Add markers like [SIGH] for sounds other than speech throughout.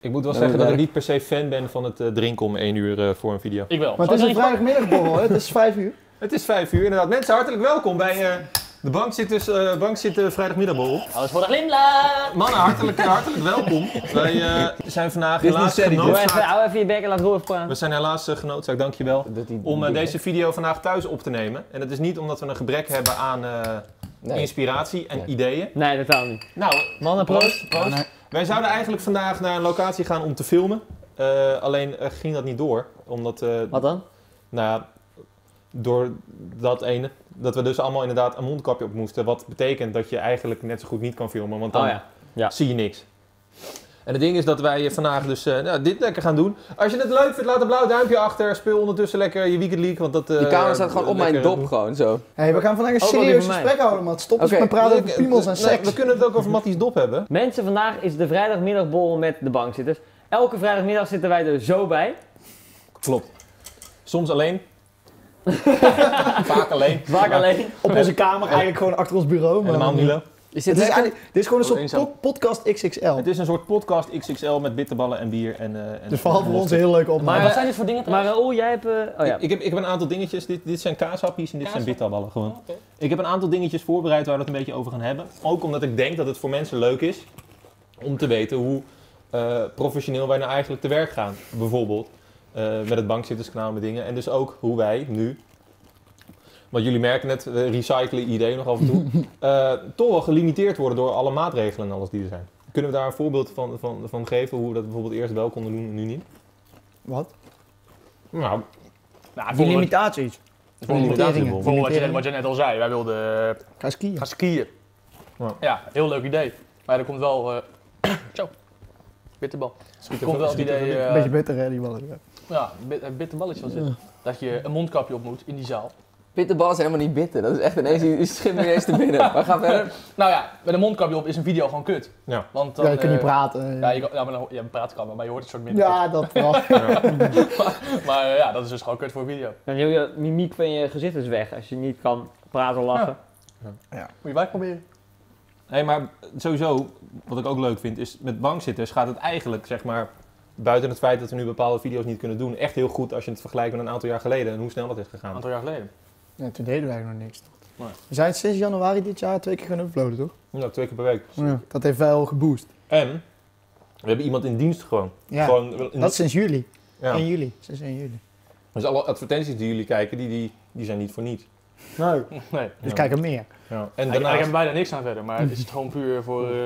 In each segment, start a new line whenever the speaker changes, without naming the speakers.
Ik moet wel
Ja,
zeggen dat ik
werk.
niet per se fan ben van het eh, drinken om één uur eh, voor een video.
Ik wel.
Maar het is
Oh,
Alleen
een vrijdagmiddagborrel, hè? Het is vijf uur.
Het is vijf uur inderdaad. Mensen, hartelijk welkom bij eh, de Bank zit, dus, eh bank zit eh, vrijdagmiddagborrel.
gewoon- Alles voor de glimlach!
Mannen, hartelijk, eh, hartelijk welkom. Wij eh, zijn vandaag
Dit is
helaas
niet serieus.
Doe even,
genoodzaakt.
hou even je bek en laat Rolf praten.
We zijn helaas eh, genoodzaakt, dankjewel.
Dat die-
Om eh,
die-
deze video vandaag thuis op te nemen. En dat is niet omdat we een gebrek hebben aan eh,
Nee.
inspiratie en
Nee.
ideeën.
Nee, totaal niet.
Nou,
Mannen, proost.
proost. proost.
Nee.
Wij zouden eigenlijk vandaag naar een locatie gaan om te filmen. Eh, alleen eh, ging dat niet door. Omdat, eh,
Wat dan?
nou ja, door dat ene. Dat we dus allemaal inderdaad een mondkapje op moesten. Wat betekent dat je eigenlijk net zo goed niet kan filmen. Want dan
Oh ja. ja.
zie je niks. En het ding is dat wij eh, vandaag dus eh, nou, dit lekker gaan doen. Als je het leuk vindt, laat een blauw duimpje achter. Speel ondertussen lekker je Weekend League. Want dat, eh,
Die camera staat gewoon op mijn
lekker-
dop, gewoon zo.
Hey, we gaan vandaag een
Ook wel die
serieus
van mij.
gesprek houden, man. Stop eens
Oké.
met praten over
Eh,
piemels
eh,
en
nee,
seks.
we kunnen het ook over Matties dop hebben.
Mensen, vandaag is de vrijdagmiddagborrel met de bankzitters. Elke vrijdagmiddag zitten wij er zo bij.
Klopt. Soms alleen. Vaak alleen.
Vaak alleen.
Op onze kamer, eigenlijk gewoon achter ons bureau. maar-
Helemaal niet leuk.
Is
Dit
dit
is,
lekker?
eigenlijk, dit is gewoon een
Wat
soort
eenzaam.
pod- podcast XXL.
Het is een soort podcast XXL met bitterballen en bier. En, eh, en
Dus vooral
en
voor ons een
mosterd.
hele leuke opname.
Maar
Maar-
wat zijn dit voor dingen
Maar
trouwens?
Raoul, jij hebt... eh, oh ja.
Ik, ik heb, ik heb een aantal dingetjes. Dit, dit zijn kaashapjes en dit zijn
Kaashap-
bitterballen
Oh,
gewoon.
Oké.
Ik heb een aantal dingetjes voorbereid waar we het een beetje over gaan hebben. Ook omdat ik denk dat het voor mensen leuk is om te weten hoe eh, professioneel wij nou eigenlijk te werk gaan. Bijvoorbeeld eh, met het bankzitterskanaal en met dingen. En dus ook hoe wij nu, want jullie merken net, we recyclen ideeën nog af en toe,
[LAUGHS]
eh, toch wel gelimiteerd worden door alle maatregelen en alles die er zijn. Kunnen we daar een voorbeeld van, van, van geven hoe we dat bijvoorbeeld eerst wel konden doen en nu niet?
Wat?
Nou,
Nou,
Die
voor-
limitaties.
voor een
Limiteringen.
inderdaad
voor wat, je, wat je net al zei, wij wilden eh,
Ga skiën.
gaan skiën.
Ja.
Ja. heel leuk idee. Maar er komt wel... eh, [CLEARS THROAT] zo. Bitterbal.
Schiet
Er komt wel het
schiet
idee...
Een
eh,
beetje beter, hè, die ballen. Ja.
ja, bit- een bitterballetje van zitten. Dat je een mondkapje op moet in die zaal.
Bitterballen zijn helemaal niet bitter. Dat is echt ineens, [LAUGHS] je schiet me ineens te binnen. Maar ga verder.
Nou ja, met een mondkapje op is een video gewoon kut.
Ja.
Want dan,
Ja, je kunt niet
eh,
praten.
Ja,
Ja,
je, kan- ja, maar dan, ja, praat kan wel, maar je hoort het soort minder.
ja dat wel.
kut. [LAUGHS] Maar eh, ja, dat is dus gewoon kut voor video.
Dan heel je mimiek van je gezicht is weg als je niet kan praten of lachen.
Moet je wij proberen?
Hé, maar sowieso, wat ik ook leuk vind, is met bankzitters gaat het eigenlijk, zeg maar, buiten het feit dat we nu bepaalde video's niet kunnen doen, echt heel goed als je het vergelijkt met een aantal jaar geleden en hoe snel dat is
Een
gegaan.
aantal jaar geleden.
Ja, toen deden wij nog niks.
Nee.
We zijn 6 januari dit jaar twee keer gaan uploaden, toch?
Nou, twee keer per week.
Ja. Dat heeft wel geboost.
En we hebben iemand in dienst gewoon.
Ja,
gewoon in-
dat is sinds juli.
ja.
1 juli. Sinds 1 juli.
Dus alle advertenties die jullie kijken, die, die, die zijn niet voor niets.
Nou,
Nee.
dus
Ja.
kijk er meer.
Ja. En
Eigenlijk
daarnaast,
hebben we bijna niks aan verder, maar het is het gewoon puur voor... eh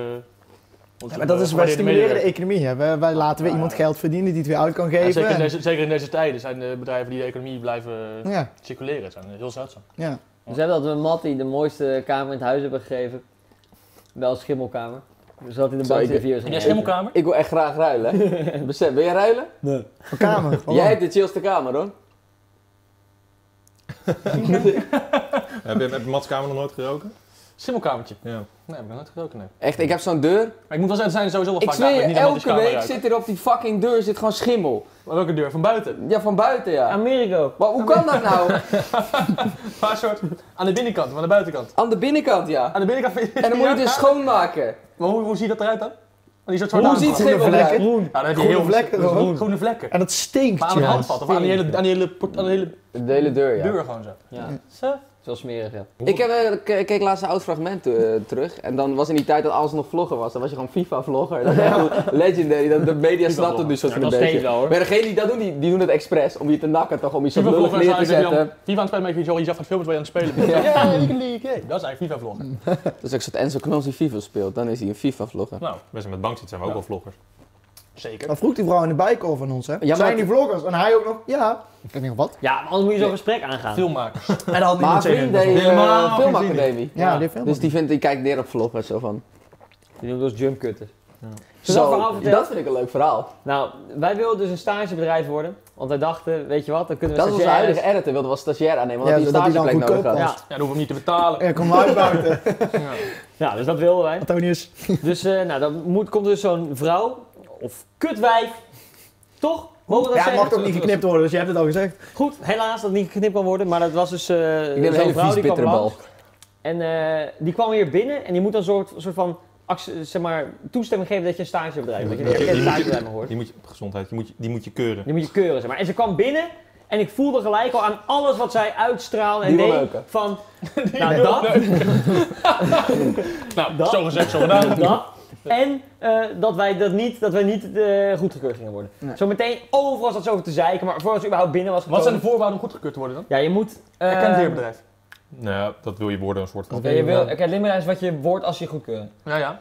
Ja, maar dat is, wij stimuleren de economie. Hè. Wij, wij laten weer
Ja,
iemand
ja.
geld verdienen die het weer uit kan geven.
zeker, in
En-
deze, zeker in deze tijden zijn de bedrijven die de economie blijven eh,
Ja,
circuleren. Het zijn heel zeldzaam.
ja.
We hebben dat we Matty de mooiste kamer in het huis hebben gegeven. Wel een schimmelkamer. Zodat hij de
Zo, ik-
bankzitterviewers
In de schimmelkamer?
Ik wil echt graag ruilen. hè. Besef, wil jij ruilen?
Voor
[LAUGHS]
kamer.
Jij hebt de chillste kamer, hoor.
heb, je- heb je Mats Kamer nog nooit geroken?
Schimmelkamertje?
Ja.
Nee, heb ik nog nooit geroken, nee.
Echt, ik heb zo'n deur.
Maar ik moet wel zeggen, er zijn sowieso wel
Ik
vaak
zweer
dagen dat
je,
niet aan
elke
Matthijs
week
kamer ruikt.
zit er op die fucking deur zit gewoon schimmel.
Maar welke deur? Van buiten?
Ja, van buiten, ja.
Amerigo.
Maar hoe kan dat nou?
Maar soort aan de binnenkant, van de buitenkant.
Aan de binnenkant, ja.
Aan de binnenkant van
En dan moet je
[LAUGHS]
het dus schoonmaken.
Maar hoe, hoe ziet dat eruit dan? Want die soort
Hoe
zwarte
ziet
aanslag.
schimmel eruit?
groen.
Ja, dan heb je
Groene
heel veel-
vlekken,
groen-
hoor.
Groene vlekken.
En dat stinkt,
Maar aan de
ja.
handvat of aan die hele, aan die hele, port- aan die hele
De hele deur, ja.
deur gewoon zo.
Ja,
Zo.
het is wel smerig, ja.
Ik heb, eh, ke- keek laatst een oud fragment eh, terug. En dan was in die tijd dat alles nog vlogger was. Dan was je gewoon FIFA-vlogger. Dat is echt legendary. Dat de media snapt het nu soort van
nog
een beetje.
steeds wel, hoor.
Maar degene die dat doen, die, die doen het expres. Om je te nakken toch, om je zo
FIFA
lullig
vlogger
neer
is
te
eigenlijk dat je
zetten.
dan- FIFA aan het spelen met je joh, je zelf aan het filmen terwijl je aan het spelen bent. Ja, ik leak, hey. Dat is eigenlijk FIFA vlogger.
Mm.
Dat is ook zo'n Enzo Knools die FIFA speelt. Dan is hij een FIFA-vlogger.
Nou,
Wij zijn met bankzitters zijn we ook
Ja.
wel vloggers.
zeker.
Dat vroeg die vrouw in de bijcall van ons, hè?
maar
Zijn
dat-
die vloggers? En hij ook nog? Ja. Ik denk nog wat?
Ja, maar anders moet je zo'n gesprek aangaan.
Filmmakers.
En dan had
Maar vriend deed eh,
Helemaal geen
filmacademie.
Ja,
Ja.
die film.
Dus die, vindt, die kijkt neer op vloggers. Zo van.
Die noemen we als jumpcutters.
Ja.
Zullen we dat verhaal
Zo,
vertellen?
dat vind ik een leuk verhaal.
Nou, wij wilden dus een stagebedrijf worden. Want wij dachten, weet je wat, dan kunnen we
Dat is onze
stagiaires-
huidige editor. Wilde wel stagiair aannemen, want
Ja,
hij een
zodat hij dan
stageplek nodig
goedkoop
had.
Ja,
was.
Ja, dan hoeven we hem niet te betalen.
Er komt live
[LAUGHS]
buiten.
ja, dus dat wilden
[LAUGHS]
wij.
Antonius.
Dus eh, nou, dan moet, komt er dus zo'n vrouw, of kutwijf, toch? Mogen we dat
Ja, het
zeggen?
mag toch niet geknipt worden, dus je hebt het al gezegd.
Goed, helaas dat niet geknipt kan worden, maar dat was dus eh
Ik neem een
zo'n
hele
vrouw
vies
die kwam
bittere bal.
langs. En eh, die kwam hier binnen en die moet dan soort, soort van acce- zeg maar, toestemming geven dat je een stagebedrijf bent. Dat je
Je
een
moet- je moet-
stagebedrijf mag hoort.
Die moet je, gezondheid, die moet je, die moet je keuren.
Die moet je keuren, zeg maar. En ze kwam binnen en ik voelde gelijk al aan alles wat zij uitstraalde en
Die wil
deed
neuken. [LAUGHS]
van... nou, dat,
Nou,
Dat-
zo gezegd, zo gedaan.
dat. En eh, dat wij dat niet, dat wij niet eh, goedgekeurd gingen worden.
Nee.
Zometeen oh, overal zat ze over te zeiken, maar voordat ze überhaupt binnen was
Wat
gekomen...
zijn de voorwaarden om goedgekeurd te worden dan?
Ja, je moet... eh,
Erkend leerbedrijf.
[LAUGHS] Nou ja, dat wil je worden een soort van.
Ja, je wil, oké, het limmerij is wat je wordt als je goedkeurt.
Ja, ja.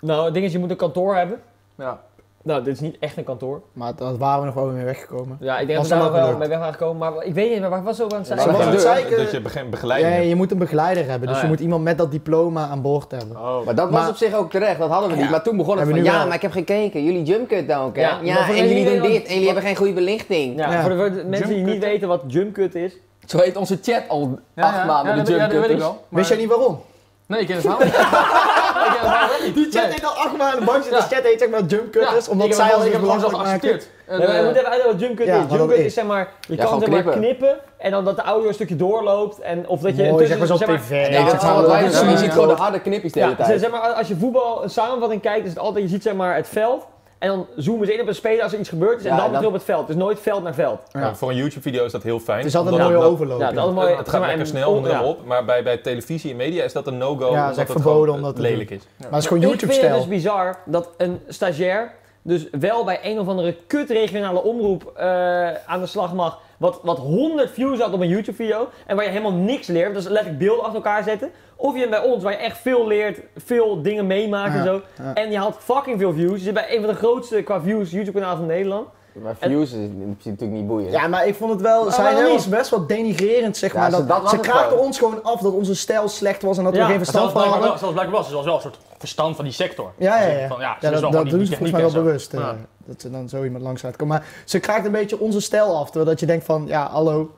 Nou, het ding is, je moet een kantoor hebben.
ja.
Nou, dit is niet echt een kantoor.
Maar dat waren we nog wel mee weggekomen.
Ja, ik denk
Was
dat we
dan
daar
ook
wel
leuk.
mee weg waren gekomen. Maar ik weet niet, maar waar was ze ook aan het
Ja,
zijn?
maar
Ja,
wat
dat-
het
zeiken-
Dat je bege- begeleiding
Ja,
hebt.
je moet een begeleider hebben, dus
Ah,
je
ja.
moet iemand met dat diploma aan boord hebben.
Oh.
Maar dat was
Maar-
op zich ook terecht, dat hadden we niet.
Ja.
Maar toen begon het
Hebben
van,
we nu
ja,
wel.
maar ik heb gekeken, jullie jumpcut dan ook, hè?
Ja,
Ja,
maar voor
en
jullie
jullie doen
iedereen-
dit, en jullie hebben geen goede belichting.
Ja,
Ja.
Voor, de, voor de mensen die niet
Jumpcut.
weten wat jumpcut is.
Zo heet onze chat al acht maanden,
dat-
de
ja, dat weet ik
jumpcutters.
wel. Maar-
Wist jij niet waarom?
Nee, ik ken het verhaal niet. Ik ken het verhaal niet.
Die chat
Nee.
heet al acht maanden bank zitten.
Ja.
De chat heet zeg maar jumpcutters,
Ja,
omdat
ik heb
zij
het
al
ik heb het gewoon zo
belachelijk maken.
geaccepteerd. En,
Nee, maar je
eh,
moet even uitleggen wat jumpcut
ja,
is.
wat dat
Jumpcut
is.
is zeg maar, je kan
gewoon
zeg maar
knippen.
knippen. en dan dat de audio een stukje doorloopt. En, of dat je
Mooi,
intussen-
dus, zeg maar zo'n
zeg maar-
tv.
Nee, dat is
Ja,
allemaal
dat
wat wij
is
doen. Je
een-
ziet gewoon de harde knippies de hele
Ja,
tijd.
zeg maar, als je voetbal een samenvatting kijkt, is het altijd, je ziet zeg maar het veld. En dan zoomen ze in op een speler als er iets gebeurd is. En
Ja,
dan
dat-
weer op het veld. Dus nooit veld naar veld.
Ja. Dus
Maar Voor een YouTube-video is dat heel fijn.
Het is altijd een
omdat
mooie
dat-
overloop.
Ja, het is altijd mooi.
Het
zeg
gaat
maar,
lekker
en-
snel onder
ja.
hem op, maar bij, bij televisie en media is dat een no-go.
Ja,
Ja,
het is echt
dat
verboden
gewoon, eh,
om dat te doen.
lelijk is.
Maar het is gewoon
Ik vind
YouTube-stijl.
het dus bizar dat een stagiair dus wel bij een of andere kut regionale omroep eh, aan de slag mag. Wat, wat 100 views had op een YouTube video en waar je helemaal niks leert. Dus letterlijk beelden achter elkaar zetten. Of je bent bij ons waar je echt veel leert, veel dingen meemaakt en
Ja,
zo.
ja.
En je haalt fucking veel views. Je zit bij een van de grootste qua views YouTube kanaal van Nederland.
Maar views is in principe natuurlijk niet boeiend.
Ja, maar ik vond het wel,
Maar
zij
waarom
heel
niet?
was best wel denigrerend zeg
Ja,
maar.
ze-
dat,
dat was
ze
het
kraakten
gewoon.
ons gewoon af dat onze stijl slecht was en dat
Ja,
we geen
maar
Maar zelfs
verstand van
blijkbaar,
hadden.
wel, zelfs blijkbaar was ze wel wel een soort verstand van die sector.
Ja, ja,
Dus
ja.
Van, ja, ze
Ja,
is
dat, dat
wel gewoon
doen ze
die
volgens
techniek
mij wel
en zo.
bewust. eh,
Ja.
Dat ze dan zo iemand langs uitkomen. Maar ze kraakt een beetje onze stijl af. Terwijl dat je denkt van, ja, hallo.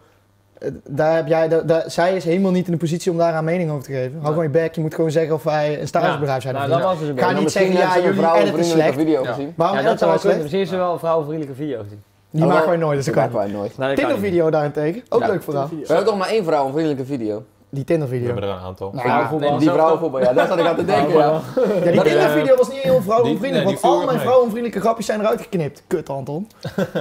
eh, Daar heb jij, daar, daar- zij is helemaal niet in de positie om daar haar mening over te geven. Hou gewoon je bek. Je moet gewoon zeggen of wij een statusbedrijf zijn. of
Nou,
niet.
dat was dus een
Ga
beetje.
niet
Misschien
zeggen, ja,
hebben ze een
jullie editen
vrouwenvriendelijke
slecht.
video
Ja.
gezien.
Waarom
Oh, Ja,
editen wij
dat zou wel kunnen.
slecht?
Misschien heeft ze wel een vrouwenvriendelijke video's gezien.
Die
Oh,
maken wij nooit, dus
Dat
dat
maakt
kan.
wij nooit.
Nee, dat kan niet.
Tinder-video daarentegen, ook
Ja,
leuk verhaal.
We hebben toch maar één vrouwenvriendelijke video.
Die
We
Tinder-video.
hebben er een aantal.
Nou,
Vrouwenvoetbal.
Nee, die
Zelf-
vrouwenvoetbal, ja, daar zat ik aan te denken. Ja.
ja, die
dat-
Tinder-video was niet heel
die- nee,
vrouwenvriendelijk,
die
want al
viel
mijn
mee.
vrouwenvriendelijke grapjes zijn eruit geknipt. Kut, Anton.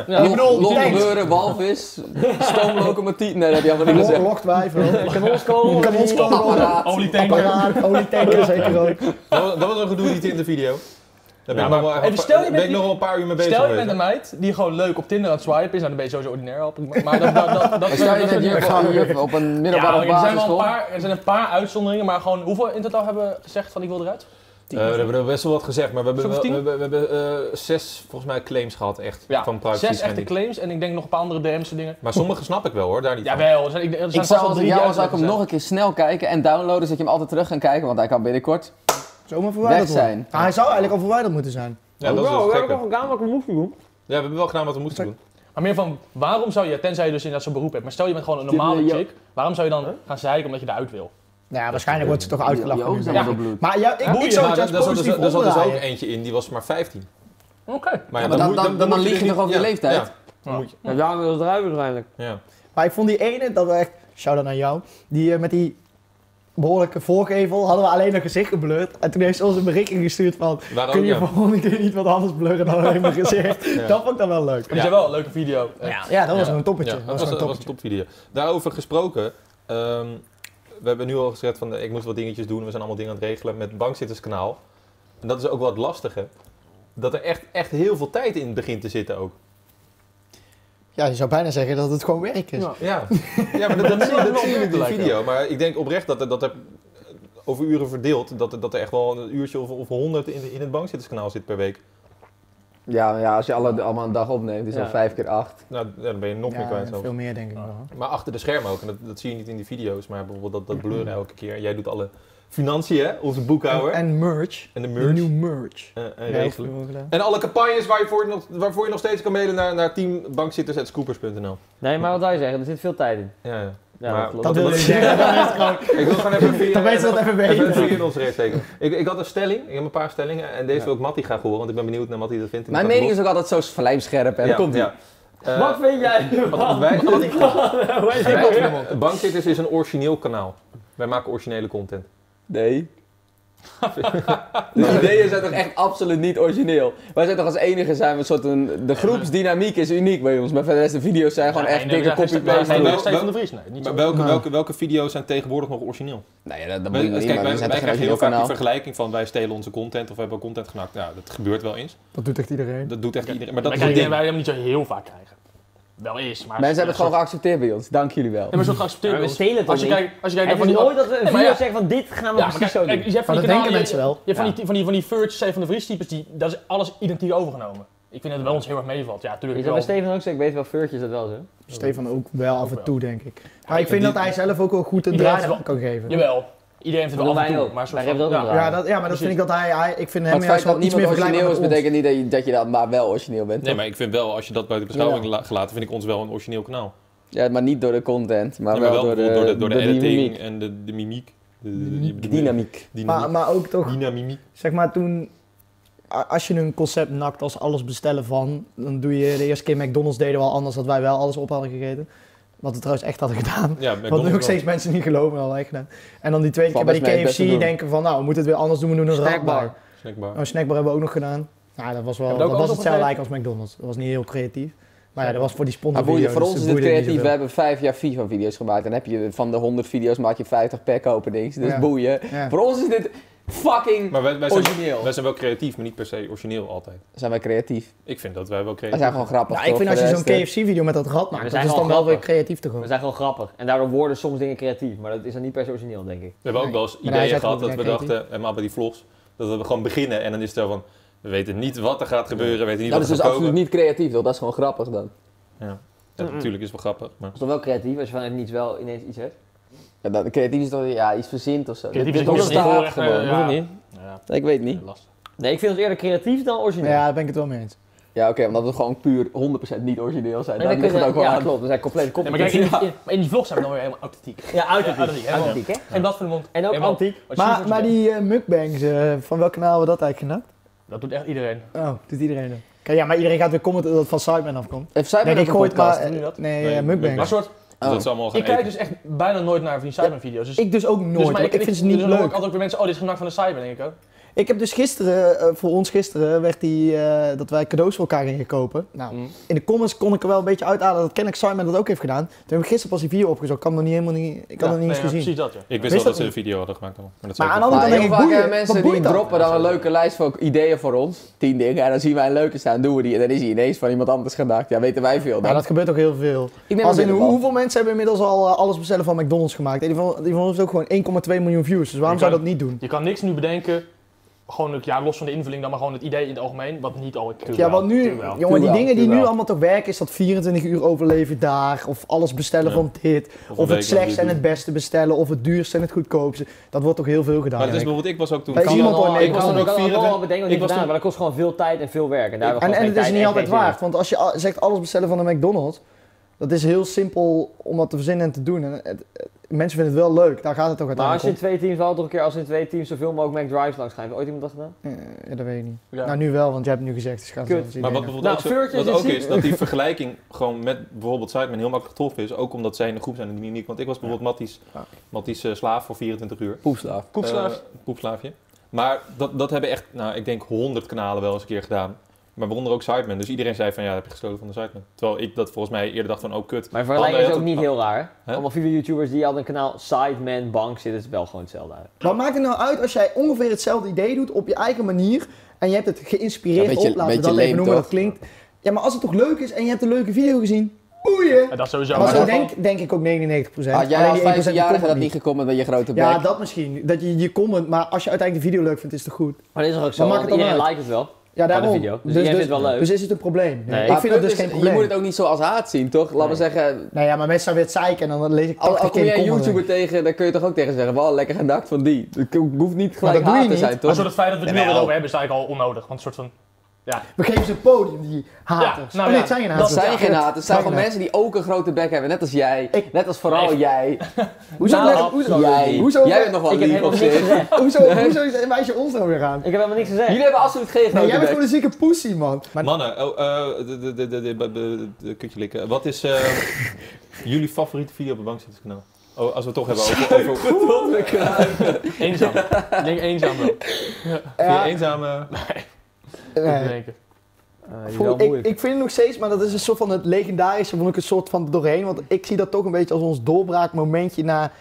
Ja,
Log-
bedoel,
log-
tanks.
gebeuren, walvis, stoomlocomotief. Nee, dat heb je allemaal niet gezegd.
Lokwijf,
[LAUGHS] Je kan ons komen.
kan ons komen.
Apparaat.
Olietanker.
Apparaat, olietanker zeker ook.
Dat was- dat was een gedoe die Tinder-video. Daar ben
Ja,
ik
maar-
nog wel
Even stel, je
ben
bent
ik
die-
nog wel een paar uur mee bezig
Stel je bent
geweest.
een meid die gewoon leuk op Tinder aan het swipen is, nou dan ben je sowieso ordinair al, prima. maar dat, dat, dat, dat, dat,
[LAUGHS] Stel je
dat-
dat
dat-
je op- je op een
Ja,
middelbare
er, zijn wel een
basisschool...
paar, er zijn een paar uitzonderingen, maar gewoon hoeveel in totaal hebben we gezegd van ik wil eruit?
Eh, we hebben er best wel wat gezegd, maar we hebben, wel,
Zoveel
we,
tien?
hebben- we hebben eh, zes volgens mij claims gehad echt
Ja,
van privacy
Zes echte
schending.
claims en ik denk nog een paar andere DM's en dingen.
Maar sommige snap ik wel hoor, daar niet van.
Jawel, er zijn, ik, er zijn
Ik
vast
zou
wel
als ik
drie
jou
die
was, zou ik hem nog een keer snel kijken en downloaden, zodat je hem altijd terug gaat kijken, want hij kan binnenkort.
Zomaar verwijderd
Weg
worden.
zijn.
Ah, hij zou eigenlijk al verwijderd moeten zijn.
Ja, dat is dus
Bro, we
gekker.
hebben nog gedaan wat we moesten doen.
Ja, we hebben wel gedaan wat we moesten doen.
Maar meer van, waarom zou je, tenzij je dus inderdaad zo'n beroep hebt, maar stel je bent gewoon een
Dit
normale
wil je-
chick, waarom zou je dan gaan zeiken omdat je eruit wil?
Nou ja, waarschijnlijk wordt ze toch
Je
uitgelachen.
ogen
nu.
zijn
Ja.
wel bloed.
Maar ja, ik,
Boeien,
ik zou
maar
het juist
daar zat dus-
positief
daar zat dus ook
omdraaien.
eentje in, die was maar 15.
Oké.
Maar,
Ja,
ja,
maar dan-
moet-
dan- dan
moet dus
lieg je
niet-
toch over je
ja,
leeftijd?
ja, dan moet je-
Ja, daarom wil ze eruit waarschijnlijk.
Ja.
Maar ik vond die ene, dat we echt, shout-out naar jou, die eh, met die behoorlijke voorgevel hadden we alleen een gezicht geblurred. En toen heeft ze ons een berichtje gestuurd van,
Waar ook,
kun je
Oh, ja.
voor volgende keer niet wat anders blurren dan alleen mijn gezicht.
Ja.
Dat vond ik dan wel leuk.
Maar die zijn wel een leuke video. Eh,
Ja, dat was
Ja.
een toppetje.
Ja,
dat was, een
dat was een
toppetje.
topvideo. Daarover gesproken, ehm, we hebben nu al gezegd van eh, ik moet wat dingetjes doen, we zijn allemaal dingen aan het regelen met bankzitterskanaal. En dat is ook wat lastige. Dat er echt, echt heel veel tijd in begint te zitten ook.
Ja, je zou bijna zeggen dat het gewoon werk is.
Ja.
Ja, [LAUGHS] ja maar dat, dat, zie, dat zie je in die
Lijkt
video. Maar ik denk oprecht dat er, dat er eh, over uren verdeeld, dat er, dat er echt wel een uurtje of, of honderd in, in het bankzitterskanaal zit per week.
Ja, maar ja, als je alle, allemaal een dag opneemt, is dat
Ja.
vijf keer acht.
Nou, ja, dan ben je nog meer
Ja,
kwijt zelfs.
veel meer denk ik wel.
Maar achter de schermen ook, en dat, dat zie je niet in die video's, maar bijvoorbeeld dat,
[CLEARS THROAT]
dat blurren elke keer. Jij doet alle financiën, hè, onze boekhouder.
En,
En,
en merch.
de
Merch.
merch.
Nieuw merch.
eh, en
Ja,
regelen.
heel veel gedaan.
En alle campagnes waarvoor je nog, waarvoor je nog steeds kan mailen naar, naar teambankzitters.scoopers.nl.
Nee, maar wat wij zeggen, er zit veel tijd in.
Ja, ja.
Ja,
Maar-
dat klopt.
Dat wil
dat-
je zeggen. dan is het gewoon-
Ik wil gewoon even een video-
Dan weet ze dat even
Even een
weten.
vinger in ons reet steken. Ik, ik had een stelling, ik heb een paar stellingen en deze wil ik Matty graag horen, want ik ben benieuwd naar Matty dat vindt. in de
Mijn mening
categorie.
is ook altijd zo vlijmscherp en
Ja,
komt ie.
ja. Eh,
[LAUGHS] Wat vind jij?
want wij,
Hoe heet
wij-
dat?
Bankzitters is een origineel kanaal. Wij maken originele content.
Nee. [LAUGHS] De ideeën zijn toch echt absoluut niet origineel. Wij zijn toch als enige zijn we een soort een, de groepsdynamiek is uniek bij ons, maar voor de rest de video's zijn gewoon echt dikke
maar-
copy-paste.
maar-
Nee, Stijn van de Vries, nee. Niet
Maar
zo.
welke,
Nou.
welke, welke video's zijn tegenwoordig nog origineel?
Nee, dat,
Wij-
dat moet je niet,
kijk,
maar
wij, wij
we zijn toch geen
krijgen heel vaak die
videokanaal.
vergelijking van wij stelen onze content of we hebben content genakt. Ja, dat gebeurt wel eens.
Dat doet echt iedereen.
Dat doet echt iedereen. Maar dat
wij,
is het
krijgen,
ding.
wij hem niet zo heel vaak krijgen. Wel eens, maar...
Mensen hebben
Ja,
het gewoon geaccepteerd bij ons, dank jullie wel.
Nee, maar zo geaccepteerd
Maar we
bij ons.
stelen het
als je
dan
kijkt, als je kijkt
Het
naar van
is
die...
nooit dat we een
maar
video
ja.
zeggen van dit gaan we
Ja, maar
precies
kijk,
zo
kijk,
doen.
je hebt van
Maar
die
dat denken
kanalen-
mensen wel.
Je hebt van die, van die, van die Verge, Stijn van de Vries types, die, dat is alles identiek overgenomen. Ik vind dat het bij ons heel erg meevalt. Ja,
Is
tuurlijk.
dat
wel.
bij Steven ook zo? Ik weet wel, Furtjes dat wel zo.
Stefan ook wel af en
wel.
toe, denk ik. Maar ik
die-
vind dat hij zelf ook wel goed een
Iedereen
draai
heeft
aan kan geven.
Jawel. Iedereen heeft het
Dat
wel af
doen
en
wij
toe.
ook.
Maar zo
Wij
van-
hebben dat ook
ja.
een draai.
Ja, dat, ja, maar dat vind ik dat hij, hij ik vind
Maar
hem
het feit
juist
dat
wel iets meer
niemand origineel
vergelijkbaar
is,
met ons.
betekent niet dat je, dat je dan maar wel origineel bent.
Nee,
toch?
maar ik vind wel, als je dat buiten beschouwing la- gelaten, vind ik ons wel een origineel kanaal.
Ja, maar niet door de content, maar,
Nee, maar
wel door de,
bijvoorbeeld door de, editing
dynamiek.
en de, de mimiek. De,
De dynamiek.
Maar,
Dynamiek.
maar ook toch,
Dynamiek.
zeg maar toen, a- als je een concept nakt als alles bestellen van, dan doe je de eerste keer McDonald's deden wel anders dat wij wel alles op hadden gegeten. Wat we trouwens echt hadden gedaan.
Ja,
Wat nu ook
McDonald's wel.
steeds mensen niet geloven, al echt. hè. En dan die tweede keer bij
Valt best mee,
die
best te
KFC
doen.
denken van, nou, we moeten het weer anders doen, we doen een
Snackbar.
snackbar.
snackbar.
Oh, snackbar hebben we ook nog gedaan. Nou, dat was wel,
Hebben
dat
we ook
was
alles
hetzelfde
opgegeten?
eigenlijk als McDonald's. Dat was niet heel creatief. Maar ja, dat was voor die
Maar
sponsor
voor, je, voor
dus
ons
dat
is het
boeide niet
creatief. We
zoveel.
hebben vijf jaar FIFA-video's gemaakt. En heb je van de 100 video's maak je 50 pack openings. Dus
Ja.
boeien.
Ja.
Voor ons is dit fucking
Maar wij, wij, zijn,
origineel.
wij zijn wel creatief, maar niet per se origineel altijd.
Zijn wij creatief?
Ik vind dat wij wel
Wij
creatief
zijn gewoon grappig.
Ja, ik
toch?
vind als je
Voor
zo'n
de rest,
KFC-video met dat rad maakt,
we
dat
zijn
is dan
wel
wel weer
grappig.
creatief te
We
gewoon.
zijn gewoon grappig. En daardoor worden soms dingen creatief. Maar dat is dan niet per se origineel, denk ik.
We hebben ook wel eens
hij
ideeën
zegt
gehad
wel,
dat we
ja,
dachten, helemaal bij die vlogs, dat we gewoon beginnen en dan is het zo van, we weten niet wat er gaat gebeuren, we weten
eh,
niet
Dat is
wat
dus
er gaat komen.
absoluut niet creatief, toch? Dat is gewoon grappig dan.
Ja. Ja, natuurlijk is het wel grappig, maar...
Dat is toch wel creatief als je van even niets wel ineens iets hebt.
Ja, dat, creatief is toch ja, iets verzint of zo.
Creatief
dit
is
dit
niet
is te
echt heel
haat
erg,
gewoon.
eh, ja.
Moet niet.
Ja,
Ik weet niet.
lastig.
Nee, ik vind het eerder creatief dan origineel.
Ja, daar ben ik het wel mee eens.
Ja, oké, omdat we gewoon puur 100% niet origineel zijn.
Nee,
Dan
we
ligt het
kunnen-
ook wel
ja,
aan.
klopt. We zijn compleet
Nee,
koppig.
maar kijk, in, die- in- maar in die vlog zijn we dan weer helemaal authentiek.
Ja,
Ja,
authentiek.
authentiek, helemaal.
Authentiek, hè?
Geen blad voor de mond.
En ook
Helemaal.
antiek.
Wat je ziet,
Maar,
wat
maar
je bent.
die eh, mukbangs, eh, van welk kanaal hebben we dat eigenlijk gedaan?
Dat doet echt iedereen.
Oh, doet iedereen dan. Kijk, ja, maar iedereen gaat weer commenten dat het van Sidemen afkomt.
Even zijn we
Denk
nog
ik
een
gooi het maar...
podcast?
eh,
Doe je dat?
Nee,
Nee,
eh,
Maar
mukbangs.
mukbangs.
soort,
Dus
Oh.
dat is allemaal
ik
gaan
kijk
eten.
dus echt bijna nooit naar van die Cybervideo's. Dus,
Ik dus ook nooit,
dus,
want ik, vind ze niet
dus dan hoor
leuk.
ik altijd ook weer mensen, oh dit is genakt van de Cyber, denk ik ook.
Ik heb dus gisteren, eh, voor ons gisteren, werd die, eh, dat wij cadeaus voor elkaar gingen kopen. Nou,
Mm.
in de comments kon ik er wel een beetje uithalen dat kennelijk Simon dat ook heeft gedaan. Toen heb ik gisteren pas die video opgezocht, ik had hem nog niet helemaal niet, ik had
Ja,
hem niet
nee,
eens
ja,
gezien.
Precies dat, ja.
Ik
Wist
wist wel
dat
dat ze
niet.
een video hadden gemaakt. allemaal, Maar, dat
Maar
zei ik
aan de
ook
andere- Oh, dan
Maar heel
denk ik,
vaak
boeien,
hebben mensen
wat
die
boeit dat?
droppen dan een leuke lijst van ideeën voor ons. Tien dingen. En dan zien wij een leuke staan, doen we die. En dan is die ineens van iemand anders gedacht. Ja, weten wij veel
Maar
dan.
dat gebeurt ook heel veel.
Ik neem
Als
hem
in, hoe-
binnen,
hoeveel mensen hebben inmiddels al eh, alles bestellen van McDonald's gemaakt? En Die van, die van ons heeft ook gewoon 1,2 miljoen views, dus waarom
Ik
zou
kan-
dat niet doen?
Je kan niks nu bedenken, gewoon ook, ja, los van de invulling dan, maar gewoon het idee in het algemeen, wat niet al... ik-
Ja, want nu,
Tuurlijk wel.
jongen, die
wel,
dingen die
tuurlijk
nu
wel.
allemaal toch werken, is dat 24 uur overleven daar, of alles bestellen
Ja.
van dit,
een
of
week
het slechtste en
lang
het beste bestellen, of het duurste en het goedkoopste. Dat wordt toch heel veel gedaan.
Maar het
denk
is
ik.
bijvoorbeeld, ik was ook toen...
Weet
Kan
je iemand
dan al-
hoor, nee,
ik
ik
was
was
dan
ook
ook wel
24.
bedenken wat
Ik
je
was
gedaan,
toen-
maar dat kost gewoon veel tijd en veel werk. En, daar hebben we
En,
gewoon
en
geen
het is
tijd
niet
en
altijd
geen zin in.
waard, want als je a- zegt alles bestellen van een McDonald's, dat is heel simpel om dat te verzinnen en te doen. En het- het- mensen vinden het wel leuk, daar gaat het toch
Maar als
uiteindelijk
je in twee teams, wel toch een keer als in twee teams zoveel mogelijk McDrives langs gaan. Heeft ooit iemand dat gedaan?
om. Eh, ja, dat weet ik niet.
Ja.
Nou, nu wel, want jij hebt het nu gezegd, dus gaat
Kut.
het zelfs
Maar
idee
wat
nog.
bijvoorbeeld
Nou,
ook, zo-
Furtjes
wat ook
is-
is, dat die vergelijking gewoon met bijvoorbeeld Sidemen heel makkelijk getroffen is. Ook omdat zij in de groep zijn en die uniek. Want ik was bijvoorbeeld Matties,
Ja.
Matties eh, slaaf voor 24 uur.
Poepslaaf.
Koekslaaf.
Eh, poepslaafje. Maar dat, dat hebben echt, nou, ik denk 100 kanalen wel eens een keer gedaan. Maar waaronder ook Sidemen. Dus iedereen zei van ja, dat heb je gestolen van de Sidemen. Terwijl ik dat volgens mij eerder dacht van oh kut.
Maar vergelijking is
Ander
ook
had het-
niet heel raar. hè?
Hè?
Allemaal video-YouTubers die hadden een kanaal Sideman, Bank zitten, is wel gewoon hetzelfde uit.
Wat maakt het nou uit als jij ongeveer hetzelfde idee doet op je eigen manier en je hebt het geïnspireerd
Ja, beetje-
op, laten we
beetje
dat
leem,
even noemen,
toch?
dat klinkt. Ja, maar als het toch leuk is en je hebt een leuke video gezien, boeien!
Ja, dat sowieso.
maar
maar
zo
dat-
denk, denk ik ook 99%.
Had jij
Alleen
als
die 1% die
15-jarige
komt
dat
niet.
niet gekomen met je grote bek?
Ja, dat misschien. Dat je je comment, maar als je uiteindelijk de video leuk vindt, is het toch goed.
Maar dat is toch ook zo,
Maar maakt
want
het dan
iedereen
uit?
liked het wel.
Ja,
Van de
daarom.
video. Dus iedereen vindt het wel leuk.
Dus is het een probleem?
Nee.
Ik
Maar
vind dat dus
punt
geen
is, Je
probleem.
moet het ook niet zo als haat zien, toch? Laten we zeggen...
Nou ja, maar mensen zijn weer het zeiken en dan lees ik
Al,
80
al kom
keer
jij
de
een
comment.
YouTuber tegen, dan kun je toch ook tegen zeggen, wel lekker genakt van die. Het hoeft niet gelijk
dat doe je
haat te
niet.
zijn,
Maar
toch?
zo het feit dat we het nu
Jawel.
al over hebben is eigenlijk al onnodig. Want een soort van...
We geven ze een podium, die haters.
Ja, nou
oh nee,
ja,
het zijn geen
Dat
haters.
zijn geen haters. Het zijn
Zijn
gewoon
geen
mensen die ook een grote bek hebben, net als jij.
Ik-
Net als vooral
Nee.
jij.
Hoezo,
Nou,
leggen-
hap-
hoezo,
jij.
hoezo-
jij bent nog wel
ik heb
lief
helemaal
op
niks
zich.
gezegd. Ik
hoezo, hoezo, wijs je ons nou weer aan?
heb helemaal niks gezegd.
Jullie hebben absoluut geen
Nee,
grote
jij bent
bek.
gewoon een zieke pussy, man. Maar
Mannen, oh, eh, de- de- de- de- de- de- de- de- de- kutje likken. Wat is eh, jullie favoriete video op het bankzitterskanaal? Oh, als we het toch hebben over, over
Eenzaam. ik denk eenzaam wel.
die
Ja,
eenzame...
nee.
Denken.
Eh,
die is
Voel-
wel
ik,
moeilijk.
ik vind het nog steeds, maar dat is een soort van het legendarische, vond ik een soort van doorheen. Want ik zie dat toch een beetje als ons doorbraakmomentje na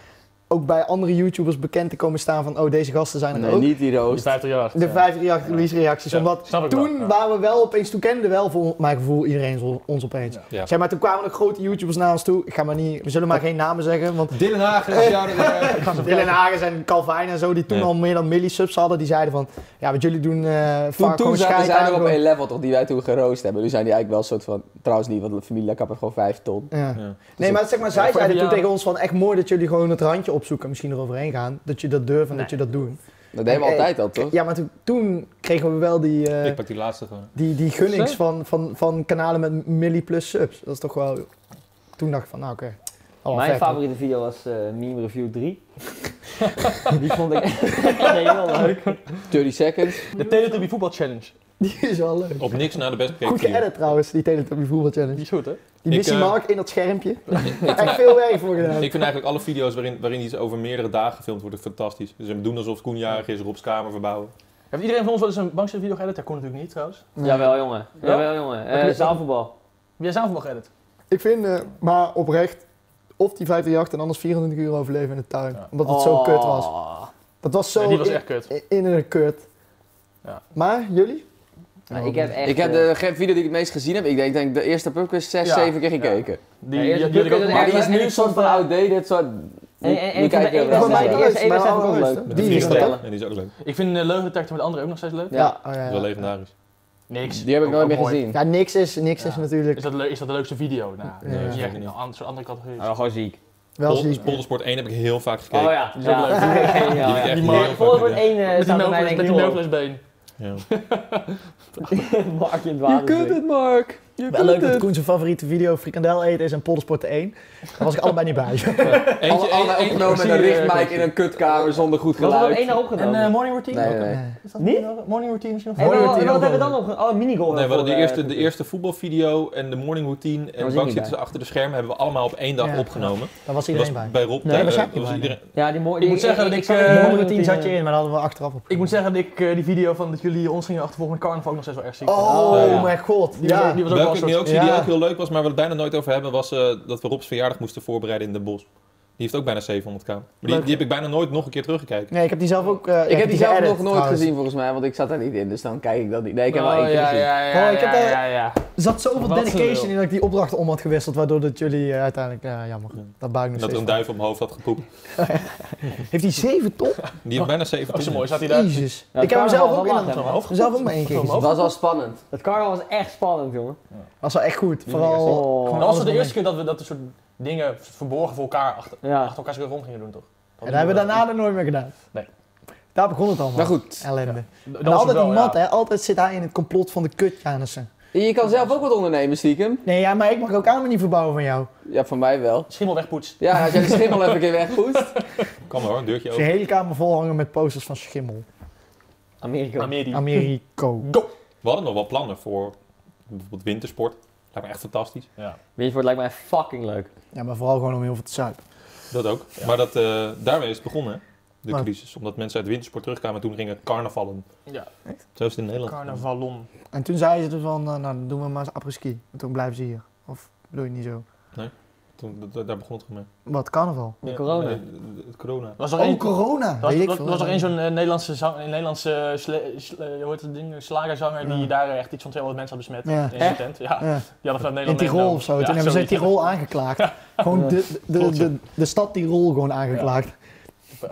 ook bij andere YouTubers bekend te komen staan van oh deze gasten zijn er
nee,
ook.
niet die
Die
roos.
50 jaar.
De
ja.
vijf react- release reacties.
Ja,
Omdat
snap ik wel,
toen
ja.
waren we wel opeens, toen kende wel voor mijn gevoel iedereen zo- ons opeens.
Ja.
Ja.
Zeg maar, toen kwamen er grote YouTubers naar ons toe. Ik ga maar niet, we zullen maar geen namen
[LAUGHS]
zeggen, want
Dylan
[LAUGHS]
Hagen is jou er...
Dylan Hagens en Calvin en zo, die toen
Ja.
al meer dan milli subs hadden, die zeiden van, ja, wat jullie doen, eh vaak
Toen, toen
gewoon
zaten
scheid
zij
aan,
nog op
gewoon-
één level, toch? Die wij toen geroost hebben. Nu zijn die eigenlijk wel een soort van... Trouwens niet, want de familie Lakap heeft gewoon vijf ton.
Ja.
Ja.
Nee, maar zeg maar, zij
voor
zeiden toen
die jaren.
tegen ons van echt mooi dat jullie gewoon het randje opzoeken en misschien eroverheen gaan. Dat je dat durft en dat je dat doet.
Dat deden we
Oké.
altijd al, toch?
Ja, maar toen, toen kregen we wel die, eh,
Ik pak die laatste gewoon.
die, die gunnings van, van, van kanalen met milli plus subs. Dat is toch wel... Toen dacht ik van, nou oké. Al
Mijn
vet, hoor.
favoriete video was eh, Meme Review [LAUGHS] 3. die vond ik [LAUGHS] heel leuk.
30 seconds.
De Teletubby Voetbal Challenge.
Die is wel leuk.
Op niks naar de best
Goed
bekeken.
geëdit trouwens, die Teletubby voetbal
Die
challenge.
is goed, hè?
Die
Ik,
missie
eh,
Mark in dat
[LAUGHS]
schermpje.
eh,
Echt veel werk voor gedaan.
Ik vind eigenlijk alle video's waarin, waarin iets over meerdere dagen gefilmd wordt fantastisch. Dus we doen alsof Koen jarig is, Rob's kamer verbouwen.
Heeft iedereen van ons wel eens een bankste video geëdit? Dat kon natuurlijk niet, trouwens. Heb
Jawel jongen,
Ja?
jawel jongen. Eh,
Wat is-
zaalvoetbal.
jij zelf nog geëdit?
Ik vind, eh, maar oprecht, of die 50 jacht en anders 24 uur overleven in de tuin.
Ja.
Omdat het zo
Oh.
kut was. Dat was zo...
Nee, die was
in-
echt kut.
I- In een kut.
Ja.
Maar jullie?
Maar ik heb echt...
Ik heb
eh,
de ge- video die ik het meest gezien heb, ik denk, denk de eerste pubquiz zes,
Ja.
zeven keer
Ja.
gekeken.
Die,
Ja,
die,
je-
die had ik
je kunt
ook
het
Maar die
ergens
is nu
en
een
ik
soort
vond
van
eh,
van-
outdated, soort...
En- en- en ik
kijk
vond de
je
ene
wel
wedstrijd- de
naar.
maar-
eerste ene
maar-
wedstrijd vond ik
maar-
ook leuk.
Met
Die
een
is dat,
vliegtuig.
hè?
En die is ook leuk.
Ik vind de Leugendetector met anderen ook nog steeds leuk.
Ja.
Oh, ja,
Dat is wel
ja.
legendarisch.
Niks.
Die heb ik
Ook-
nooit
ook
meer
mooi.
gezien.
ja, niks is, niks
Ja.
is natuurlijk
Is dat, leuk- is dat de leukste video? Nou,
Nee,
nee, dat is
zeker
echt
niet.
een an- soort andere categorie.
Oh, gewoon ziek.
wel
Pol-
ziek.
Poldersport 1 heb ik heel vaak
Oh
gekeken.
ja,
Die is ook
ja.
leuk.
Die is ook geniaal,
Die heb ik
ja.
echt
Die Mark
heel vaak
Volgens wordt
gekeken.
één eh,
met die
staat bij mij
Melvles-
denk
met
ik
die
nog op.
Melvlesbeen.
Ja.
Mark in het water. zit.
Mark. Je
Wel leuk dat Koen zijn favoriete video frikandel eten is en Poldersport 1. Daar was ik allebei niet [LAUGHS] bij.
Eentje,
alle
eentje,
opgenomen met
precies,
een
eh,
richtmijk in een kutkamer zonder goed
Wat hebben we
geluid.
één nou
En
opgenomen?
eh, Morning Routine?
Nee, nee, nee.
Nee.
Is dat niet? Morning Routine misschien nog?
en
Morning
wat,
Routine
wat
ook
hebben we dan
wel
nog? Oh, minigolf.
Nee, we hadden de
voor, eh,
eerste, de eerste voetbalvideo en de morning routine en
was
de
ik
bank
niet
zitten ze achter de schermen hebben we allemaal op één dag
Ja.
opgenomen.
Daar was
Dat
iedereen
was
bij.
bij Rob.
Nee, daar
eh,
zat je
was
bij,
iedereen-
Ja, die mooie.
Ik moet zeggen dat ik, eh,
Uh,
Morning
Nummer 10 zat je in, maar daar hadden we achteraf op.
Ik moet zeggen dat ik eh, die video van dat jullie ons gingen achtervolgen met carnaval ook nog steeds wel erg ziek. vond.
Oh,
ja.
mijn god.
Die was,
Ja.
ook- die was ook wel
Welke
een
ik
soort-
nu ook zie die
Ja.
ook heel leuk was, maar we het bijna nooit over hebben, was eh, dat we Rob's verjaardag moesten voorbereiden in Den Bosch. Die heeft ook bijna 700k. Maar die,
Leuk.
die heb ik bijna nooit nog een keer teruggekeken.
Nee, ik heb die zelf ook... eh, ja,
Ik heb die zelf
geëdit,
nog nooit
trouwens.
gezien volgens mij, want ik zat daar niet in, dus dan kijk ik dat niet. Nee, ik heb wel
Oh,
één keer
ja,
gezien.
ja, ja,
Oh, ik heb
ja,
daar-
ja, ja.
Er zat zoveel
Wat een lul.
dedication in dat ik die opdrachten om had gewisseld, waardoor dat jullie eh, uiteindelijk... Ja, jammer.
Ja.
Dat baal ik nog
Dat er
steeds
een duif op mijn hoofd had gepoept.
van. Heeft hij 7 ton?
Die heeft bijna 700.
Oh, zo mooi zat hij daar.
Jezus.
Ja,
ik heb hem
carnaval
zelf
was
ook
wel
in
laat,
een-
hè, man.
Omhoog.
zelf ook maar één keer gezien.
Dat was wel spannend.
Dat carnaval was echt spannend, jongen.
Was wel echt goed. Vooral.
Oh.
gewoon
Dat
Dat
alles
was het de
eromheen.
eerste keer dat we dat soort dingen verborgen voor elkaar achter,
Ja.
achter elkaar zo rond gingen doen, toch?
En dat hebben we daarna er nooit meer gedaan.
Nee.
Daar begon het allemaal.
Maar Nou goed,
Ellende.
Dat
En
was
altijd
wel,
die
ja.
mat, hè? Altijd zit hij in het complot van de kut, Janussen.
je kan zelf ook wat ondernemen stiekem.
Nee, ja, maar ik mag ook aan me niet verbouwen van jou.
Ja, van mij wel.
Schimmel wegpoetst.
Ja, als jij de schimmel even een keer wegpoest.
Kan maar hoor, een deurtje
Dus je
open.
hele kamer vol hangen met posters van Schimmel.
Amerika.
Amerie.
Americo.
We hadden nog wel plannen voor bijvoorbeeld wintersport. Lijkt me echt fantastisch.
Weet je, het lijkt mij fucking leuk.
Ja, maar vooral gewoon om heel veel te zuipen.
Dat ook. Maar dat, eh, daarmee is het begonnen, hè? de
Maar-
crisis. Omdat mensen uit wintersport terugkwamen en toen gingen carnavallen.
Ja,
Zo is het in Nederland.
carnavalon.
En toen zei ze dus van, eh, nou, dan doen we maar eens apres-ski. En toen blijven ze hier. Of bedoel je niet zo?
Toen, dat- dat- daar begon het gewoon
Wat, carnaval?
De
mee.
corona.
Ja, nee, het corona.
Was er
Oh,
één
corona!
was,
Weet ik
was,
veel.
was er één zo'n eh, Nederlandse, zang, een Nederlandse sle, sle- eh, hoe heet dat ding? slagerzanger die
Ja.
daar eh, echt iets van 200 mensen had besmet
Ja.
in zijn tent. Ja,
Ja.
die hadden vanuit Nederland
In Tirol
meegenomen.
of zo.
Ja,
Toen hebben ze
zoiets.
Tirol [LAUGHS] aangeklaagd. Gewoon
Ja.
de, de, de,
Klopt, ja.
de, de stad Tirol gewoon aangeklaagd.
Wat?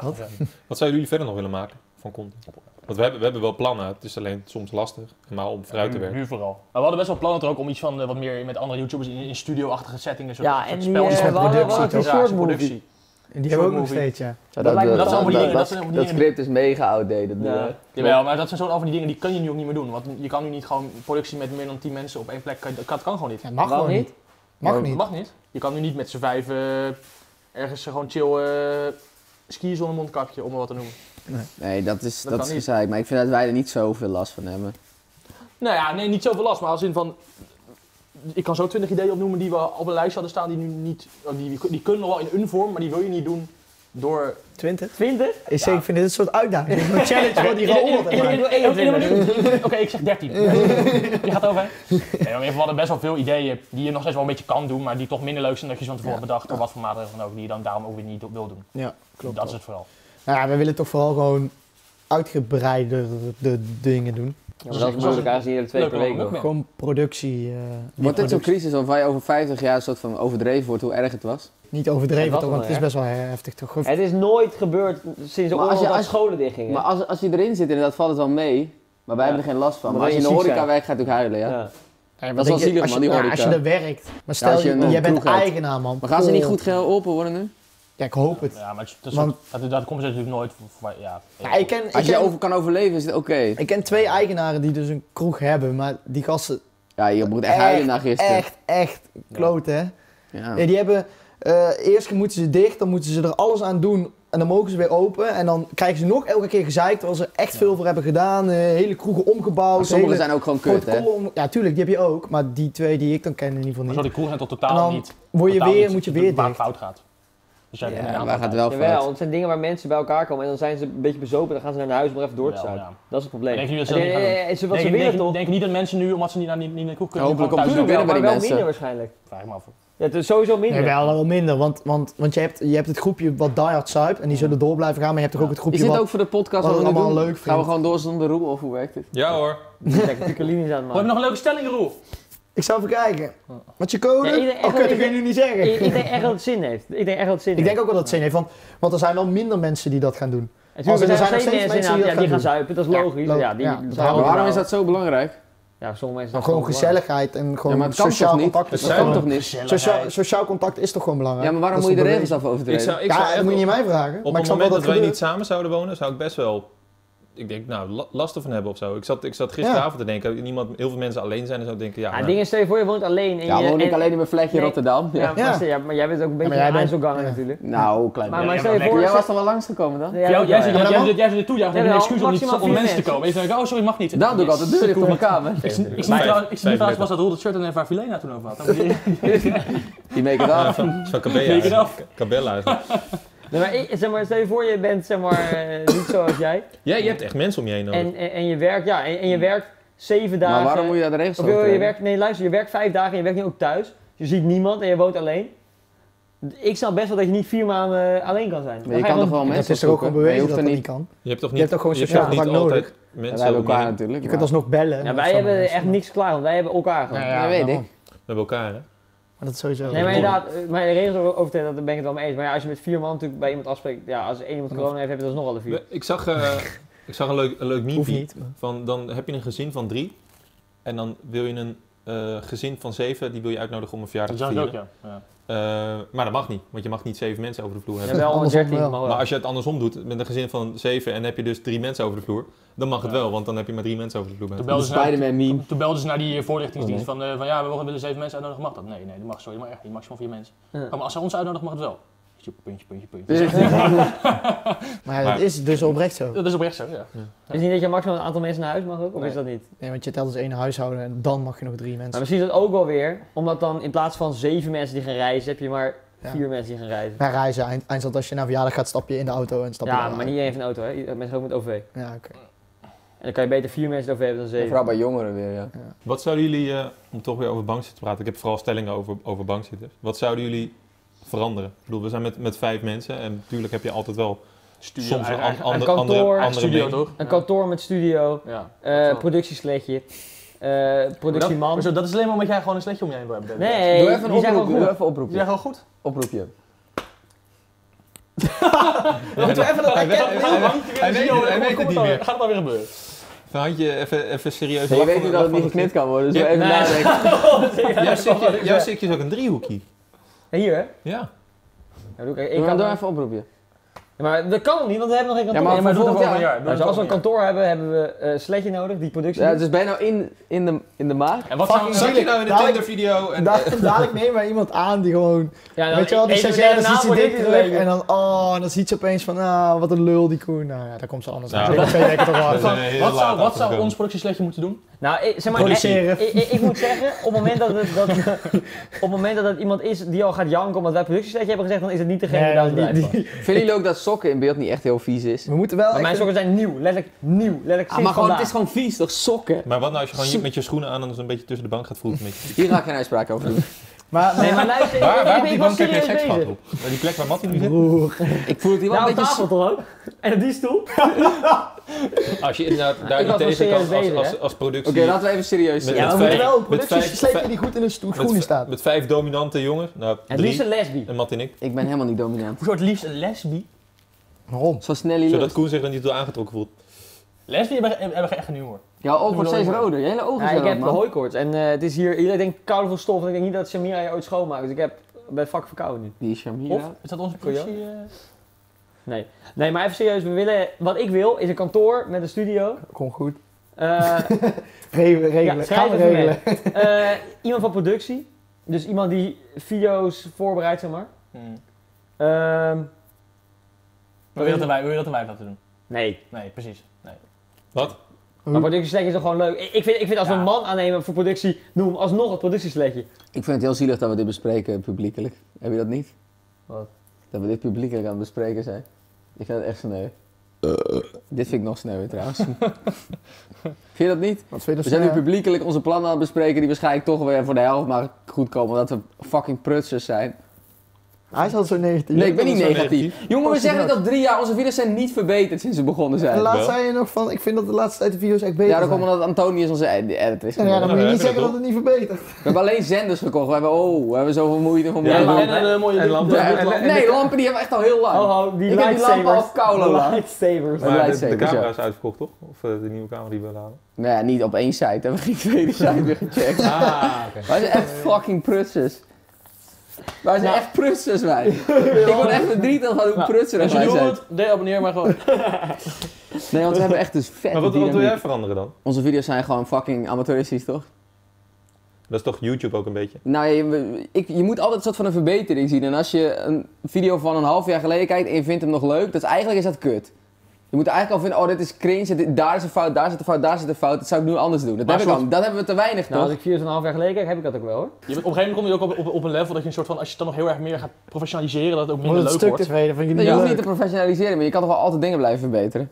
Wat zouden jullie verder nog willen maken van content? Want we hebben, we hebben wel plannen, het is alleen soms lastig. Maar om vooruit te
Hm, Nu-
werken.
Nu vooral. Maar we hadden best wel plannen er ook om iets van eh, wat meer met andere YouTubers in, in studio-achtige settingen. Soort,
Ja,
soort
en die,
spel-
eh,
soort
we hadden- we hadden
productie,
een
toch? Ja,
short
soort
movie.
productie.
En die
Short
hebben we ook nog
movie.
steeds, ja.
Ja,
Dat lijkt me- dat
zijn allemaal die dingen, dat
eh, dat,
zijn allemaal die
dat script is mega outdated. nu,
Ja.
hè.
Jawel, maar dat zijn zo'n al van die dingen die kan je nu ook niet meer doen. Want je kan nu niet gewoon productie met meer dan 10 mensen op één plek. kan- Dat kan, dat kan gewoon niet.
Ja, mag
Waarom
gewoon niet.
niet?
Mag
Waarom-
niet.
Mag niet. Je kan nu niet met z'n vijf eh, ergens gewoon chill eh skiën zonder mondkapje, om maar wat te noemen.
Nee, dat is,
Dat
dat
kan
is
niet.
gezeik. Maar ik vind dat wij er niet zoveel last van hebben.
Nou ja, nee, niet zoveel last, maar als in van. ik kan zo twintig ideeën opnoemen die we op een lijst hadden staan die nu niet, oh, die, die kunnen nog wel in een vorm, maar die wil je niet doen door...
20?
20?
Ik, zeg, ik vind dit een soort uitdaging. [LAUGHS] Een challenge voor die
In- in-
Raoul.
in- in- in-
Ik wil
in- in- in- in-
21.
Oké, ik zeg 13. Je gaat over. Nee, maar we hadden best wel veel ideeën die je nog steeds wel een beetje kan doen, maar die toch minder leuk zijn dat je ze van tevoren
Ja.
bedacht door wat voor maatregelen dan ook, die je dan daarom ook weer niet do- wil doen.
Ja, klopt.
dat is het vooral.
Nou ja, we willen toch vooral gewoon uitgebreider de dingen doen.
Ja, dat is moeilijk, aangezien jullie twee
Leuk,
per
hoor.
week nog.
Ja.
Gewoon productie. eh niet,
Wordt dit
productie.
zo'n crisis waarvan je over 50 jaar een soort van overdreven wordt hoe erg het was?
niet
Ja,
overdreven
dat
toch,
wel,
want het is
hè?
best wel heftig toch. Gewoon-
Het is nooit gebeurd sinds de
Maar als
oorlog
je-
dat
als-
scholen dichtgingen.
Maar als, als je erin zit, inderdaad valt het wel mee. Maar wij
Ja.
hebben er geen last van.
Maar
Maar als je
dan
in de
je ziek
horeca werkt, gaat het ook huilen, ja?
ja.
Ja,
dat
wat
is wel
denk je-
zielig,
als je-
man, die
ja,
horeca.
Als je er werkt. Maar stel,
als je
je,
een eh,
jij bent
ploeg hebt.
eigenaar, man.
Maar gaan ze niet
Oh.
goed geheel open worden nu?
Ja, ik hoop het.
Ja, maar het, is- het is-
Want-
dat, dat komt ze natuurlijk nooit. voor- voor- Ja,
Ja, ik ken, ik,
Als je
ken,
over kan overleven, is het oké.
ik ken twee eigenaren die dus een kroeg hebben, maar die gasten
Ja, je moet echt huilen na gisteren.
echt, echt kloot, hè?
Ja.
Ja, die hebben, eh, eerst moeten ze dicht, dan moeten ze er alles aan doen en dan mogen ze weer open. En dan krijgen ze nog elke keer gezeik, terwijl ze er echt veel voor hebben gedaan. eh, hele kroegen
Maar
omgebouwd, hele
sommigen zijn ook gewoon kut, hè?
protocollen om- Ja, tuurlijk, die heb je ook, maar die twee die ik dan ken in ieder
Maar
geval
zo
niet.
die kroegen zijn toch
En
totaal
dan
niet.
Word je
totaal
weer,
niet
moet je
waar
weer
het
dicht.
fout gaat. Dus jij hebt
Ja,
inderdaad
waar gaat
altijd-
het
Jawel,
wel fout?
want het zijn dingen waar mensen bij elkaar komen en dan zijn ze een beetje bezopen, dan gaan ze naar hun huis om er even door te
Jawel,
zuipen.
ja.
Dat is het probleem.
Denk je niet dat ze
En-
dat niet gaan
en- en- en ze- wat
Denk,
ze
je-
willen
denk,
toch?
denk je niet dat mensen nu, omdat ze niet naar, niet, niet naar de kroeg kunnen,
Ja, hopelijk
gewoon
op
thuis
tuurlijk
Wel,
binnen
maar wel
bij
minder
die mensen.
waarschijnlijk.
doen? Vraag ik me af.
Ja, het is sowieso minder.
Nee, wel wel minder, want, want, want je, hebt, je hebt het groepje wat diehard zuipt en die zullen door blijven gaan, maar je hebt toch ook het
Is
groepje
dit
wat...
ook voor de
wat
podcast wat we nu
het allemaal
doen?
leuk
Gaan we
vindt.
gewoon door zonder roem of hoe werkt het?
Ja hoor.
Dikke linies aan het
We hebben
maken.
nog een leuke stelling, Roel.
Ik zal even kijken. Wat je
Ja,
code?
iedereen-
Oké, dat kun je
iedereen-
nu niet zeggen.
Ik, ik denk echt dat het zin heeft. Ik denk echt dat het zin
Ik denk
heeft.
ook wel dat het zin heeft, want, want er zijn wel minder mensen die dat gaan doen.
Nou,
En tuurlijk,
Als er
er
zijn
zijn
nog
nog steeds mensen die,
dat
ja, die
gaan
gaan
doen.
zuipen, dat is
Ja,
logisch. Ja,
lo-
die,
ja,
dat
dat
houden
Maar
we
waarom is
wel.
dat zo belangrijk?
Ja, sommige mensen
Maar gewoon
zijn gewoon belangrijk.
gezelligheid en
Ja,
gewoon
maar het kan
sociaal
toch niet?
contact.
Het
is toch
kan
gewoon-
toch niet?
Sociaal, sociaal contact is toch gewoon belangrijk?
Ja, maar waarom
Dat
moet
is
je de
toch
regels af
Ik
overtreden?
zou, ik zou
Ja,
echt
dat moet je
op-
niet mij vragen.
Op
maar
het
ik
moment
snap wel dat
dat,
het
wij
gebeurt.
niet samen zouden wonen, zou ik best wel, ik denk, nou, la- last ervan hebben of zo. Ik zat, ik zat gisteravond te denken, niemand, heel veel mensen alleen zijn en zo denken, ja, nou,
Ja,
maar-
het ding is, stel je voor, je woont alleen. en
Ja,
je-
woon ik
en-
alleen in mijn flatje in
Nee.
Rotterdam?
Ja,
Ja.
maar, stel- ja, maar jij bent ook een beetje
jij
een
bent-
IJsselganger
ja.
natuurlijk.
[LAUGHS] Nou, klein
Maar,
beetje.
maar stel je
maar
voor...
Jij was dan wel langsgekomen dan?
Ja,
Jij-
dat
jij
wel,
zit
ja.
Maar
jij
dan-
zit- jij zit ertoe, jij hebt een
Jawel,
excuus om, niet,
maximaal
om
vier
mensen te
mensen.
komen. En je zegt, oh sorry, mag niet.
Daarom doe ik altijd de deur dicht op mijn kamer.
Ik, zie- ik zie
eh, Vijf-
trouwens- ik zie
vijf
trouwens pas dat Roel het shirt en even Filena toen over had. Dan moet je-
Die make it
Ja, [LAUGHS]
af.
van, van
Make it
Cabella.
up.
Cabella. eigenlijk.
Nee, maar, ik- zeg maar, stel je voor, je bent zeg maar, eh, niet zoals jij.
Jij je hebt echt mensen om je heen nodig.
En, en, en je werkt, ja, en, en je werkt zeven dagen.
Maar waarom moet je daar de regels
eh, Of
over
je, je
overtreden?
werkt, nee, luister, je werkt vijf dagen en je werkt nu ook thuis. Je ziet niemand en je woont alleen. Ik snap best wel dat je niet vier maanden eh, alleen kan zijn. Dan
Maar je
ga
kan toch
gewoon-
wel
Het
mensen
is toch ook
opzoeken?
gewoon bewezen
Maar je hoeft
dat
er
dat niet
niet...
kan.
je hebt toch niet,
hebt toch gewoon sociaal
hebt toch niet
contact
altijd
nodig?
Ja,
mensen
wij hebben
om je
elkaar
heen?
natuurlijk.
Je
maar-
kunt alsnog bellen.
Ja,
Dat
wij
is allemaal
hebben
best.
echt niks klaar, want wij hebben elkaar gewoon.
Ja,
Ja, weet
daarom.
ik.
Met elkaar, hè?
Maar dat is sowieso.
Nee, maar inderdaad, eh, maar de regels over- overtreden, daar ben ik het wel mee eens. Maar ja, als je met vier man natuurlijk bij iemand afspreekt, ja, als één iemand corona heeft, heb je dat nog alle vier.
We- Ik zag, eh, ik zag een leuk, een leuk
Hoeft
meme
niet. maar-
van dan heb je een gezin van drie en dan wil je een eh, gezin van zeven, die wil je uitnodigen om een verjaardag
Dat
te
zou ik ook,
vieren.
ja. Ja.
Eh, maar dat mag niet, want je mag niet zeven mensen over de vloer
Ja,
hebben.
wel een
andersom
13,
wel.
maar wel.
Maar als je het andersom doet, met een gezin van zeven en heb je dus drie mensen over de vloer, dan mag het
Ja.
wel, want dan heb je maar drie mensen over de vloer.
Toen
Met.
belden ze naar-
Spider-Man meme.
Toen belden ze naar die eh, voorlichtingsdienst van, eh, van ja, we willen zeven mensen uitnodigen, mag dat? Nee, nee, dat mag sorry, maar echt niet, maximaal vier mensen.
Ja.
Oh, maar als ze ons uitnodigen, mag het wel. Puntje, puntje, puntje.
Maar ja, dat is dus oprecht zo.
Dat is oprecht zo, ja.
Is het niet dat je maximaal een aantal mensen naar huis mag ook? Of
Nee.
is dat niet?
Nee, want je telt dus één huishouden en dan mag je nog drie
Maar
mensen.
misschien is dat ook wel weer, omdat dan in plaats van zeven mensen die gaan reizen, heb je maar
Ja.
vier mensen die gaan reizen.
Maar reizen, eind- eindstand als je naar verjaardag gaat, stap je in de auto en stap je
Ja,
eruit.
maar niet Eh, even een auto, hè? Mensen gaan ook met OV.
Ja, oké.
En dan kan je beter vier mensen in OV hebben dan zeven.
Vooral bij jongeren weer, ja.
Wat zouden jullie, eh, om toch weer over bankzitten te praten, ik heb vooral stellingen over, over bankzitters. Wat zouden jullie veranderen? Ik bedoel, we zijn met, met vijf mensen en natuurlijk heb je altijd wel
Studio,
soms een
eigen- eigen-
an- ander-
kantoor,
andere, andere,
eigen studio
mening.
toch?
Een kantoor met studio,
Ja.
eh
wel.
productiesletje, eh, productieman.
Maar zo, dat is alleen maar omdat jij gewoon een sletje om je heen wil hebben.
Nee,
Doe even een
die zijn wel
oproep. Doe
goed.
even een
Die zijn
oproepje.
gewoon goed.
Oproepje.
Moeten we
even dat
Hij weet- hij weet- hij weet- hij weet het niet meer.
Gaat het maar weer gebeuren.
Van handje even, even serieus.
Nee, je
lach
weet
van-
nu dat het
lach van-
niet geknipt kan worden, dus
Ja,
we even
nee.
nadenken.
Jouw sikje- Jouw sikje is dus ook een driehoekje.
Hier, hè?
Ja.
Ja, doe ik, ik
Doe
kan
maar door even een oproepje.
Ja, maar dat kan niet, want we hebben nog geen
Ja,
kantoor.
maar
Ja, maar doe dat
volgend
over een
jaar.
jaar. Doe
Nou,
dat
als we
over
een
een jaar.
kantoor hebben, hebben we eh sletje nodig, die productie.
Ja, dus bijna in, in, de, in de maak.
En wat zou
Fucking
zou-
Zat je nou in de
Nou, ik-
Tinder-video en...
Da- dadelijk nemen wij iemand aan die gewoon.
eh, Ja, nou, dan-
weet je wel, die
ik- ik-
stagiair, dan
daarna
ziet ze
wordt
dit
dit
terug.
een
En dan, oh, en dan ziet ze opeens van, ah, wat een lul die Koen. Nou ja, daar komt ze anders
Nou,
uit. Dat weet ik toch wel.
Dat is een hele
Wat zou,
late
wat zou
afgekomen.
ons productiesletje moeten doen?
Nou, ik, zeg maar,
Produceren.
Ik, ik, ik moet zeggen, op het moment dat het, dat, op het moment dat het iemand is die al gaat janken omdat wij productiesetje hebben gezegd, dan is het niet degene
Nee,
die daar
die-
bedrijf
die-
van.
Vinden jullie ook dat sokken in beeld niet echt heel vies is?
We moeten wel
Maar mijn
echt een-
sokken zijn nieuw, letterlijk nieuw, letterlijk
Ah,
sinds
maar gewoon, het
vandaag.
is gewoon vies, toch? Sokken.
Maar wat nou als je gewoon je-
Zo-
met je schoenen aan en zo'n beetje tussen de bank gaat voelen? Met je...
Hier ga ik geen uitspraak over doen.
maar,
Nee, maar luister, ik-
Waar,
ik,
waar
ik,
op die
was
bank heb je
serieus
seks gehad
bezig.
op? Nou, die plek waar Mattie nu zit?
Broer.
Ik voel het hier wel
Nou,
een
op
beetje...
tafel toch ook? En op die stoel?
Als je inderdaad daar
Ik
niet
was wel
tegen kan als,
serieus
als,
bezig,
als, als productie...
Oké, laten we even serieus zijn.
Met-
Ja,
met
we
vijf-
moeten wel een
met
productie
vijf-
slepen
vijf-
die goed in de stoel,
met,
schoenen
v-
staat.
met vijf dominante jongens. Nou,
Het liefst
drie.
een lesbie.
En Mattie en ik.
Ik ben helemaal niet dominant.
Voor het liefst een lesbie?
Waarom?
Zo snel je
Zodat
lult.
Koen zich er niet door aangetrokken voelt.
Lesbiën hebben, hebben geen echt nieuw hoor.
Jouw oog
Doe
wordt
nooit
steeds
meer.
roder. Je hele ogen
Ja,
zijn
ik
rood,
heb
man.
hooikoorts en eh, het is hier, iedereen denkt koud van stof en ik denk niet dat Samira je ooit schoonmaakt. Dus ik heb, ben vak verkouden nu.
Die Shamira.
Of, is dat onze
Goeie.
productie? eh?
Nee. nee, maar even serieus, we willen, wat ik wil is een kantoor met een studio.
Kom goed.
Eh,
Regelen, regelen.
Ja,
Gaan
schrijf
we
even mee.
regelen.
Eh, iemand van productie. Dus iemand die video's voorbereidt, zeg maar.
Hmm.
Ehm,
Maar wil je dat een wijf- wil je dat een wijf laten doen?
nee.
Nee, precies. Nee.
Maar productiesleetje is toch gewoon leuk. Ik ik vind, ik vind als we
Ja.
een man aannemen voor productie, noem hem alsnog het productiesletje.
Ik vind het heel zielig dat we dit bespreken publiekelijk. Heb je dat niet?
Wat?
Dat we dit publiekelijk aan het bespreken zijn. Ik vind het echt sneu. Dit vind ik nog sneuwer
[LAUGHS]
trouwens. vind je dat niet?
Wat vind je
We
dat
zijn nu
eh,
snel?
publiekelijk onze plannen aan het bespreken die waarschijnlijk toch weer voor de helft maar goed komen omdat we fucking prutsers zijn.
Hij is al zo negatief.
Nee, ik ben
dat is
niet
wel
negatief.
negatief.
Jongen, we
Positief
zeggen dat drie jaar onze video's zijn niet verbeterd sinds ze begonnen zijn.
En laatst
Wel.
zei je nog van, ik vind dat de laatste tijd de video's echt beter
Ja, dat komt
zijn.
omdat Antonius onze ed- editor is.
Ja, ja, dan
geworden.
Nou, we
moet je niet
hebben
zeggen
dat
dat het niet verbetert.
We hebben alleen zenders gekocht. We hebben, oh, we hebben zoveel moeite voor
Ja,
moeite.
maar-
Ja,
en- en een mooie
en
ding.
lampen.
Ja, en- en-
nee, lampen die hebben we echt al heel lang.
Oh, oh, die
Ik heb die
lightsabers.
lampen al koude
De
laag.
lightsabers.
Maar-
Maar de- de,
lightsabers, ja.
camera is uitverkocht, toch? Of eh, de nieuwe camera die we willen halen.
Nee, Nou niet op één site. Hebben we geen tweede site weer gecheckt.
[LAUGHS] Ah, oké.
Wij zijn echt fucking prutsers. Wij zijn echt prutsers,
[LAUGHS]
wij. Ik word echt verdrietig van hoe
Nou,
prutserig
Als je
wij
nieuw
zijn.
wordt, deel abonneer maar gewoon.
[LAUGHS] Nee, want we hebben echt dus vet
Maar wat, wat wil jij veranderen dan?
Onze video's zijn gewoon fucking amateuristisch, toch?
Dat is toch YouTube ook een beetje?
Nou, je, we- ik, je moet altijd een soort van een verbetering zien. En als je een video van een half jaar geleden kijkt en je vindt hem nog leuk, dat is, eigenlijk is dat kut. Je moet eigenlijk al vinden, oh dit is cringe, dit- daar is een fout, daar zit een fout, daar zit een fout. Dat zou ik nu anders doen. Dat,
Maar
heb ik al,
soort-
dat hebben we te weinig,
Nou, als
toch?
ik 4,5 jaar geleden kijk, heb ik dat ook wel hoor.
Je bent- op een gegeven moment kom je ook op, op, op een level dat je een soort van, als je het dan nog heel erg meer gaat professionaliseren, dat het ook minder
Wordt het
leuk
stuk
wordt.
tevreden, vind ik
Nee,
niet
je hoeft niet
leuk.
te professionaliseren, maar je kan toch wel altijd dingen blijven verbeteren.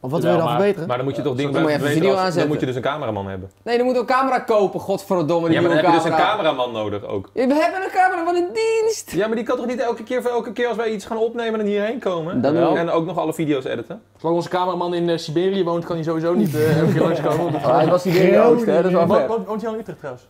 Of wat wil je
Jawel,
dan
maar-
verbeteren?
Maar dan moet je toch dingen
Dan moet je
blijven
even
verbeteren
video
als- Dan
aanzetten.
moet je dus een cameraman hebben.
Nee, dan moet je een camera kopen, godverdomme. Die
Ja, maar dan heb
nieuwe
je dus een
camera.
cameraman nodig ook.
Ja, We hebben een camera van een dienst!
Ja, maar die kan toch niet elke keer, voor elke keer als wij iets gaan opnemen en hierheen komen?
Dat wel.
En ook nog alle video's editen?
Zolang onze cameraman in eh, Siberië woont, kan hij sowieso niet eh elke keer langskomen. want dat-
Oh,
[LAUGHS]
hij was hier in de oost, hè? Dat is wel
Woont-
ver.
Woont woont hij al in Utrecht trouwens?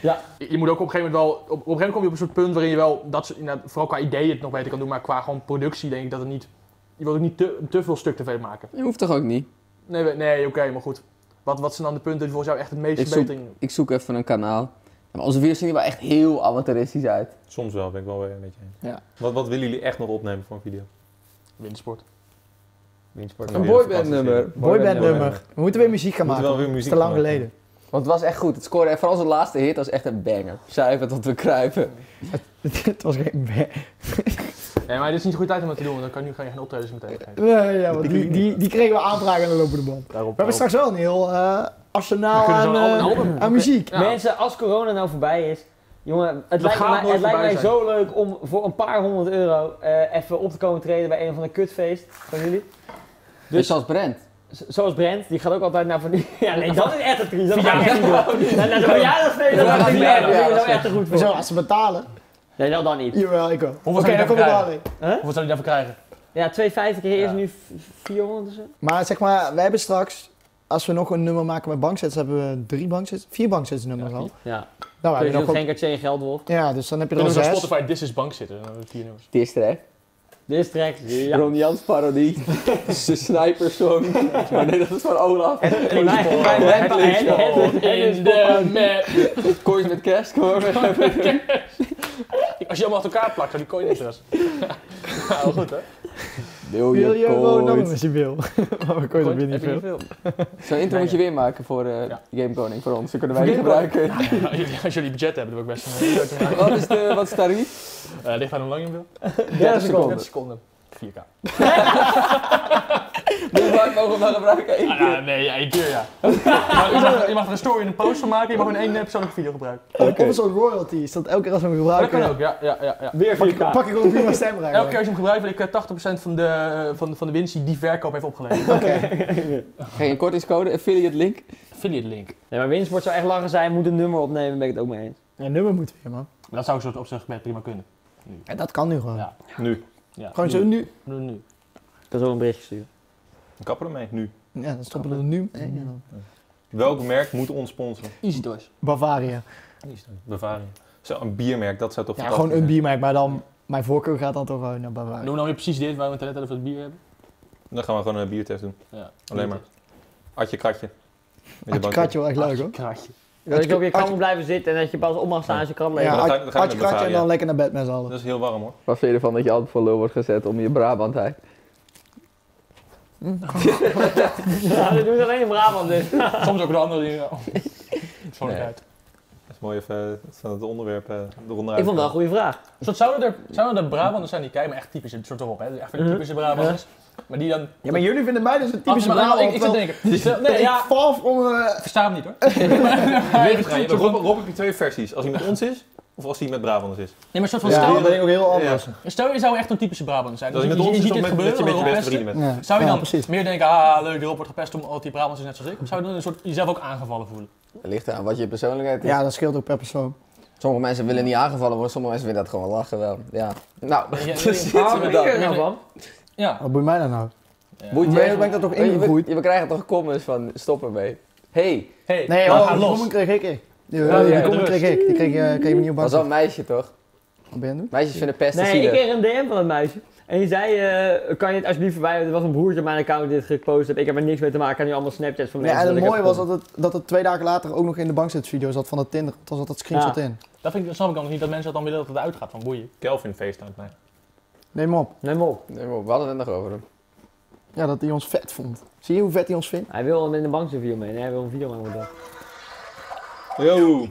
ja. Je je moet ook op een gegeven moment wel, op, op een gegeven moment kom je op een soort punt waarin je wel, dat, soort- inderdaad, vooral qua ideeën het nog beter kan doen, maar qua gewoon productie denk ik dat het niet, je wilt ook niet te, te veel stuk tv maken.
Je hoeft toch ook niet?
Nee, we- nee, oké, maar goed. Wat, wat zijn dan de punten die volgens jou echt het meeste
Ik zoek-
verbetering?
Ik zoek even een kanaal. Maar onze video's zien er wel echt heel amateuristisch uit.
Soms wel, ben ik wel weer een beetje heen.
Ja.
Wat, wat willen jullie echt nog opnemen voor een video?
Wintersport.
Windsport.
Een boyband nummer.
Boyband nummer. We moeten weer muziek gaan
Moeten
maken.
wel weer
Het is
muziek
te lang
gaan maken.
geleden.
Want het was echt goed. Het scoorde, en vooral zijn laatste hit was echt een banger. Zuiver tot we kruipen.
[LAUGHS] Het was geen...
Nee, maar dit is niet de goede tijd om dat te doen, want dan kan je nu geen optredens meteen geven.
Nee, ja, want die, die, die kregen we aanvragen en dan lopen de band. We
Daarop.
hebben straks wel een heel eh
We
arsenaal
kunnen zo'n
aan,
album-
eh,
een album-
aan muziek.
Ja.
Mensen, als corona nou voorbij is, jongen, het lijkt,
gaat
mij,
nooit
het lijkt
voorbij
mij
zijn.
zo leuk om voor een paar honderd euro eh, even op te komen treden bij een van de kutfeest van jullie.
Dus, als Brent.
Z- Zoals Brent, die gaat ook altijd naar van die... [LAUGHS] Ja, nee, dat is echt een triest. Dat ga ik echt niet doen. Naar naar de verjaardagsfeest, dat
Ja,
gaat niet
ja,
meer. Dat
ja,
vind ik nou
dat is
echt te goed
Zo,
voor.
als ze betalen.
Nee, dat dan niet.
Jawel, ik wel. Oké,
Hoeveel zou je
dan kom ik
daarvoor
daar mee.
Hoeveel zou je daarvoor krijgen?
Ja, 2,50 keer eerst
Ja.
nu v- 400 of zo.
Maar zeg maar, wij hebben straks, als we nog een nummer maken met banksets, hebben we drie banksets, vier banksets nummers al.
Ja,
Nou, we
dus
hebben
nog
nog
geen
ook-
kartje in Geldwolf.
Ja, dus dan heb je er
Kunnen
al
we zo'n
zes.
Spotify This is Bank zitten? Dan hebben we vier nummers.
Die is er, hè?
Dit is track. Ja. [LAUGHS]
Ron Jans parodie. De sniper
[LAUGHS]
song. Maar nee, dat is van Olaf.
En- en- wij- wij- wij-
Het
wij-
liedje.
het- het is-
map.
Kooi met kerst, hoor.
Als je allemaal achter elkaar plakt, dan die kon je niet eens. Nou, goed hè?
Wil
Wil je gewoon
je
nummers als je wil? [LAUGHS] maar we kunnen er weer niet veel.
Zo'n intro moet je weer maken voor eh,
Ja.
Game Koning, voor ons. Dan kunnen wij die
Voor Game
gebruiken.
Nou, jullie- Als jullie budget hebben, dan wil ik best een
Wat is de wat is het tarief?
Eh Ligt aan hoe lang je hem wil?
30 seconden.
30 seconden. 4K.
Hoe vaak mogen we hem nou gebruiken? Eén
Ah,
keer.
ja, nee, ja, één keer ja. Maar je, mag, je mag er een story en een post van maken, je mag gewoon één eh, persoonlijke video gebruiken.
Of een soort royalties, dat elke keer als we hem
Dat
gebruiken,
kan ook, ja. ja, ja, ja.
Weer
pak, ik,
4K.
pak ik gewoon
[LAUGHS]
prima stem eruit.
Elke keer als je hem gebruikt, wil ik eh, 80% van de, van, van de winst die die verkoop heeft opgeleverd.
Oké.
Geen kortingscode, affiliate link.
Affiliate link.
Nee, maar Winsport zou echt langer zijn, moet een nummer opnemen, ben ik het ook mee eens.
Ja, nummer moeten we weer, man.
Dat zou ik zo op zich met prima kunnen.
Ja, dat kan nu gewoon.
Ja.
Nu.
Ja,
Gewoon
nu.
zo nu.
Nu, nu.
Ik kan zo een berichtje sturen.
Kappen ermee, nu.
Ja, dan stoppen we er nu mee. en dan-
Welk merk moet ons sponsoren?
Easy Toys.
Bavaria.
Bavaria. Zo, een biermerk, dat zou toch
Ja,
fantastisch
gewoon een
zijn?
biermerk, maar dan... Mijn voorkeur gaat dan toch gewoon naar Bavaria.
Noem nou weer precies dit waar we het net over het bier hebben.
Dan gaan we gewoon een biertest doen.
Ja.
Alleen maar. Atje kratje. Met
Had je kratje wel echt leuk, hoor.
Kraatje.
Dat je op je kram
Atje-
moet blijven zitten en dat je pas op mag staan als je kram leeg
Ja,
is.
Dan ga- dan ga je
had had
naar
je kratje en
Bavaria.
dan lekker naar bed met z'n allen.
Dat is heel warm hoor.
Wat vind je ervan dat je altijd voor lul wordt gezet om je Brabantheid?
Ja, dat doen ze alleen in Brabant dus.
Soms ook de andere dingen. [LAUGHS] Oh. Sorry,
Nee.
uit.
Dat is mooi even eh, van het onderwerp eh eronder
Ik vond het wel een goede vraag.
Soort, Dus zouden, er, zouden er Brabanders zijn die kijken, maar echt typisch, het soort erop, hè? Echt van die typische Brabanders. Maar die dan.
Mhm. Ja, maar jullie vinden mij dus een
Als-
typische
maar- nou,
Brabant.
Ik, ik zit te
terwijl
denken.
[LAUGHS]
Stel- Nee,
Ik
ja.
val onder... eh,
Versta hem niet hoor.
Rob, Rob, Rob heb je twee versies. Als hij met ons is, of als hij met Brabanders is.
Nee, maar soort van
Ja,
stel,
dat ben ik ook heel anders.
stel je zou echt een typische Brabander zijn.
Dat hij
Dus
met
je,
ons is,
je ziet
of
dit
met, met
gebeuren.
je met je
waarop
beste
mensen-
vrienden bent.
Ja.
Zou je
Ja,
dan
precies.
meer denken, ah leuk, erop wordt gepest omdat die Brabants is net zoals ik? Of zou je dan een soort, jezelf ook aangevallen
[LAUGHS]
voelen?
Ligt aan wat je persoonlijkheid is.
Ja, dat scheelt ook per persoon.
Sommige mensen willen niet aangevallen worden, sommige mensen vinden dat gewoon lachen wel. Ja. Nou,
Ja,
precies.
ja,
Ah,
Ja,
maar
dat.
ik er nou van?
Ja.
Wat boeit mij dan nou?
Moet
Maar ben ik daar toch
Weet je,
ingegroeid?
We, we krijgen toch comments van stop ermee. Hey,
Hey,
Nee,
we
oh,
gaan
die
los.
comment kreeg ik. ik. Die, eh,
ja,
die
ja,
comment
rust.
kreeg ik. Die kreeg, eh, kreeg je niet op bank.
was dat een meisje toch?
Wat ben je aan het
Meisjes vinden pesten
Nee, ik
dus.
zielig.
kreeg een DM van dat meisje. En die zei, eh, kan je het alsjeblieft verwijderen? Er was een broertje op mijn account die dit gepost heeft. Ik heb er niks mee te maken. Ik heb nu allemaal Snapchats van
doen? Ja, en
mensen.
het
dat ik
mooie
heb
was
gevonden.
dat het, dat het twee dagen later ook nog in de bankzitvideo zat van dat Tinder. Toen zat dat screenshot
Ja.
in.
Dat, vind ik, dat snap ik dan nog niet, dat mensen dat dan willen dat het uitgaat van boeien.
Kelvin FaceTime mij.
Neem op.
Neem hem op.
Nee, maar we hadden het nog over hem.
Ja, dat hij ons vet vond. Zie je hoe vet hij ons vindt?
Hij wil hem in de bankinterview mee. Nee, hij wil een video maken met dat.
Yo!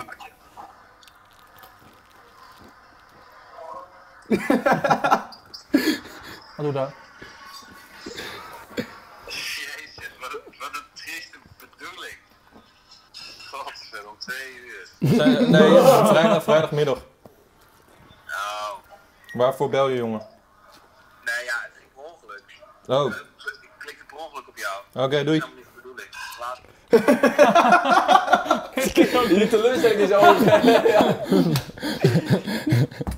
Wat doe dat?
Jezus, wat een, wat een trieste bedoeling. Godver, om twee uur.
Zijn- [LAUGHS] Nee, vrijdag, vrijdagmiddag.
Nou,
Waarvoor bel je jongen?
nee ja, het ging per ongeluk.
Oh, oké,
Eh, Ik klikte per ongeluk op jou.
doei.
Dat is helemaal niet de bedoeling. Laat
Die teleurstelling is over.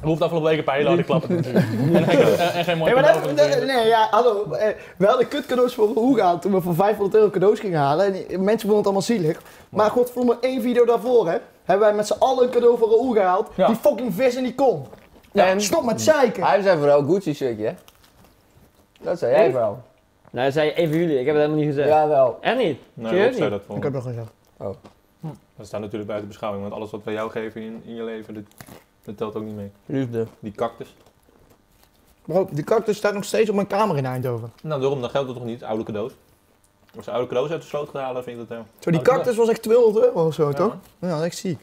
We hoeven de afgelopen weken een paar hele harde
[LAUGHS]
klappen natuurlijk. en, geen- en- en geen mooie
Nee,
cadeau
maar
voor
dat,
de vrienden.
nee, ja, hallo. Eh, We hadden kut cadeaus voor hoe gaan toen we voor 500 euro cadeaus gingen halen. En die- mensen vonden het allemaal zielig. Maar godverdomme, één video daarvoor hè, hebben wij met z'n allen een cadeau voor Raoul gehaald.
Ja.
Die fucking vis in die kom.
En
Stop met zeiken.
hij zei vooral Gucci shirtje, hè? Dat zei jij
Ik?
wel.
Nou, hij zei even jullie. Ik heb het helemaal niet gezegd.
Jawel.
En niet.
Nee,
Serieus
Rob zei
niet?
dat voor
Ik heb nog gezegd.
Dat staat natuurlijk buiten beschouwing, want alles wat wij jou geven in, in je leven, dat, dat telt ook niet mee.
Liefde.
Die cactus.
Bro, die cactus staat nog steeds op mijn kamer in Eindhoven.
Nou, daarom, dan geldt dat toch niet, oude cadeaus. Als ze oude cadeaus uit de sloot gaan halen, vind ik dat eh, helemaal.
Zo, die
Oh, dat
cactus was echt 200 euro of zo,
Ja.
toch? Ja, dat is echt ziek.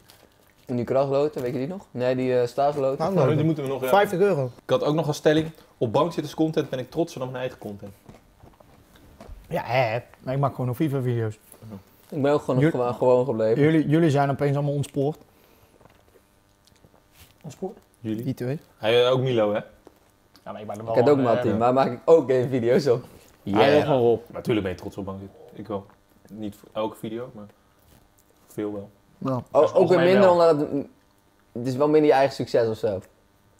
En die krachloten, weet je die nog? Nee, die eh staatsloten.
Nou,
Nou,
nou,
die moeten we nog... ja.
50 euro.
Ik had ook nog een stelling. Op bankzitters content ben ik trotser dan mijn eigen content.
Ja, hè. Maar ik maak gewoon nog FIFA-video's.
Ik ben ook gewoon,
Jul-
gewoon, gewoon gebleven.
Jullie, jullie zijn opeens allemaal ontspoord.
Ontspoord?
Jullie?
Die twee.
Hij, eh, ook Milo, hè?
Ja, maar ik ben er
Ik
wel
heb ook
aan, eh,
Matti, maar maak ik ook game video's op. oh,
Hij wil gewoon op.
Maar tuurlijk ben je trots op bankzitters. Ik wel. Niet voor elke video, maar veel wel.
Nou,
is
O, ook weer
algemeen
minder
wel.
omdat het, mm, het is wel minder je eigen succes of zo.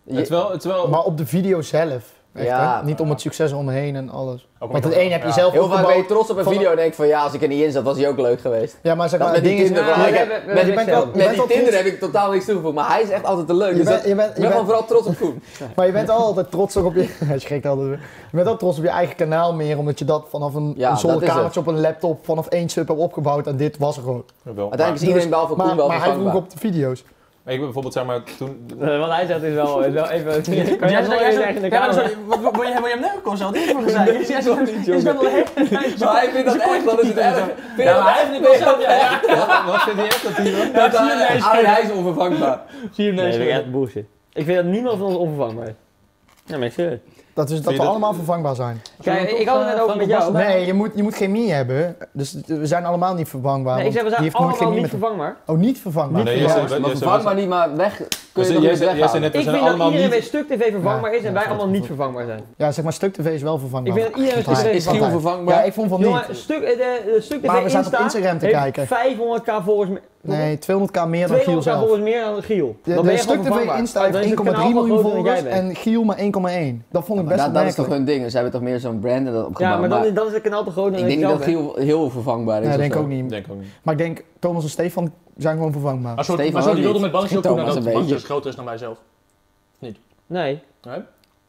Je-
Het is wel... Het is wel
maar op de video zelf. Echt,
Ja.
hè? Niet om het succes omheen en alles.
Ook
Want
omdat-
het een heb je
ja.
zelf
heel vaak ben je
opgebouwd.
trots op een
van-
video en denk van ja, als ik er niet in zat was hij ook leuk geweest.
Ja, maar zeg
Dat
maar,
met
het
die
ding is...
Tinder,
Ja,
ja,
we-
ik-
we- we-
maar je
we-
bent
we-
wel-
we-
bent
Met die
wel
Tinder
trots.
heb ik totaal niks toegevoegd, maar hij is echt altijd leuk.
Je
dus
bent,
dat-
je bent,
ik
je
ben
bent-
gewoon vooral trots op Koen.
maar je bent wel altijd trots ook op je... [LAUGHS] Hij schrikt altijd weer. Je bent wel trots op je eigen kanaal meer, omdat je dat vanaf een,
Ja,
een
dat is
zolderkamertje op een laptop vanaf één sub hebt opgebouwd en dit was er gewoon.
Jawel, maar-
Uiteindelijk is iedereen behalve
Maar,
Koen wel
maar hij vroeg
vervangbaar.
op de video's.
Maar ik ben bijvoorbeeld, zeg maar, toen...
Eh, Wat hij zegt is wel, is wel
[LAUGHS]
even... [LAUGHS] Kan jij dat wel
Jij zegt- jij
even
zegt-
zeggen in de
Ja, maar
camera?
sorry, wat- wat- Wil je wil je hem nergens of zo? Wat is voor gezegd?
[LAUGHS]
Jij zegt- jij zegt wel heel-
Maar hij vindt dat echt, dat is het erg. Vind je
Ja,
dat
maar hij
echt?
heeft het wel zelf, ja, ja.
Wat vind je echt dat hij dan?
Dat,
zie je
eh,
ineens.
Arjen, hij is onvervangbaar.
Zie je
Nee,
hem ineens
dat is
weer.
echt bullshit. Ik vind dat niemand van ons onvervangbaar is. Ja, maar ik zeg het.
Dat, is, dat we
je dat-
allemaal vervangbaar zijn.
Kijk, ik had het net over met jou.
Nee, je moet, je moet chemie hebben. Dus we zijn allemaal niet vervangbaar.
Nee, ik
want
zeg, we
die
zijn
heeft nooit
allemaal
chemie
niet
met
vervangbaar.
Oh, niet vervangbaar.
Nee,
Ja,
jij zei-
maar
jij
vervang
zei-
maar niet, maar weg kun
jij
je nog
zei-
eens
jij
weghalen.
zei net- We
Ik
zijn
vind dat
allemaal
iedereen
niet-
bij Stuk TV vervangbaar is en
Ja,
wij
dat
allemaal niet vervangbaar zijn.
Ja, zeg maar stuk tv is wel
Ik
vervangbaar.
vind dat iedereen bij
Is-
Stuk TV
Is Giel
vervangbaar is.
vervangbaar?
ja, ik vond van
Jongen,
niet.
stuk, eh, de, de Stuk TV
Maar we zaten op
Insta
Instagram te
heeft
kijken.
500k volgers, me-
Nee, 200k meer dan Giel
200k
zelf.
volgers meer dan Giel.
De,
dan
de
ben je
stuk
gewoon
tv
vervangbaar.
Insta
Dan is
heeft 1,3
het kanaal gewoon
miljoen
groter dan
volgers
jij bent.
en Giel maar 1,1. Dat vond ik best
dat, dat is toch
opmerkelijk.
hun ding. Ze hebben toch meer zo'n brand en dat opgebouwd.
Ja, maar dan
maar
is, dan is het kanaal te groot dan
ik denk niet
zelf
dat
bent.
Giel heel vervangbaar is.
Nee,
of
denk ik
zo.
ook niet.
Denk ook niet.
Maar ik denk, Thomas en Stefan zijn gewoon vervangbaar.
Maar zo,
Stefan
maar zo
ook
die wilde
niet.
met Banksy ook doen
Thomas
nadat
een
de Banksy
beetje.
dus groter is dan wij zelf.
Nee.
Eh,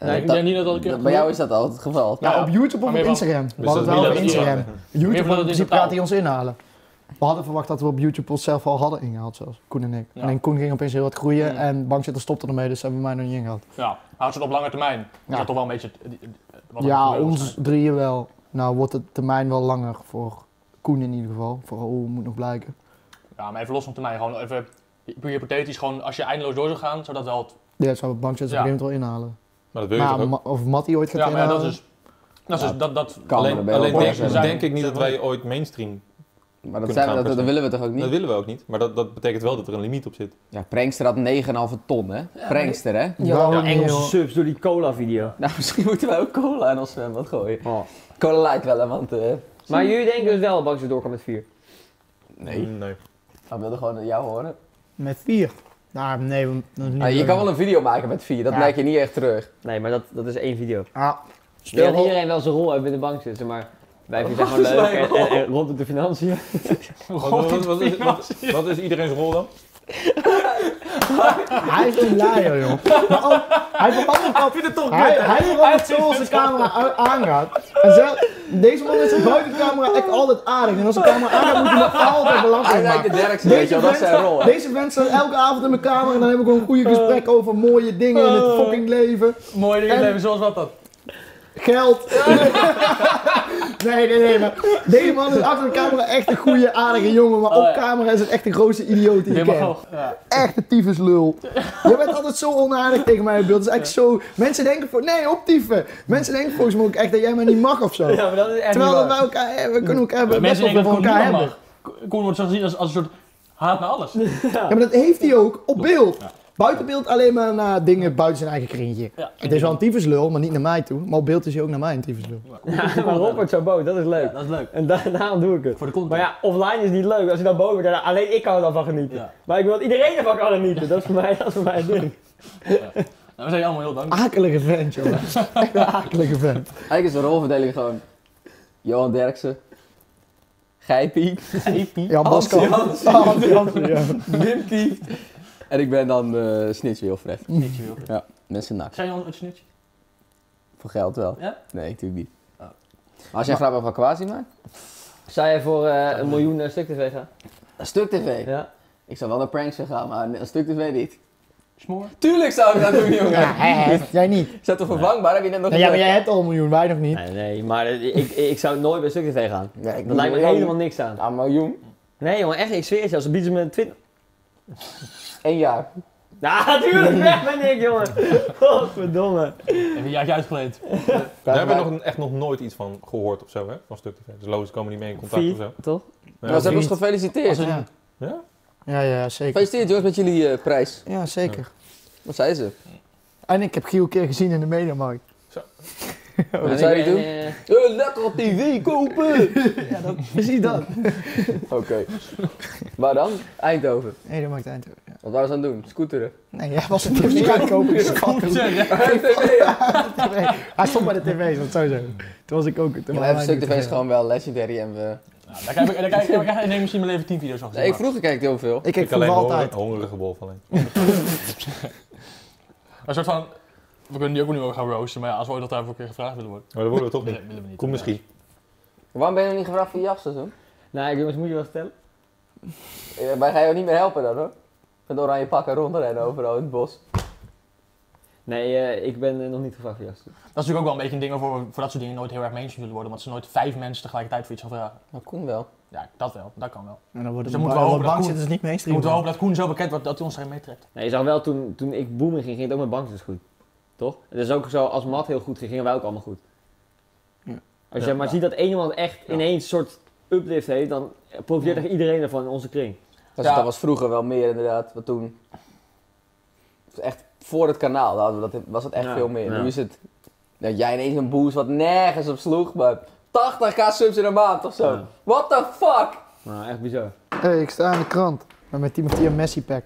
Nee,
ik
dat-
denk niet dat dat een keer
Bij jou
gebeurt.
is dat altijd het geval.
Ja,
Ja,
op YouTube of
maar
op
meer Dus wel.
Instagram. We hadden
dat
het
Dus
wel
is
op
niet dat-
Instagram.
Meer
YouTube,
van dat
in
in
principe
totaal.
gaat hij ons inhalen. We hadden verwacht dat we op YouTube onszelf al hadden ingehaald zelfs. Koen en ik.
Ja.
Alleen Koen ging opeens heel wat groeien
Mm.
en Bankzitter stopte ermee, dus hebben we mij nog niet ingehaald.
Ja, houdt ze het op lange termijn. Dat
Ja.
is toch wel een beetje... eh, die- eh, wat er
ja,
gebeurt
ons
waarschijnlijk.
drieën wel. Nou wordt de termijn wel langer voor Koen in ieder geval. Voor Raoul moet nog blijken.
Ja, maar even los van termijn. Gewoon even puur hypothetisch. Gewoon als je eindeloos door zou gaan, zou dat wel... het-
Ja, zou Bankzitter
Ja.
op een gegeven moment wel inhalen.
Maar dat wil je
Maar
toch ook?
Ma- of Matty ooit gaat
Ja, maar ja,
inhalen.
dat is... Dat is dus-
Ja.
dat, dat,
Kan, maar dan
Alleen,
ben je wel
alleen denk,
boos.
zijn-
denk ik niet dat wij ooit mainstream...
Maar dat,
kunnen
zijn we,
gaan
dat,
per
dat
se.
willen we toch ook
Dat
niet?
willen we ook niet. Maar dat, dat betekent wel dat er een limiet op zit.
Ja, Prankster had 9,5 ton, hè? Prankster, hè?
Ja,
Ja,
wel
Engelse
heel-
subs door die cola video.
Nou, misschien moeten wij ook cola in ons zwembad gooien. Cola lijkt wel, hè, want... eh
Maar jullie denken dus wel dat Banksy doorkomt met 4.
nee.
Mm, Nee.
We wilden Oh, gewoon jou horen.
Met vier. Nou, nee, we- dat is niet
Ah, je
leuk.
kan wel een video maken met vier, dat
Ja.
lijkt je niet echt terug.
Nee, maar dat, dat is één video.
Ah,
Ik denk
stel
dat
wel-
iedereen wel zijn rol heeft in de bank zitten, maar wij vinden het gewoon leuk en, en, en rond op de financiën.
Wat, wat, wat is, wat, wat is iedereen's rol dan?
Hij is een liar, joh. Maar ook, hij verandert altijd. hij, hij verandert zo als de camera a- aangaat. En zelf, deze man is buiten de camera echt altijd aardig. En als de camera aangaat, moet hij me altijd
[LAUGHS] Hij
belachelijk
lijkt de
maken.
derkste, weet je wel, dat is zijn rol. hè.
Deze mensen staan elke avond in mijn kamer en dan hebben we gewoon goede gesprekken over mooie dingen in
Oh.
het fucking leven.
Mooie dingen
En-
leven, zoals wat dan?
Geld. [LAUGHS] nee, nee, nee. Maar deze man is achter de camera echt een goede, aardige jongen.
Oh
Maar op camera is het echt de grootste idioot die ik ken. Echt een tyfuslul. Je bent altijd zo onaardig tegen mij in beeld. Het is echt zo... Mensen denken voor... Nee, optieven. Mensen denken volgens mij ook echt dat jij mij niet mag of zo.
maar dat is echt
Terwijl dat wij elkaar... eh, We kunnen elkaar best
Mensen
wel
denken
veel
dat
van elkaar
Koen niemand
hebben.
mag. Ko- Koen wordt zo gezien als, als een soort haat naar alles.
Ja, maar dat heeft hij ook op beeld. Buiten beeld alleen maar naar dingen buiten zijn eigen kringetje.
Ja.
Het is wel een tyfuslul, maar niet naar mij toe. Maar op beeld is hij ook naar mij een tyfuslul.
[LAUGHS] maar Robert zo boos, dat is leuk.
Dat is leuk.
En da- daarom doe ik het.
Voor de content.
Maar ja, offline is niet leuk. Als je dan boos wordt, dan- alleen ik kan ervan genieten.
Ja.
Maar ik wil dat iedereen ervan kan genieten. Dat is voor mij, [LAUGHS] dat is voor mij het ding.
Nou, we zijn je allemaal heel dankbaar.
Akelige vent, joh. Echt [LAUGHS] een akelige vent.
Eigenlijk is de rolverdeling gewoon... Johan Derksen. Gijpie.
Ja, Basco.
Hans Jansen.
Ah, Hans Jansen, ja.
Wim Kieft. En ik ben dan eh Snitch Wilfred. Ja, mensen nak.
Zijn jullie een snitje?
Voor geld wel.
Ja?
Nee, natuurlijk niet. Maar als jij graag van Kwasi maakt?
Zou jij voor eh, een miljoen naar Stuk TV gaan?
Een stuk tv.
Ja.
Ik zou wel naar pranks gaan, maar een stuk tv niet.
Smoor?
Tuurlijk zou ik dat doen,
Ja,
jongen.
hè, hè. Jij niet.
Is dat toch vervangbaar? Heb je net nog
Nou ja, maar
gezegd?
jij hebt al een miljoen, wij nog niet.
Nee, nee, maar eh, ik, ik zou nooit bij Stuk TV gaan.
Ja, ik
Dat lijkt me
bedoel,
helemaal niks aan.
Een miljoen.
Nee jongen, echt, ik zweer het je. Als ze bieden ze me [LAUGHS] 20...
Eén jaar.
Ja, [LAUGHS] natuurlijk weg Ah, ben ik jongen. Godverdomme.
Even een jaartje uitgeleend.
Daar hebben we nog, echt nog nooit iets van gehoord of zo, hè? Van stuk TV. Dus logisch komen die mee in contact
Vier.
of zo.
Toch?
Ja,
Nou, ze hebben ons
vriend.
gefeliciteerd.
Ja.
Ja?
Ja, ja, zeker.
Gefeliciteerd, jongens, met jullie eh, prijs.
Ja, zeker.
Wat zei ze?
En ik heb Giel een keer gezien in de mediamarkt.
Wat zou je doen?
Eh,
Eh, lekker tv kopen!
Precies dat.
[LAUGHS] Oké. Waar dan? Eindhoven.
Mediamarkt Eindhoven. ja.
Wat waren ze aan het doen? Scooteren.
Nee, hij was het niet aan het kopen. Ik schat hem. Nee, Hij stond bij de tv, dat zou zo. Toen was ik ook... Toen
Maar
waren
even
wij
stuk
niet
tv is
tv.
gewoon wel legendary en we...
Nou, daar kijk ik, daar kijk ik, daar kijk ik in misschien mijn leven 10 video's van gezien.
Nee, ik
maar-
vroeger keek ik heel veel.
Ik
Ik
heb
alleen
vroeger
honger,
altijd.
hongerige wolf alleen.
Een soort van... We kunnen die ook nu ook gaan roosten, maar ja, als we ooit dat daarvoor een keer gevraagd willen worden.
Maar dat worden we toch niet.
willen we niet. eh,
Kom misschien.
Waarom ben je nog niet gevraagd voor je jafseizoen?
nou jongens, moet je wel vertellen?
Eh, Wij gaan jou niet meer helpen dan hoor. Met oranje pakken rondrennen overal in het bos.
Nee, eh, ik ben eh, nog niet gevraagd voor jou.
Dat is natuurlijk ook wel een beetje een ding waarvoor we voor dat soort dingen nooit heel erg mainstream zullen worden. Want ze nooit vijf mensen tegelijkertijd voor iets gaan vragen.
Nou, Koen wel.
Ja, dat wel. Dat kan wel.
En dan worden
Dus
ze
dan moeten we
bang,
hopen dat
bang
Koen-
zitten, is niet
Ik moet
mainstream.
wel hopen dat Koen zo bekend wordt dat hij ons daarin meetrekt.
Nee, je zag wel toen, toen ik booming ging, ging het ook met bank dus goed. Toch? Het is ook zo, als Matt heel goed ging, gingen wij ook allemaal goed.
Ja.
Als
Ja.
je maar ziet dat één iemand echt ineens een soort uplift heeft, dan profiteert echt iedereen ervan in onze kring.
Dat,
Ja.
dat was vroeger wel meer inderdaad, wat toen... Echt voor het kanaal daar hadden we dat, was het echt
Ja,
veel meer.
ja.
Nu is het... Nou, jij ineens een boost wat nergens op sloeg, maar 80k subs in een maand of zo.
Ja.
What the fuck?
Nou, echt bizar.
Hey, ik sta aan de krant. Maar met Timothy en Messi pack.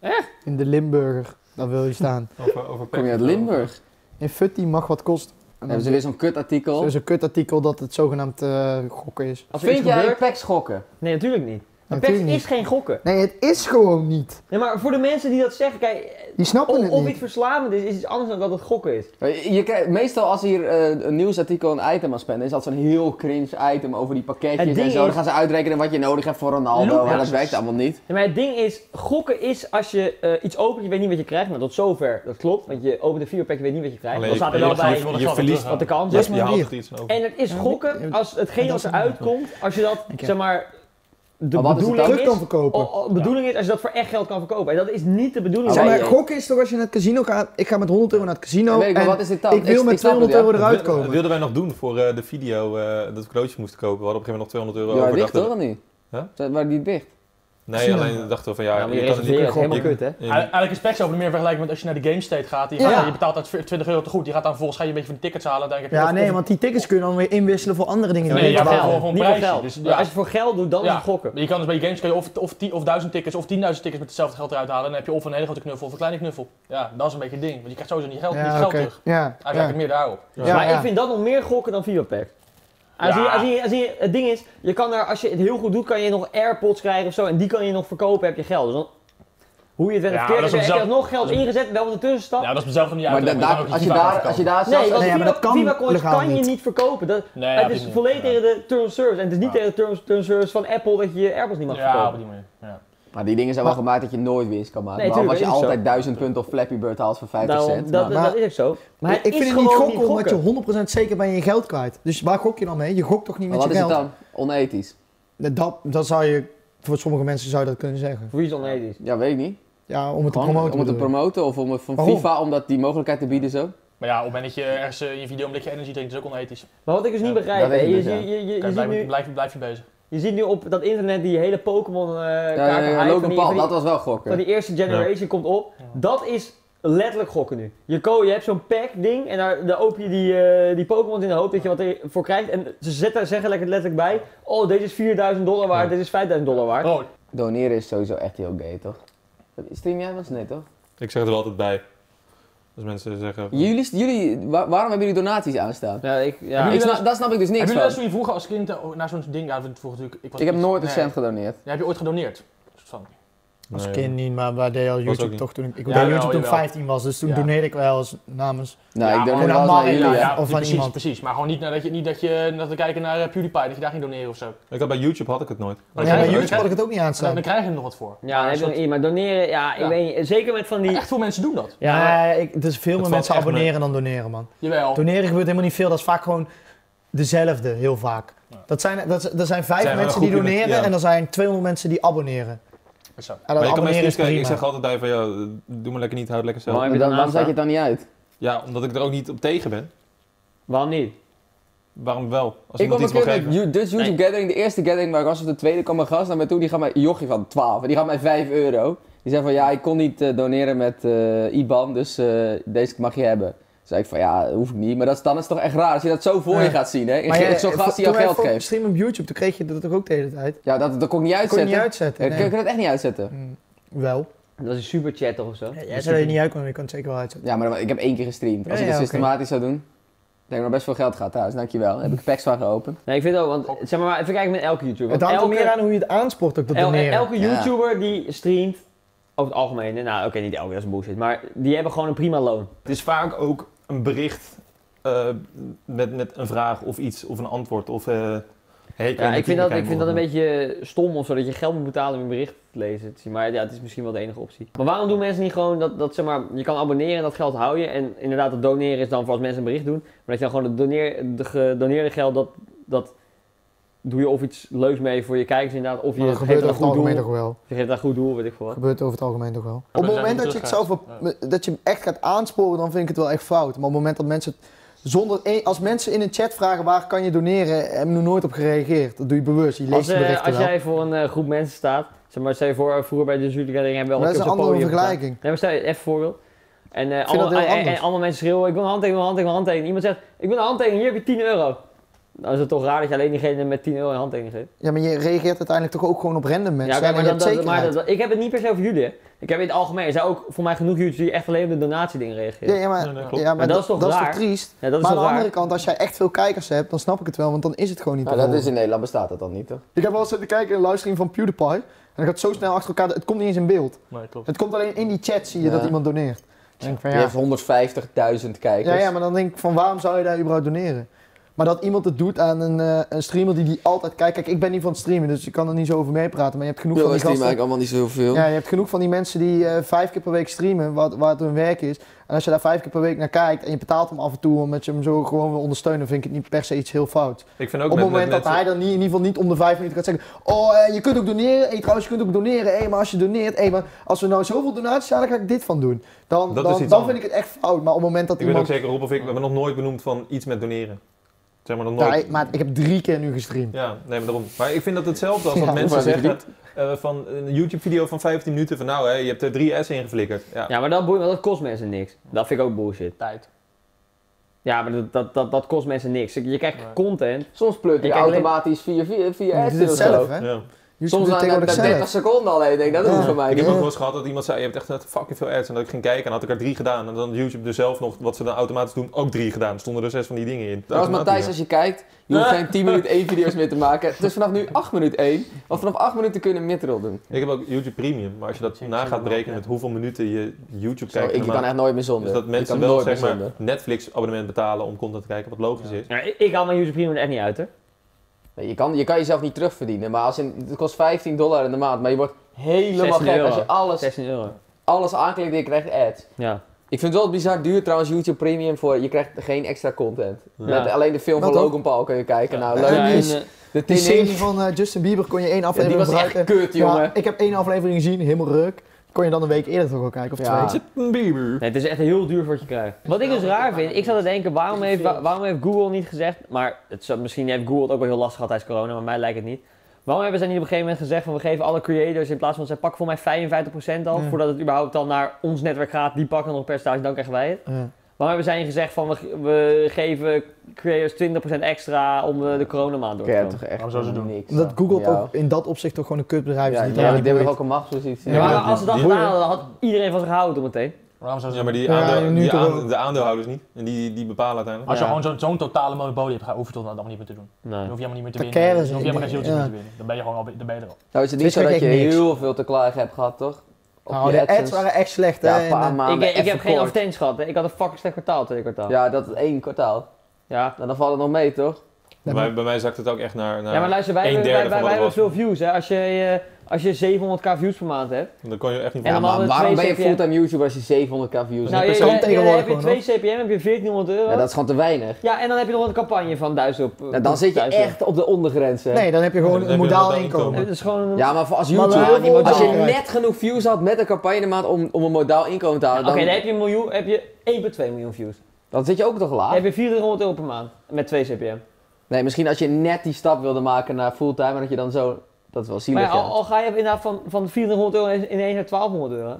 Echt?
In de Limburger. Daar wil je staan.
Over, over
Kom je uit
Pepsi.
Limburg?
In Futti mag wat kosten. En
Hebben
dan
ze weer zo'n kutartikel?
is een kutartikel dat het zogenaamd eh, gokken is.
Als er
Vind
iets
jij
gebeurt-
packs gokken?
Nee, natuurlijk niet. Maar PEX
Natuurlijk
is
niet.
geen gokken.
Nee, het is gewoon niet.
Nee, maar voor de mensen die dat zeggen, kijk,
Die snappen
of,
het
Oh, of
niet.
iets verslavend is, is iets anders dan dat het gokken is.
Je je krijgt, meestal als hier eh, een nieuwsartikel een item aan spenden, is dat zo'n heel cringe item over die
Het
pakketjes
ding
en zo.
is-
Dan gaan ze uitrekenen wat je nodig hebt voor Ronaldo.
Lucas.
Maar dat werkt allemaal niet.
Ja, maar het ding is, gokken is als je eh, iets opent, je weet niet wat je krijgt. Nou, tot zover, dat klopt. Want je opent een vierpack, je weet niet wat je krijgt.
Alleen,
dat staat er
je-
wel
je-
bij
je
wat-
verliest-
wat de kans
Je,
is.
Yes,
je
maar
haalt
hier.
er iets over.
En het is
Ja,
gokken
die-
als hetgeen
dat
wat
is
eruit komt, als je dat,
Oké.
zeg maar, de
Maar wat is het
bedoeling
dan?
Druk kan
is,
verkopen.
o- o- bedoeling is als je dat voor echt geld kan verkopen. En dat is niet de bedoeling.
Ja,
Zeg
Zij-
maar,
jij-
gokken is toch als je naar het casino gaat. Ik ga met 100 euro naar het
Ja,
Nou,
casino.
weet ik, maar
en
wat is dit dan?
Ik wil
Ik-
met
ik snap het,
200 euro
ja.
Dat
eruit
wil-
komen.
wilden wij nog doen voor eh, de video eh, dat we cadeautjes moesten kopen. We hadden op een gegeven moment nog 200 euro
Ja,
over.
dicht
dachten
toch of niet?
Huh?
Zijn- Waren die dicht?
we- Nee,
Casino.
alleen dachten we van ja,
Ja, maar
je
je
kan het
reserveren is
niet-
helemaal
je-
kut, hè?
je-
Eigenlijk eigenlijk is PEX over meer vergelijking met als je naar de Game State gaat. Die gaat-
Ja.
Je betaalt daar 20 euro te goed. Die gaat dan volgens ga je een beetje van de tickets halen. Dan heb je
Ja,
of-
nee,
of-
want die tickets kun je dan weer inwisselen voor andere dingen.
Nee,
die
Nee,
je
ja,
voor
betaalt.
maar
geld.
voor- voor een
Niet voor
prijsje,
geld.
dus-
Maar
ja.
Als je voor geld doet, dan is
Ja.
het gokken.
Je kan dus bij games kan je of, of, 10 of 1000 tickets of 10.000 tickets met hetzelfde geld eruit halen. Dan heb je of een hele grote knuffel of een kleine knuffel. Ja, dat is een beetje het ding. Want je krijgt sowieso niet geld, niet
Ja,
geld
oké.
terug.
Ja,
Eigenlijk
ja.
meer daarop.
Ja,
maar
ja.
ik vind dat nog meer gokken dan Vivapack. Als
Ja.
je, als je, als je, het ding is, je kan daar, als je het heel goed doet, kan je nog AirPods krijgen of zo. En die kan je nog verkopen, heb je geld. Dus dan, hoe je het
Ja,
bent
maar
verkeerd,
dat is
heb je
op
er
zelf-
nog geld
dat is-
ingezet, wel een tussenstap.
Ja, dat is mezelf niet
maar
uit.
da- daar- als, je daar, als je daar zelfs...
Nee, want
Nee, maar
Viva-
dat kan
Vivacoins
legaal
kan je
niet.
niet verkopen. Dat,
Nee,
het is volledig tegen de terms of service. En het is niet
Ja.
tegen de terms, terms of service van Apple dat je je AirPods niet mag
Ja, op
verkopen.
die manier. Ja.
Maar die dingen zijn wel gemaakt dat je nooit winst kan maken.
Nee,
Waarom als
tuurlijk,
je
is het
altijd 1000 punten of Flappy Bird haalt voor 50
Daarom, dat,
cent. Nou, maar-
dat
Maar-
is ook zo. Maar het
ik
is
vind het
gewoon
niet gokken
gokken.
omdat je 100% zeker bent in je geld kwijt. Dus waar gok je dan mee? Je gokt toch niet
Maar
met
wat
je
is het
geld?
dan? Onethisch.
Dat, dat zou je, voor sommige mensen zou je dat kunnen zeggen.
Voor iets onethisch.
Ja, weet ik niet.
Ja, om het
Gewoon
te promoten.
om het te
bedoel ik.
promoten of om het van
Waarom?
FIFA om dat die mogelijkheid te bieden zo.
Maar ja, op het moment dat je ergens eh, in je video een blikje energy drinkt, is ook onethisch.
Maar wat ik dus niet
Ja,
begrijp,
dat weet
hè,
ik
je,
dus,
zie-
ja.
je, je, je
Kijk,
ziet
blijf,
nu,
blijf, blijf je bezig.
je ziet nu op dat internet die hele Pokémon eh
Ja, ja,
kaart
ja,
en ei van
Logan
die-
Paul,
van die-
dat was wel
van
gokken.
die eerste generation komt op. Dat is letterlijk gokken nu. Je, ko je hebt zo'n pack ding en daar, daar open je die, eh, die Pokémon in de hoop dat je wat ervoor krijgt. En ze zetten, zeggen lekker letterlijk bij, oh deze is 4000 dollar waard, dit is 5000 dollar waard.
Oh,
Doneren is sowieso echt heel gay, toch? Stream jij wel eens? Nee, toch?
Ik zeg er wel altijd bij. Als mensen zeggen... van-
Jullie, jullie, wa- waarom hebben jullie donaties aanstaan?
Ja, ik, ja.
Ik
jullie
snap, dat snap ik dus niks
hebben jullie
van.
dat toen je vroeger als kind eh, naar zo'n ding... Ja, vroeger natuurlijk, ik, was
Ik heb
iets-
nooit een
nee.
cent gedoneerd.
Ja, heb je ooit gedoneerd? Soort van.
Als
Nee.
kind niet, maar wij deden al
ook
YouTube
niet.
toch toen ik... Ik
Ja,
deed
jawel,
YouTube toen ik
jawel.
15 was, dus toen
Ja.
doneerde ik wel eens namens...
Nou, ik
Ja,
doneer
gewoon
wel eens
aan
naar jullie.
Mark,
ja.
ja. Of aan
precies,
iemand.
precies. Maar gewoon niet nadat je, niet dat je naar te kijken naar eh, PewDiePie, dat je daar ging doneren of zo.
Ik had bij YouTube had ik het nooit.
Maar
Ja, bij
krijg-
YouTube had
dan
ik het ook niet
krijg-
aanstaan.
Dan krijg je er nog wat voor.
Ja, dan heb je nog
soort-
iets, maar doneren, ja, ik
Ja.
weet niet, zeker met van die...
Echt veel mensen doen dat.
Ja, maar-
Nee, ik, dus veel meer
valt
mensen
echt mee.
abonneren dan doneren, man.
Jawel.
Doneren gebeurt helemaal niet veel. Dat is vaak gewoon dezelfde, heel vaak. Dat zijn, dat, z- er zijn vijf
Zijn er
mensen
een
die
groep in het-
doneren
ja.
en er zijn 200 mensen die abonneren.
Zo.
En dat
Maar ik kan
abonneren
mensen
is
niet kijken. Ik
prima.
zeg altijd bij van, ja, doe maar lekker niet, houd lekker zelf.
Maar-
Maar
heb je dan
waarom zet
aanstaan?
je het dan niet uit?
Ja, omdat ik er ook niet op tegen ben.
waarom niet?
Waarom wel? Als
Ik
iemand
kwam een
iets wil
keer
geven.
met Ju- Dutch YouTube Gathering, de eerste gathering waar ik was, of de tweede, kwam een gast naar mij toe, die gaf mij, een jochie van 12, en die gaf mij 5 euro. Die zei van, ja, ik kon niet eh, doneren met eh, IBAN, dus eh, deze mag je hebben. Toen zei ik van, ja, dat hoef ik niet, maar dat is, dan is het toch echt raar als je dat zo voor je
Ja.
gaat zien, hè?
Maar
Ik-
jij-
Zo'n gast
toen
die jou
wij
geld
voor-
geeft.
stream op YouTube, toen kreeg je dat toch ook de hele tijd?
Ja, dat, dat kon ik niet
Kon je
uitzetten.
niet
Ja,
Eh,
uitzetten?
kun- Kun
Nee.
je dat echt niet uitzetten?
Wel.
Dat is een superchat toch of zo?
Ja, Jij zei dat je niet uit kon, maar je kon het zeker wel uitzetten.
Ja, maar dat- ik heb één keer gestreamd.
Ja,
Als ik
ja,
dat
oké.
systematisch zou doen, denk ik dat best veel geld gaat trouwens, dankjewel. Dan heb ik packs van geopend.
Nee, ik vind het ook, want zeg maar, maar even kijken met elke YouTuber.
Het
want
hangt er
elke,
meer aan hoe je het aanspoort ook dat
el-
doneren.
elke
Ja.
YouTuber die streamt, over het algemeen, nou oké, niet elke, dat is bullshit, maar die hebben gewoon een prima loon.
Het is vaak ook een bericht eh, met, met een vraag of iets of een antwoord of... eh, hey, kan
Ja,
je
ik vind, dat,
kijken
ik vind dat een
bijvoorbeeld?
beetje stom of zo, dat je geld moet betalen om een bericht te lezen. te zien. Maar ja, het is misschien wel de enige optie. Maar waarom doen mensen niet gewoon dat, dat zeg maar, je kan abonneren en dat geld hou je. En inderdaad, het doneren is dan voor als mensen een bericht doen. Maar dat je dan gewoon het, doneer, de gedoneerde geld, dat, dat doe je of iets leuks mee voor je kijkers inderdaad, of je
Maar dat
geeft
gebeurt
het
over
een
het
goed doel.
algemeen
Je
toch wel.
geeft het een goed doel, weet ik veel wat.
Gebeurt over het algemeen toch wel. Op
we
het
zijn
moment
niet
dat je, het
teruggegaan.
zelf op, dat je hem echt gaat aansporen, dan vind ik het wel echt fout. Maar op het moment dat mensen... het Zonder, eh, als mensen in een chat vragen waar kan je doneren, hebben we nog nooit op gereageerd. Dat doe je bewust, je leest
Als,
de
eh,
berichten
als
wel.
jij voor een eh, groep mensen staat, zeg maar, stel je voor, eh, vroeger bij de Zuidelijke hebben we wel
Maar dat is
keer
een
op zo'n
andere
podium gestaan.
vergelijking.
Nee, maar stel je even een voorbeeld. En, eh
vind
allemaal,
dat heel
en, en- en
anders.
allemaal mensen schreeuwen, ik wil een handtekening, ik wil een handtekening, ik wil een handtekening. Iemand zegt, ik wil een handtekening, hier heb je 10 euro. Dan is het toch raar dat je alleen diegene met 10 euro een handtekening geeft.
Ja, maar je reageert uiteindelijk toch ook gewoon op random mensen.
Ja, oké, maar,
en je
dat,
hebt
dat, maar
zekerheid.
dat- ik heb het niet per se over jullie. hè. Ik heb in het algemeen. Er zijn ook voor mij genoeg YouTubers die echt alleen op de donatieding reageren.
Ja,
Ja,
ja, maar,
Ja, dat
ja,
klopt.
maar
Maar dat is toch raar?
triest?
dat is
maar aan
wel
de
raar.
andere kant, als jij echt veel kijkers hebt, dan snap ik het wel, want dan is het gewoon niet
Nou,
te
dat is
volgen.
in Nederland bestaat dat dan niet, toch?
Ik heb wel eens zitten kijken in een livestream van PewDiePie. En dat gaat zo snel achter elkaar, dat- het komt niet eens in beeld.
Nee, klopt.
Het komt alleen in die chat, zie je
Ja.
dat iemand doneert. Dan denk ik van,
Die
ja.
heeft 150.000 kijkers.
Ja, ja, maar dan denk ik van, waarom zou je daar überhaupt doneren? Maar dat iemand het doet aan een, eh, een streamer die die altijd kijkt. Kijk, ik ben niet van het streamen, dus ik kan er niet zo over meepraten. Maar je hebt genoeg
Yo,
van die
is die
gasten.
eigenlijk allemaal niet zoveel.
Ja, je hebt genoeg van die mensen die eh, vijf keer per week streamen, wat, wat hun werk is. En als je daar vijf keer per week naar kijkt en je betaalt hem af en toe omdat je hem zo gewoon wil ondersteunen, vind ik het niet per se iets heel fout.
Ik vind ook
Op het
met,
moment
met,
dat
met-
hij dan niet, in ieder geval niet om de vijf minuten gaat zeggen, oh, eh, je kunt ook doneren, hey, trouwens, je kunt ook doneren, hey, maar als je doneert, hey, maar als we nou zoveel donaties hadden, ga ik dit van doen. Dan,
Dat
dan,
is iets
dan vind
anders.
ik het echt fout, maar op het moment dat
Ik weet ook
iemand...
zeker, Rob of ik, we hebben nog nooit benoemd van iets met doneren. Zeg maar nog
Ja,
nooit.
Nou, ik- maar ik heb drie keer nu gestreamd.
Ja, nee, maar daarom. Maar ik vind dat hetzelfde als
Ja,
dat mensen
maar dat
zeggen eh, van een YouTube-video van 15 minuten van nou, hè, je hebt er drie S in geflikkerd. Ja.
maar dat, boeit, want dat kost mensen niks. Dat vind ik ook bullshit.
Tijd.
Ja, maar dat, dat, dat, dat kost mensen niks. Je krijgt
Nee.
content.
Soms pleurt hij
Ik kijk alleen-
automatisch via, via, via
Je
ads
doet
in
het
of zo.
zelf, hè?
Ja.
YouTube
Soms
doet
na, na,
tegenwoordig
na 30
zelf.
seconden alleen. Ik Denk, dat
Ja.
hoeft van mij
Ik heb
niet.
ook wel eens gehad dat iemand zei, je hebt echt net fucking veel ads. En dat ik ging kijken en had ik er drie gedaan. En dan had YouTube er zelf nog, wat ze dan automatisch doen, ook drie gedaan. Er stonden er zes van die dingen in.
Trouwens, Matthijs, als je kijkt, je hoeft
Ja.
geen 10
[LAUGHS]
minuten 1 video's meer te maken. Het is vanaf nu 8 minuten 1. Want vanaf 8 minuten kun je een midroll doen.
Ik heb ook YouTube Premium. Maar als je dat
Check,
na
check
gaat
wel,
breken
ja.
met hoeveel minuten je YouTube
Zo,
kijkt.
ik kan
normaal,
echt nooit meer zonder.
dus dat
Ik
mensen
kan
wel
nooit meer
zeg maar
zonder.
Netflix abonnement betalen om content te kijken, wat logisch
Ja.
is.
Ja, ik, ik haal mijn YouTube Premium er echt niet uit, hè.
Nee, je, kan, je kan jezelf niet terugverdienen. Maar als in, het kost 15 dollar in de maand. Maar je wordt helemaal
16
gek als
euro.
je alles,
16 euro.
alles aanklikt en je krijgt ads.
Ja.
Ik vind het wel bizar duur trouwens YouTube Premium voor. Je krijgt geen extra content.
Ja.
Net alleen de film
Dat
van
ook.
Logan Paul kun je kijken. Nou,
Ja,
leuk.
en,
is
eh,
de
Die
Tinning.
serie van eh, Justin Bieber kon je één
Ja, die
aflevering
was echt
gebruiken.
kut,
Ja,
jongen.
ik heb één aflevering gezien, helemaal ruk. Kon je dan een week eerder toch wel kijken of
Ja.
twee?
Bieber.
Nee, het is echt heel duur wat je krijgt. Wat ik dus raar vind, ik zat te denken, waarom heeft, wa- waarom heeft Google niet gezegd, maar het, zou- misschien heeft Google het ook wel heel lastig gehad tijdens corona, maar mij lijkt het niet. Waarom hebben zij niet op een gegeven moment gezegd van we geven alle creators in plaats van zij pakken voor mij 55% al,
Ja.
voordat het überhaupt dan naar ons netwerk gaat, die pakken nog een percentage, dan krijgen wij het.
Ja.
Waarom hebben zij niet gezegd van we, ge- we geven creators 20% extra om eh, de coronamaand door te
Ja,
komen?
toch echt.
Waarom zou ze doen?
niks
Omdat
aan.
Google
Ja.
toch in dat opzicht toch gewoon een kutbedrijf is.
Ja,
die
ja,
daar
die
niet
hebben
weet.
ook een machtspositie.
Ja, maar
Ja,
als ze dat
die-
gedaan hadden, dan had iedereen van zich gehouden meteen.
Waarom zou ze
Ja,
doen?
maar die
Ja,
aandeel-
nu
die
toch
aande-
ook.
de aandeelhouders niet. En die, die bepalen uiteindelijk.
Als je
Ja.
gewoon zo'n zo'n totale monopolie hebt, ga hoef je toch dat allemaal niet meer te doen.
Nee.
Dan hoef je helemaal niet meer te
Dan
winnen.
keren
Dan
ze
hoef je helemaal geen
niet
zieltjes meer
meer,
te winnen. Dan ben je gewoon al, dan ben je er al.
Nou is het niet
Het is
zo dat
echt
je
niks.
heel veel te klagen hebt gehad, toch? Op
Nou,
je
de ads
AdSense.
waren echt slecht, hè.
ja,
en,
een paar
eh,
Ik,
maanden
ik heb
even
geen
kort.
advertenties gehad, hè. ik had een fucking slecht kwartaal, tweede kwartaal.
Ja, dat is één kwartaal.
ja.
Nou, dan valt het nog mee, toch?
Bij, mij- bij mij zakt het ook echt naar. naar
Ja, maar luister, wij,
een
hebben,
derde
wij, wij,
van wat
wij
er
hebben
was.
veel views. Hè? Als, je, eh, als je 700k views per maand hebt.
Dan kon je echt niet
En
Ja,
van.
dan
maar
hadden we
waarom ben
twee
je
CPM.
fulltime YouTuber als je 700k views
Nou,
hebt?
je,
persoon
je- je-
tegenwoordig
heb je
gewoon,
twee CPM, heb je 1400 euro.
Ja, dat is gewoon te weinig.
Ja, en dan heb je nog een campagne van 1000 op. eh,
Nou, dan zit je
1000.
echt op de ondergrens, hè?
Nee, dan heb je
Dan
gewoon
heb
een
je
modaal
modaal
Eh,
inkomen.
inkomen.
Dat is gewoon.
Ja, maar voor als
Maar
YouTuber,
heel veel
als je
modaal.
net genoeg views had met een campagne in de maand om, om een modaal inkomen te
Oké,
halen, dan, Ah.
dan heb je een miljoen, heb je 1,2 miljoen views.
dan zit je ook toch
Dan
laag?
heb je 400 euro per maand met 2 CPM.
Nee, misschien als je net die stap wilde maken naar fulltime, maar dat je dan zo... Dat is wel
Maar
zielig,
ja,
ja.
al, al ga je inderdaad van, van 400 euro ineens naar 1200 euro.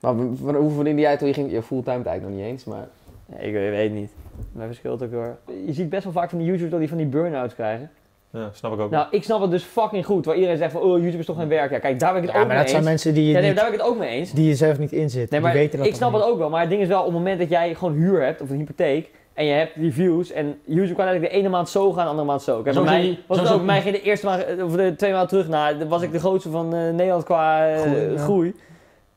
Maar w- w- hoe verdiende jij toen je ging... Je fulltime het eigenlijk nog niet eens, maar...
Nee, ik weet weet het niet. Mijn verschilt ook hoor. Je ziet best wel vaak van die YouTubers dat die van die burn-outs krijgen.
Ja, snap ik ook.
Nou, ik snap het dus fucking goed. Waar iedereen zegt van, oh, YouTube is toch geen werk. Ja, kijk, daar ben ik het
Ja,
ook
maar
mee
dat zijn
eens.
mensen die
Ja,
je,
nee,
niet,
daar ben ik het ook mee eens.
die je zelf niet inzit.
Nee, maar
die weten dat
ik snap
dan
het
niet.
ook wel, maar het ding is wel, op het moment dat jij gewoon huur hebt of een hypotheek en je hebt die views en YouTube kan eigenlijk de ene maand zo gaan, de andere maand zo. Kijk, bij
Sowieso
mij
niet-
was het
sowieso
ook, bij mij ging de eerste maand eh, of de twee maanden terug na, dan was ik de grootste van eh, Nederland qua eh,
Groei, ja.
groei.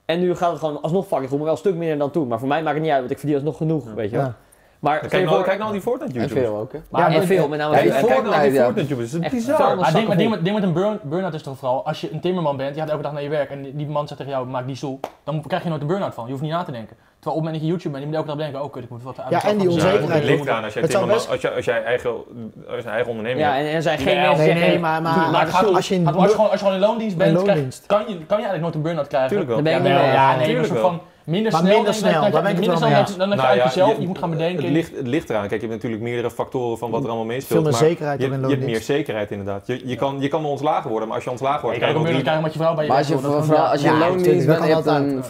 En nu gaat het gewoon alsnog fucking goed, maar wel een stuk minder dan toen. Maar voor mij maakt het niet uit, want ik verdien alsnog genoeg, weet je wel.
Ja.
Maar
Kijk
stel je
nou,
voor-
kijk nou al die Fortnite-YouTubers.
En veel ook, hè?
maar,
Ja, maar-
en veel, met name
Kijk,
veel.
en
Kijk nou al die
Fortnite, ja.
Fortnite-YouTubers. Het is
Echt
bizar.
vuilnis.
Maar
Maar
snap ik
Ah, ding, maar
goed.
ding met, ding met een burn, burn-out is toch vooral, als je een timmerman bent, je gaat elke dag naar je werk en die man zegt tegen jou, maak die stoel, dan krijg je nooit een burn-out van. Je hoeft niet na te denken. Terwijl op het moment dat je YouTube bent, je moet elke dag denken, oh kut, ik moet wat uit
Ja,
mezelf
en die
gaan
Ja,
zetten.
onzekerheid
het ligt
onzekerheid.
eraan. Als jij,
Het zou
timmerman-
best-
als, je, als jij eigen, als je een eigen onderneming
Ja,
hebt.
en er zijn geen
Nee,
mensen
nee,
die zeggen,
nee, maar- maar-
doe-
maar
laat
als
genoeg.
Ah, Als je in
Maar als je, gewoon, als je gewoon in loondienst bent,
loondienst.
krijg- kan, je, kan je eigenlijk nooit een burn-out krijgen.
Tuurlijk wel.
Dan ben ik
Ja,
niet
nee,
mee.
ja,
eens.
nee, maar
Tuurlijk
een soort
wel.
van minder
Maar
snel.
minder
denk ik, dat-
snel,
dat-
daar ben ik het
minder
wel
snel,
mee
Dan dan
Nou
ga je
ja,
het zelf,
je-
je moet gaan bedenken.
Het ligt, het ligt eraan. Kijk, je hebt natuurlijk meerdere factoren van wat er allemaal meespeelt.
Veel meer
maar
zekerheid
je,
dan in
je hebt
loondienst.
meer zekerheid inderdaad. Je, je, kan, je kan wel ontslagen worden, maar als je ontslagen
je
wordt...
kan ook een
kan je
burn-out
wel
krijgen omdat je vrouw bij je
Maar als je,
werk wil, dat is
vooral
gewoon-
als je
Ja,
loondienst
natuurlijk, dat
bent
kan
en je hebt
altijd.
een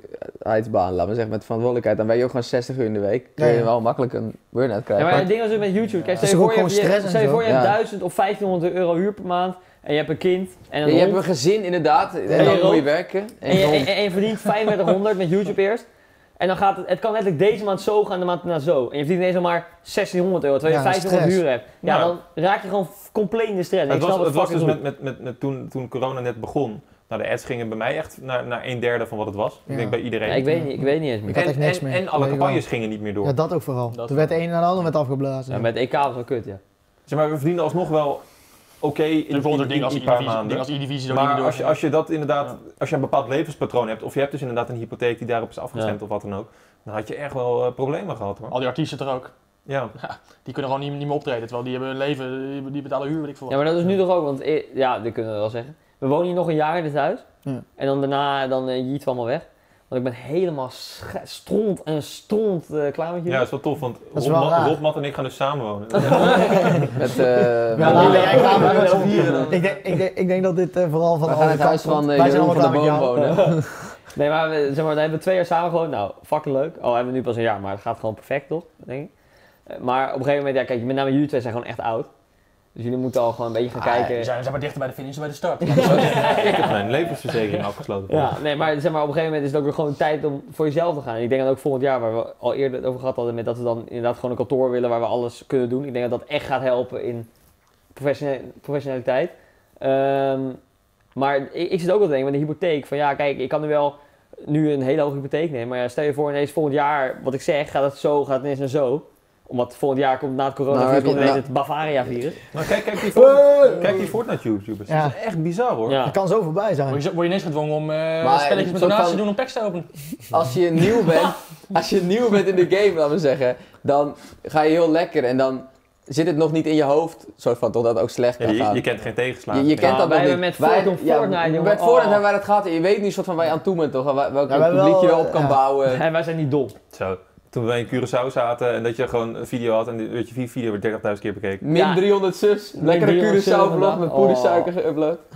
verantwoordelijkheidsbaan, laten we zeggen, met verantwoordelijkheid, dan ben je ook gewoon 60 uur in de week. Kun
Ja,
je
ja.
wel makkelijk een burn-out
Ja,
krijgen.
maar het ding is ook met YouTube. Kijk,
is
stel je
toch
voor
ook
je hebt,
gewoon
je-
stress en
stel je
zo?
voor je hebt
Ja.
1000 of 1500 euro huur per maand en je hebt een kind en een
je hebt
hond
een gezin inderdaad, en
Nee,
dan moet je
Rob.
werken. En
en je,
je
en,
hond.
en je verdient 3500 met YouTube eerst. En dan gaat het, het kan letterlijk deze maand zo gaan, de maand na zo. En je verdient ineens al maar 1600 euro, terwijl je
Ja,
1500
stress.
huur hebt. Ja,
Ja.
dan raak je gewoon f- compleet in de stress. En
Het
ik snap
was,
het
het was
fucking
dus met,
goed.
met, met, met toen, toen corona net begon. Nou, de ads gingen bij mij echt naar, naar een derde van wat het was.
Ja.
Ik denk bij iedereen.
Ja, ik, weet niet, ik weet niet eens meer.
had
en,
echt niks
en,
meer.
en alle
Weet ik
campagnes gingen niet meer door.
Ja, dat ook vooral.
Dat-
er werd een en ander werd afgeblazen.
Ja, met EK was wel kut, ja.
Zeg maar, we verdienen alsnog wel oké in, in,
Bijvoorbeeld
in,
zo'n ding als
een paar
E-divisie- ding
maanden.
als E-divisie. door
Maar
die
als je,
door-
als je dat inderdaad, als je een bepaald levenspatroon hebt, of je hebt dus inderdaad een hypotheek die daarop is afgestemd of wat dan ook, dan had je echt wel eh, problemen gehad hoor.
Al die artiesten er ook.
Ja.
Die kunnen gewoon niet, niet meer optreden, terwijl die hebben een leven, die- die betalen huur, weet ik veel.
Ja, maar dat is nu toch ook, want eh, ja, dat kunnen we wel zeggen. We wonen hier nog een jaar in dit huis.
Ja.
En dan daarna, dan eh, jiet we allemaal weg. Want ik ben helemaal scha- stront en stront eh, klaar met jullie.
ja, dat is wel tof, want
is
Rob
wel
Ma-
raar.
Rob, Matt en ik gaan dus samenwonen.
Met, eh,
Ja,
met-
nou, jij gaat maar met z'n
vieren dan.
Ik denk, ik, denk, ik denk dat dit eh, vooral van
we gaan in
alle
het huis
kanten komt.
van eh,
Wij zijn
Jeroen van
allemaal klaar
de Boom
met jou.
wonen.
[LAUGHS]
Nee, maar, we, zeg maar we hebben twee jaar samen gewoond. Nou, fucking leuk. Al hebben we nu pas een jaar, maar het gaat gewoon perfect, toch? Denk ik. Eh, Maar op een gegeven moment, ja, kijk, met name jullie twee zijn gewoon echt oud. Dus jullie moeten al gewoon een beetje gaan kijken.
Ah, Die zijn, zijn maar dichter bij de finish dan bij de [LAUGHS] start.
ik heb mijn levensverzekering afgesloten.
Ja, nee, maar, zeg maar op een gegeven moment is het ook weer gewoon tijd om voor jezelf te gaan. En ik denk dat ook volgend jaar, waar we al eerder het over gehad hadden, met dat we dan inderdaad gewoon een kantoor willen waar we alles kunnen doen. Ik denk dat dat echt gaat helpen in professione- professionaliteit. Ehm, maar ik, ik zit ook wel te denken met de hypotheek. Van ja, kijk, ik kan nu wel nu een hele hoge hypotheek nemen. Maar ja, stel je voor ineens volgend jaar, wat ik zeg, gaat het zo, gaat het ineens en zo. Omdat volgend jaar komt na het
Nou,
coronavirus
heb je-
komt ineens
nou-
het Bavaria-virus.
Maar kijk, kijk die, Fort- kijk die Fortnite-YouTubers.
Ja.
Dat is echt bizar hoor.
Ja.
Het kan zo voorbij zijn.
Word je, word je ineens gedwongen om eh,
Maar,
spelletjes
eh,
met
soort
donaties te
van-
doen om packs te openen?
als je nieuw bent, als je nieuw bent in de game, laten we zeggen, dan ga je heel lekker en dan zit het nog niet in je hoofd, soort van, totdat het ook slecht
Ja,
kan
je,
gaan.
je kent geen tegenslagen.
Je, je kent
Ja,
dat
wij
nog niet.
hebben met Fortnite, Fortnite, jongen.
Met Fortnite
Oh.
hebben wij dat gehad. en Je weet nu soort van waar je aan toe bent, toch? Waar- Welk
Ja, wij
publiek
wel,
je wel op kan
ja.
bouwen.
En wij zijn niet dom.
Zo. Toen we in Curaçao zaten en dat je gewoon een video had en die- weet je, die video werd 30.000 keer bekeken.
Min
Ja.
300 subs. Lekkere
300 subs Oh.
Curaçao-vlog met
inderdaad.
poedersuiker geüpload.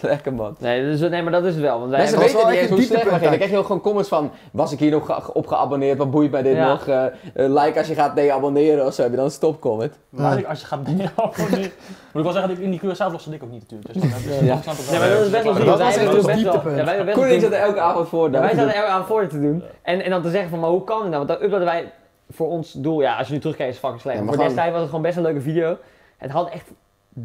Lekker man.
Nee, dus, nee, maar dat is het wel. Want wij
Mensen
hebben-
weten
wel
niet
echt een
eens hoe slecht we
dieptepunt
gingen. Dan krijg je ook gewoon comments van, was ik hier nog ge- op geabonneerd? Wat boeit mij dit
Ja.
nog? Eh, eh, like als je gaat nee abonneren of zo. Heb je dan een stopcomment?
Maar als je gaat dingen [LAUGHS] over die- Moet ik wel zeggen, dat ik in die Curaçao-vlog zat ik ook niet natuurlijk. Dus dan, dus,
Ja.
dan snap ik
Nee, maar dat is best wel
Dat
zielig.
was
Wij
echt
hebben
ons
best wel-
dieptepunt.
ja, wij hebben best
Koen en
wel
ik zat er elke avond voor.
Ja,
daar.
wij zaten er aan voor te doen. En, en dan te zeggen van, maar hoe kan het nou? Want dan uploaden wij voor ons doel, ja, als je nu terugkijkt is het fucking slecht.
Ja,
maar
maar
voor
gewoon-
destijds was het gewoon best een leuke video. Het had echt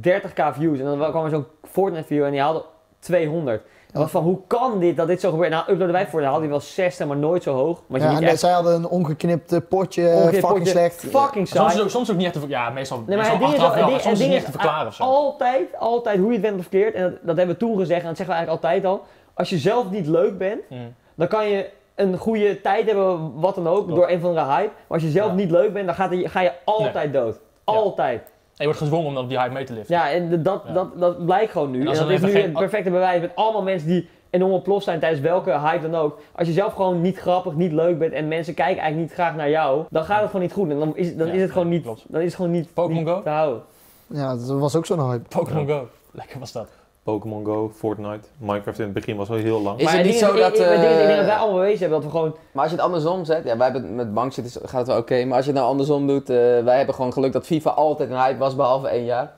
30k views. En dan kwam er zo'n Fortnite video en die haalde 200. En wat van, hoe kan dit, dat dit zo gebeurt? Nou, uploaden wij voor, dan had hij wel 60, maar nooit zo hoog. Want je
Ja,
niet
en
echt
zij hadden een ongeknipt eh, potje, eh,
ongeveer
fucking
potje-
slecht.
Fucking saai.
Soms, is ook, soms ook niet echt te ver- Ja, meestal,
Nee, maar
meestal
het ding is,
achteraf
wel-
wel,
het
maar
ding,
soms
het ding
is het niet
is
echt te verklaren of zo.
altijd, altijd, hoe je het bent of verkeerd, en dat, dat hebben we toen gezegd en dat zeggen we eigenlijk altijd al. Als je zelf niet leuk bent,
Mm.
dan kan je een goede tijd hebben, wat dan ook,
Klopt.
door een van de hype. Maar als je zelf
Ja.
niet leuk bent, dan gaat die- ga je altijd dood. Altijd.
En je wordt gedwongen om dan op die hype mee te liften.
Ja, en de- dat,
Ja.
Dat, dat blijkt gewoon nu.
En
En,
als
dat
er
is
even
nu
geen-
het perfecte bewijs met allemaal mensen die enorm ontploft zijn tijdens welke hype dan ook. Als je zelf gewoon niet grappig, niet leuk bent en mensen kijken eigenlijk niet graag naar jou, dan gaat het gewoon niet goed. En dan is, dan
Ja,
is het gewoon niet,
klopt.
dan is het gewoon niet,
Pokémon
niet
Go?
te houden.
Ja, dat was ook zo'n hype.
Pokémon Go. Lekker was dat.
Pokémon Go, Fortnite, Minecraft in het begin was wel heel lang.
Is
maar
het
het
niet
ding
zo dat...
Ik, ik, het ding is, ik denk dat
eh,
wij allemaal bewezen hebben dat we gewoon...
Maar als je het andersom zet, ja, wij hebben met bank zitten, gaat het wel oké. maar als je het nou andersom doet, eh, wij hebben gewoon geluk dat FIFA altijd een hype was, behalve één jaar.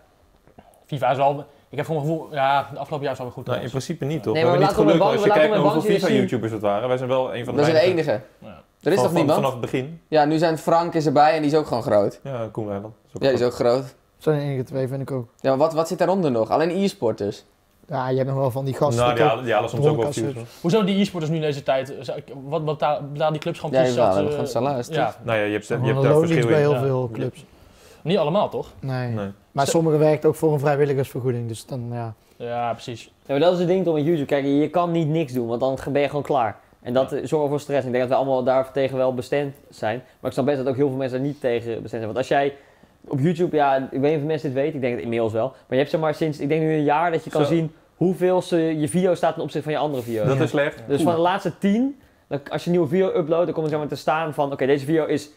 FIFA is wel... Ik heb gewoon het gevoel... Ja, de afgelopen jaar is wel weer goed
Nou, in
geweest.
principe niet toch?
Nee,
we
maar
hebben niet
laten we
geluk
met
als je kijkt
Bang- laten
naar
we
hoeveel
met Bang zien.
FIFA-YouTubers het waren. Wij zijn wel een van de
Dat is de
weinigen.
enige.
Ja.
Er
Van-
is toch
van-
niemand?
Vanaf het begin.
Ja, nu zijn Frank is erbij en die is ook gewoon groot.
Ja, Koen Weiland.
Ja, die is ook groot.
Zo'n enige twee vind ik ook.
Ja, maar wat, wat zit daaronder nog? Alleen e-sporters.
Ja, je hebt nog wel van die gasten.
Nou, die
toch?
halen- die halen soms ook wel
Dronken
views. hoor.
Hoezo die e-sporters nu in deze tijd... eh, zou ik- Wat wat betaal- betalen die clubs gewoon
Ja,
precies
die betalen
eh,
gewoon salaris,
Ja,
Nou ja, je hebt, je
Gewoon
hebt
een
daar
loondienst
verschil
bij
in.
heel
Ja.
veel clubs.
niet allemaal toch?
Nee.
Nee.
Maar sommigen werkt ook voor een vrijwilligersvergoeding, dus dan ja.
Ja, precies.
Ja, maar dat is het ding toch met YouTube. Kijk, je kan niet niks doen, want dan ben je gewoon klaar. En dat eh, zorgt voor stress. Ik denk dat we allemaal daar tegen wel bestemd zijn. Maar ik snap best dat ook heel veel mensen daar niet tegen bestemd zijn. Want als jij op YouTube, ja, ik weet niet of mensen dit weten, ik denk het inmiddels wel. Maar je hebt zeg maar sinds, ik denk nu een jaar, dat je kan
Zo.
zien hoeveel ze, je video staat ten opzichte van je andere video.
Dat
Ja.
is slecht.
Dus van de laatste tien, dan, als je een nieuwe video uploadt, dan komt er zeg maar te staan van, oké, deze video is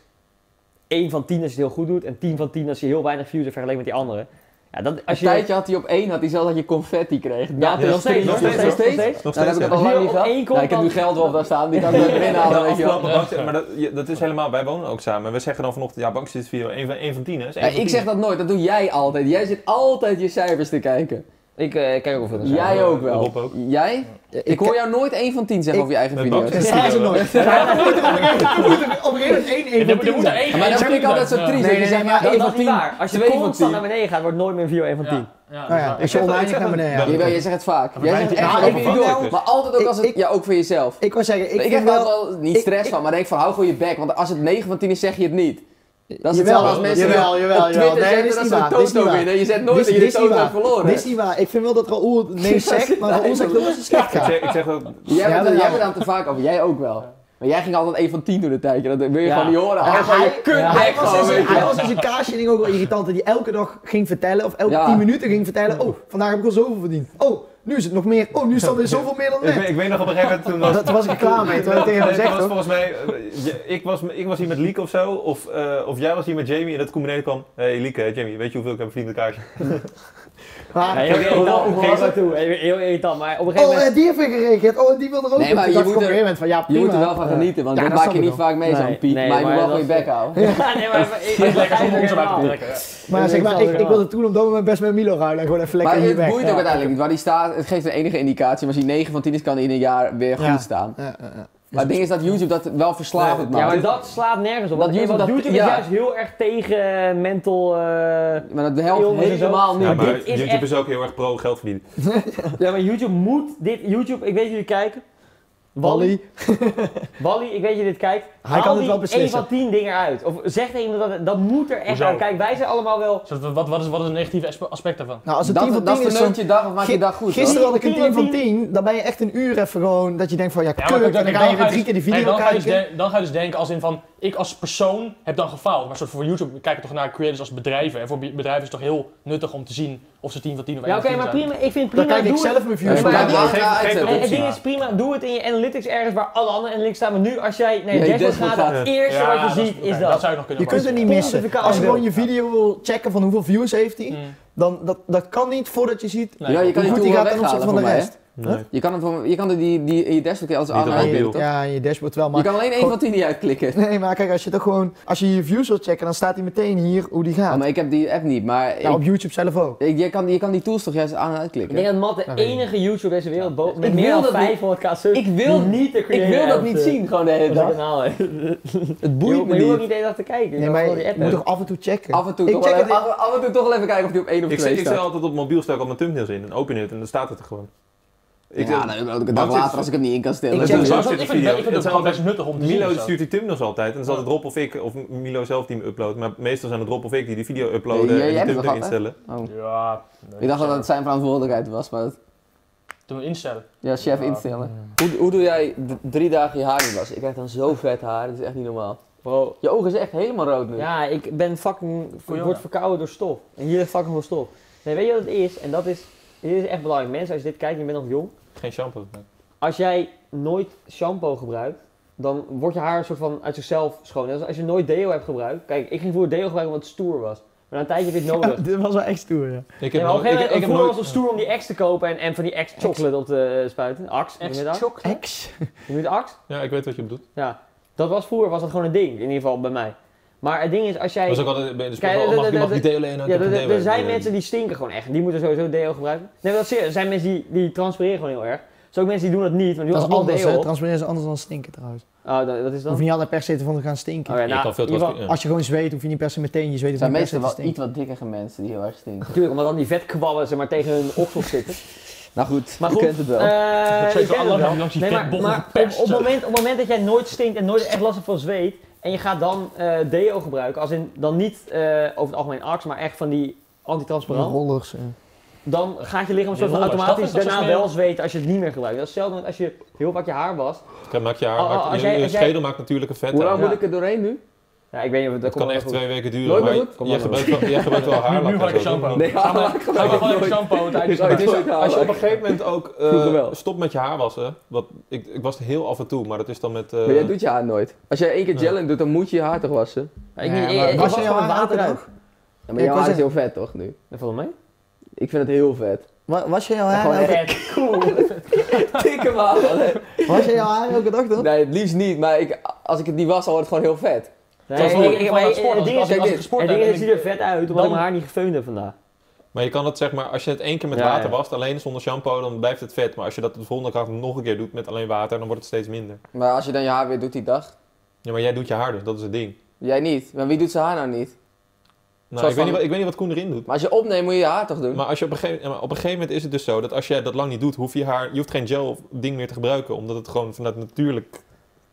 1 van 10 als je het heel goed doet en 10 van 10 als je heel weinig views hebt vergeleken met die andere. Ja, dat,
Een
als je
tijdje had hij op één, had hij zelfs dat je confetti kreeg.
Ja,
dat is
nog steeds,
nog steeds, nog steeds.
Nog
Nou,
steeds.
dat heb ik
ja.
al
Als je
lang niet
op
gehad.
één
Nou,
komt,
ik heb nu
dan-
geld wel op daar staan, die kan ik er weer inhalen,
Nou,
weet je wel.
afgelopen bank- maar dat, je- dat is helemaal, wij wonen ook samen. We zeggen dan vanochtend, ja, bankzitters video 1 van, één van 10 is
Ja, ik zeg dat nooit, dat doe jij altijd. Jij zit altijd je cijfers te kijken.
Ik eh, kijk ook hoeveel er zijn.
Jij ook wel.
Rob ook.
Jij? Ik hoor jou nooit één van tien zeggen
Ik-
over je eigen
Met
video's.
Baks?
Dat staan ze nooit. Ja, er moet er op een gegeven- er moet er op een gegeven moment één één van tien zijn.
Ja, maar dat vind ik altijd zo triest.
Nee,
dat je
nee,
zegt,
nee, maar
ja,
Dat,
één
dat
van
is niet waar.
tien,
Als je
twee van
constant naar
tien.
beneden gaat, wordt nooit meer een video 1 van 10.
Oh,
Nou
dus
ja, als je
zeg dat,
oneindig
ik zeg
naar
dat.
beneden
Ja.
gaat.
Jawel, jij zegt het vaak.
Dan
Jij
ben
zegt
je
echt
echt
van
wel
één video.
verantwoordelijk.
Maar altijd ook als het...
Ik-
Ja, ook voor jezelf.
Ik wil zeggen, ik,
Ik
vind
heb
wel...
daar wel niet
ik-
stress
ik-
van, maar denk van hou gewoon je bek. Want als het 9 van 10 is, zeg je het niet. Dat is
Jawel,
hetzelfde als mensen
jawel,
die op
jawel,
Twitter
jawel. Nee,
zeggen
dit is
dat
niet
ze een
waar, dit is
toto
niet
winnen. Je zegt nooit
Dit-
dat
dit
je de
is
toto
niet
hebt
waar.
verloren.
Dit is niet waar. Ik vind wel dat Raoul nee zegt, maar Raoul zegt ook dat ze slecht
Ik
gaat.
zeg, ik zeg dat,
Jij
Ja,
bent er-
maar-
jij bent daar te vaak over, jij ook wel. Maar jij ging altijd 1 van 10 doen een tijdje. Dat wil je
Ja.
gewoon niet horen. Hou
Ja,
gewoon je kut
ja,
bek
hij was
gewoon,
in zijn-
weet je
hij
wel.
was in zijn kaarsjening ook wel irritant. Dat hij elke dag ging vertellen, of elke
Ja.
10 minuten ging vertellen. Oh, vandaag heb ik al zoveel verdiend. Oh, nu is het nog meer. Oh, nu staat er zoveel meer dan
ik,
net.
weet- ik weet nog op een gegeven moment toen was...
Dat was ik er klaar mee. Toen had ik tegen hem
Nee,
gezegd,
dat was
hoor.
volgens mij, eh, je- ik, was, ik was hier met Lieke of zo, of, eh, of jij was hier met Jamie en dat toen beneden kwam. Hé hey, Lieke, eh, Jamie, weet je hoeveel ik heb verdiend met kaartje?
Ja,
Maar-
heel irritant.
Geen-
Hoe was dat nou, toe? Heel heel irritant. Maar op een gegeven
Oh,
moment...
eh, die heeft weer gereageerd. Oh, die wil er ook
Nee,
op.
maar
Toen dacht
je
ik op
moet
een
er-
gegeven moment van, ja,
Je moet er
prima.
wel van
Eh,
genieten, want
ja,
dat
dat
maak
snap
je
ik
niet
wel.
vaak mee,
Nee,
zo'n piek.
nee,
Maar je moet
maar
wel gewoon je
dat-
bek
[LAUGHS]
houden.
Ja, nee, maar ik- ik- ik
lekker
begrijp
zonder
het
ons erbij te
helemaal.
trekken.
Maar zeg maar, ik, ik wilde toen op dat moment best met Milo ruilen. en Gewoon even lekker
Maar
in je
het
weg.
boeit ook
Ja.
uiteindelijk niet. Waar die staat, het geeft een enige indicatie. Maar als hij 9 van 10 is, kan hij in een jaar weer
Ja.
goed staan.
Ja, ja, ja.
Maar het ding is dat YouTube dat wel
Nee,
verslavend
Ja, maar
maakt.
dat slaat nergens op.
Dat
Want
YouTube
YouTube,
dat-
YouTube
ja.
is juist heel erg tegen eh, mental... eh,
Maar dat
Heel
helpt
moeilijk
helemaal niet.
Ja, maar
dit is
YouTube
echt-
is ook heel erg pro geld verdienen.
Ja, maar YouTube moet dit... YouTube, ik weet dat jullie kijken. Wally,
Wally.
Wally, ik weet dat je dit kijkt.
Hij kan
Haal
het wel
die
beslissen.
één van tien dingen uit. Of zeg tegen iemand dat dat moet er echt
Hoezo?
uit. Kijk, wij zijn allemaal wel...
Dus wat, wat, is, wat is het negatieve aspe- aspect daarvan?
Nou, als het 10
Dat,
van
dat
10 is, dan...
verneukt je dag of maakt je
Gi-
dag goed. hoor.
Gisteren had ik een 10 van
Tien van
10, dan ben je echt een uur even gewoon, dat je denkt van ja,
Ja,
kut,
maar kijk,
en dan ga je weer drie keer de
dus-
video
nee, dan ga je dus
kijken.
de- dan ga je dus denken als in van, ik als persoon heb dan gefaald. Maar soort voor YouTube kijken toch naar creators als bedrijven. En voor be- bedrijven is het toch heel nuttig om te zien of ze 10 van 10
Ja,
of 1
oké,
van 10
maar
zijn.
prima. Ik vind prima.
Dan kijk ik
doe het.
zelf mijn views
Ja, maar
bij.
dat-
Geef-
ja,
geef het
uitzetten.
En
op.
het ding is prima, doe het in je analytics ergens waar alle andere analytics staan. Maar nu als jij naar je
Nee,
dashboard
dashboard
gaat, het
gaat.
eerste
Ja,
wat je
dat
ziet
oké,
is
Dat
dat.
zou je nog kunnen
Je kunt het niet missen.
Pontificaal
Als je
beeld.
gewoon je video wil checken van hoeveel views heeft hij,
Mm.
dan dat, dat kan niet voordat je ziet
Nee,
ja, je
hoe
kan die
goed
tool
hij
wel
gaat ten
weghalen
opzichte van
voor
de
mij. hè?
rest.
Nee.
Je kan, het, wel- je kan er die, die in je desktop kun je alles
Niet
aan
op
uitbeelden,
beeld.
toch?
Ja, in je dashboard wel,
Je
maar...
kan alleen 1
gewoon-
van 10 niet uitklikken.
Nee, maar kijk, als je toch gewoon, als je je views wilt checken, dan staat hij meteen hier hoe die
Ja, Nou,
gaat.
Oh, maar ik heb die app niet, maar ik-
Ja, Nou, op YouTube zelf ook.
ik- je, kan, die- je kan die tools toch juist aan en
Ik
uitklikken?
denk dat Matt de
Dat weet ik
enige YouTube op deze wereld bo- met
Ik
meer
wil
dan
dat niet.
500k subs
Ik wil-
die niet de
Ik
creator
wil dat
heeft,
niet
eh,
zien, gewoon de hele
op zijn
dag.
kanaal heeft.
Het
Je
boeit
hoeft-
me
maar je hoeft ook
niet.
niet de hele dag te kijken.
Nee,
Dat
maar
is wel die
je
app
moet
hebben.
toch af en toe checken?
Af en toe,
Ik
toch
check
wel even,
het-
af, af en toe toch wel even kijken of die op 1 of
Ik,
2
zet- ik
staat.
zet altijd op mobiel stel ik al mijn thumbnails in en open het en dan staat het er gewoon. Ik
ja,
zet-
dan ook
Bart
een dag
zit-
later als ik hem niet in kan stellen.
Ik
Dat
check
doe
het
ik.
ook.
Ik vind het- ik vind het gewoon best nuttig om te zien.
Milo
of
die
zo.
stuurt die thumbnails altijd. En dan is
Oh.
altijd Rob of ik, of Milo zelf die hem uploadt. Maar meestal zijn het Rob of ik die die video uploaden
Nee, jij-
en die
jij hebt het
thumbnail
gehad, hè?
instellen.
Ja. nee,
Ik dacht dat het zijn verantwoordelijkheid was, maar dat,
Toen we instellen.
ja, chef
Ja.
instellen. Hoe, hoe doe jij d- drie dagen je haar niet wassen? Ik krijg dan zo vet haar, dat is echt niet normaal.
Bro,
Je ogen zijn echt helemaal rood nu.
Ja, ik ben fucking. Ik
Corona.
word verkouden door stof. En hier is fucking veel stof. Nee, weet je wat het is? En dat is. Dit is echt belangrijk. Mensen, als je dit kijkt en je bent nog jong.
Geen shampoo. nee.
Als jij nooit shampoo gebruikt, dan wordt je haar een soort van uit zichzelf schoon. Net als als je nooit deo hebt gebruikt. Kijk, ik ging voor deo gebruiken omdat het stoer was. Maar na een tijdje heb je het
[LAUGHS]
nodig. [LAUGHS]
Dit was wel echt stoer, ja.
Ik
Ja,
heb
maar op een
nooit- ik-
gegeven
ik
moment
heb
vroeger was
nooit...
het stoer om die ex te kopen en, en van die ex chocolate op te eh, spuiten. Ax, noem je dat?
Choc.
Ex.
Noem je het ax?
Ja, ik weet wat je bedoelt.
Ja. Dat was vroeger, was dat gewoon een ding. In ieder geval bij mij. Maar het ding is, als jij...
Dat was ook altijd bij de sport.
Kijk,
oh, Mag
de-
ik- mag
de-
ik die delen? en
Ja, er, er zijn mensen die stinken gewoon echt. Die moeten sowieso deo gebruiken. Nee, maar dat is serieus. Er zijn mensen die, die transpireren gewoon heel erg. Er zijn ook mensen die doen dat niet, want die
Dat
doen
is
allemaal
anders, hè.
deo op.
Transpareren is anders dan stinken trouwens.
Oh, dat, dat is dan...
Hoef je niet altijd per se ervan te gaan stinken.
Oké,
Je
nou,
kan veel
in ieder geval-
transpireren.
Als je gewoon zweet, hoef je niet per se meteen je
Het
zweet
Oh, zijn
hoeft niet per se
meestal
te
wel iets
stinken.
wat dikkere mensen die heel erg stinken.
Natuurlijk, omdat dan die vetkwabbels zeg maar tegen hun oksels
[LAUGHS]
zitten.
Nou goed,
Maar
je
goed,
kent het wel.
eh,
Dat
ik ken
zijn toch
het
allemaal
wel.
die langs die
Nee, maar,
vetbollen
maar op,
gepest
op, het
zijn.
moment, op het moment dat jij nooit stinkt en nooit echt last hebt van zweet. en je gaat dan eh, deo gebruiken, als in dan niet eh, over het algemeen ax, maar echt van die antitransparant.
Rollers. eh.
dan gaat je lichaam
Die
soort van
rollers,
automatisch
dat is- dat
daarna
is meer-
wel zweten als je het niet meer gebruikt. Dat is hetzelfde met als je heel vaak je haar wast.
Kijk, maak je haar,
Oh, oh,
maakt-
als
je,
jij-
je
als jij-
schedel maakt natuurlijk een vet
Hoe
aan.
lang moet
Ja.
ik er doorheen nu?
Ja, ik weet niet of dat
Het
komt
kan
wel
echt
goed.
twee weken
Nooit
duren, maar
meer
je,
goed?
Kom
je
maar
gebruikt wel, je gebruikt
[LAUGHS]
wel
Nu,
haarlak.
nu
en
ga ik
zo.
shampoo.
Nee,
Ga maar,
haarlak
ga maar gewoon
nooit.
shampoo tijdens
Nooit.
het
Het is ook- als je op
Haarlak.
een gegeven moment ook eh,
Vroeger wel.
stopt met je haar wassen. Wat, ik, ik was heel af en toe, maar dat is dan met... eh,
Maar jij doet je haar nooit. Als jij één keer gel in doet, dan moet je je haar toch wassen?
Ja, ik
Ja,
niet,
maar
ik, ik
was
was
je
gewoon
haar
water
elke
uit.
Ja, maar
Ik
jouw
was
haar is
er-
heel vet toch nu?
Dat valt wel mee.
Ik vind het heel vet.
Wa- Was je jouw
Ja,
haar,
gewoon
elke,
Vet, cool.
[LAUGHS] Dikke maar.
was je jouw haar elke dag dan?
Nee, het liefst niet, maar ik, als ik het niet was, dan wordt het gewoon heel vet.
Nee,
Dat is wel
ik- ik-
ik
maar
het
ik-
sport.
Het
Als ik-
ding
als
is-
ik- als ik
kijk,
sport
het
heb
ding is,
en
het ziet
ik-
er vet uit, omdat ik
Dan-
mijn haar niet gefeund heb vandaag.
Maar je kan het zeg maar, als je het één keer met
Ja,
water
ja.
wast, alleen zonder shampoo, dan blijft het vet. Maar als je dat de volgende dag nog een keer doet met alleen water, dan wordt het steeds minder.
Maar als je dan je haar weer doet die dag,
Ja, maar jij doet je haar dus, dat is het ding.
jij niet. Maar wie doet zijn haar nou niet?
Nou,
Zoals
ik, weet
van-
niet, wat- ik weet niet wat Koen erin doet.
Maar als je opneemt, moet je je haar toch doen?
Maar als je op, een gegeven, ja, maar op een gegeven moment is het dus zo dat als jij dat lang niet doet, hoef je haar, je hoeft geen gel of ding meer te gebruiken. Omdat het gewoon vanuit natuurlijk.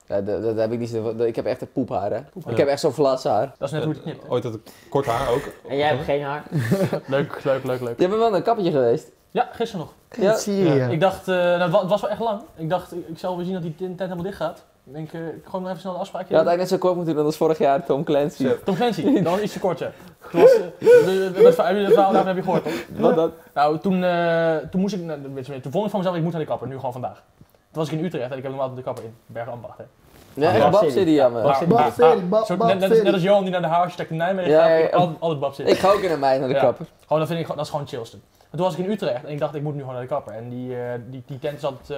Ja, dat, dat heb ik niet zo. Ik heb echt een poephaar, hè.
Poephaar.
Ik heb echt zo'n vlashaar.
Dat is net hoe het knipt.
eh, ooit had ik kort haar ook.
En jij hebt geen haar.
Leuk, leuk, leuk, leuk.
Je bent wel naar een kappertje geweest.
Ja, gisteren nog.
Ja.
Dat zie je.
Ja.
Ik dacht, eh, nou, het wa- het was wel echt lang. Ik dacht, ik ik zal weer zien dat die tent tent helemaal dicht gaat. Ik denk, eh, ik gooi nog even snel een afspraakje.
Je had eigenlijk net zo kort moeten doen als vorig jaar Tom Clancy.
Zo.
Tom Clancy, dan iets te kort, ja. Dat was, eh, de- de- dat verhaal- Heb je dat verhaal daarvan heb je gehoord, toch?
Wat dat?
Nou, toen, eh, toen moest ik, nou, weet je, toen vond ik van mezelf, ik moet naar de kapper, nu gewoon vandaag. Toen was ik in Utrecht en ik heb normaal de kapper in Bergambacht, hè.
Ja, echt
Ja.
Bab City, jammer.
Bab City.
Bab City,
Ah,
Bab-
zo-
Bab
net, net, als- net
City.
als Johan die naar de Haarstad naar Nijmegen
Ja,
gaat,
ja,
ik heb
ja.
altijd, altijd Bab City.
Ik ga ook in een mei naar de
Ja.
kapper.
Gewoon, dat vind ik gewoon- dat is gewoon het chillste. En toen was ik in Utrecht en ik dacht, ik moet nu gewoon naar de kapper. En die, eh, die, die tent zat eh,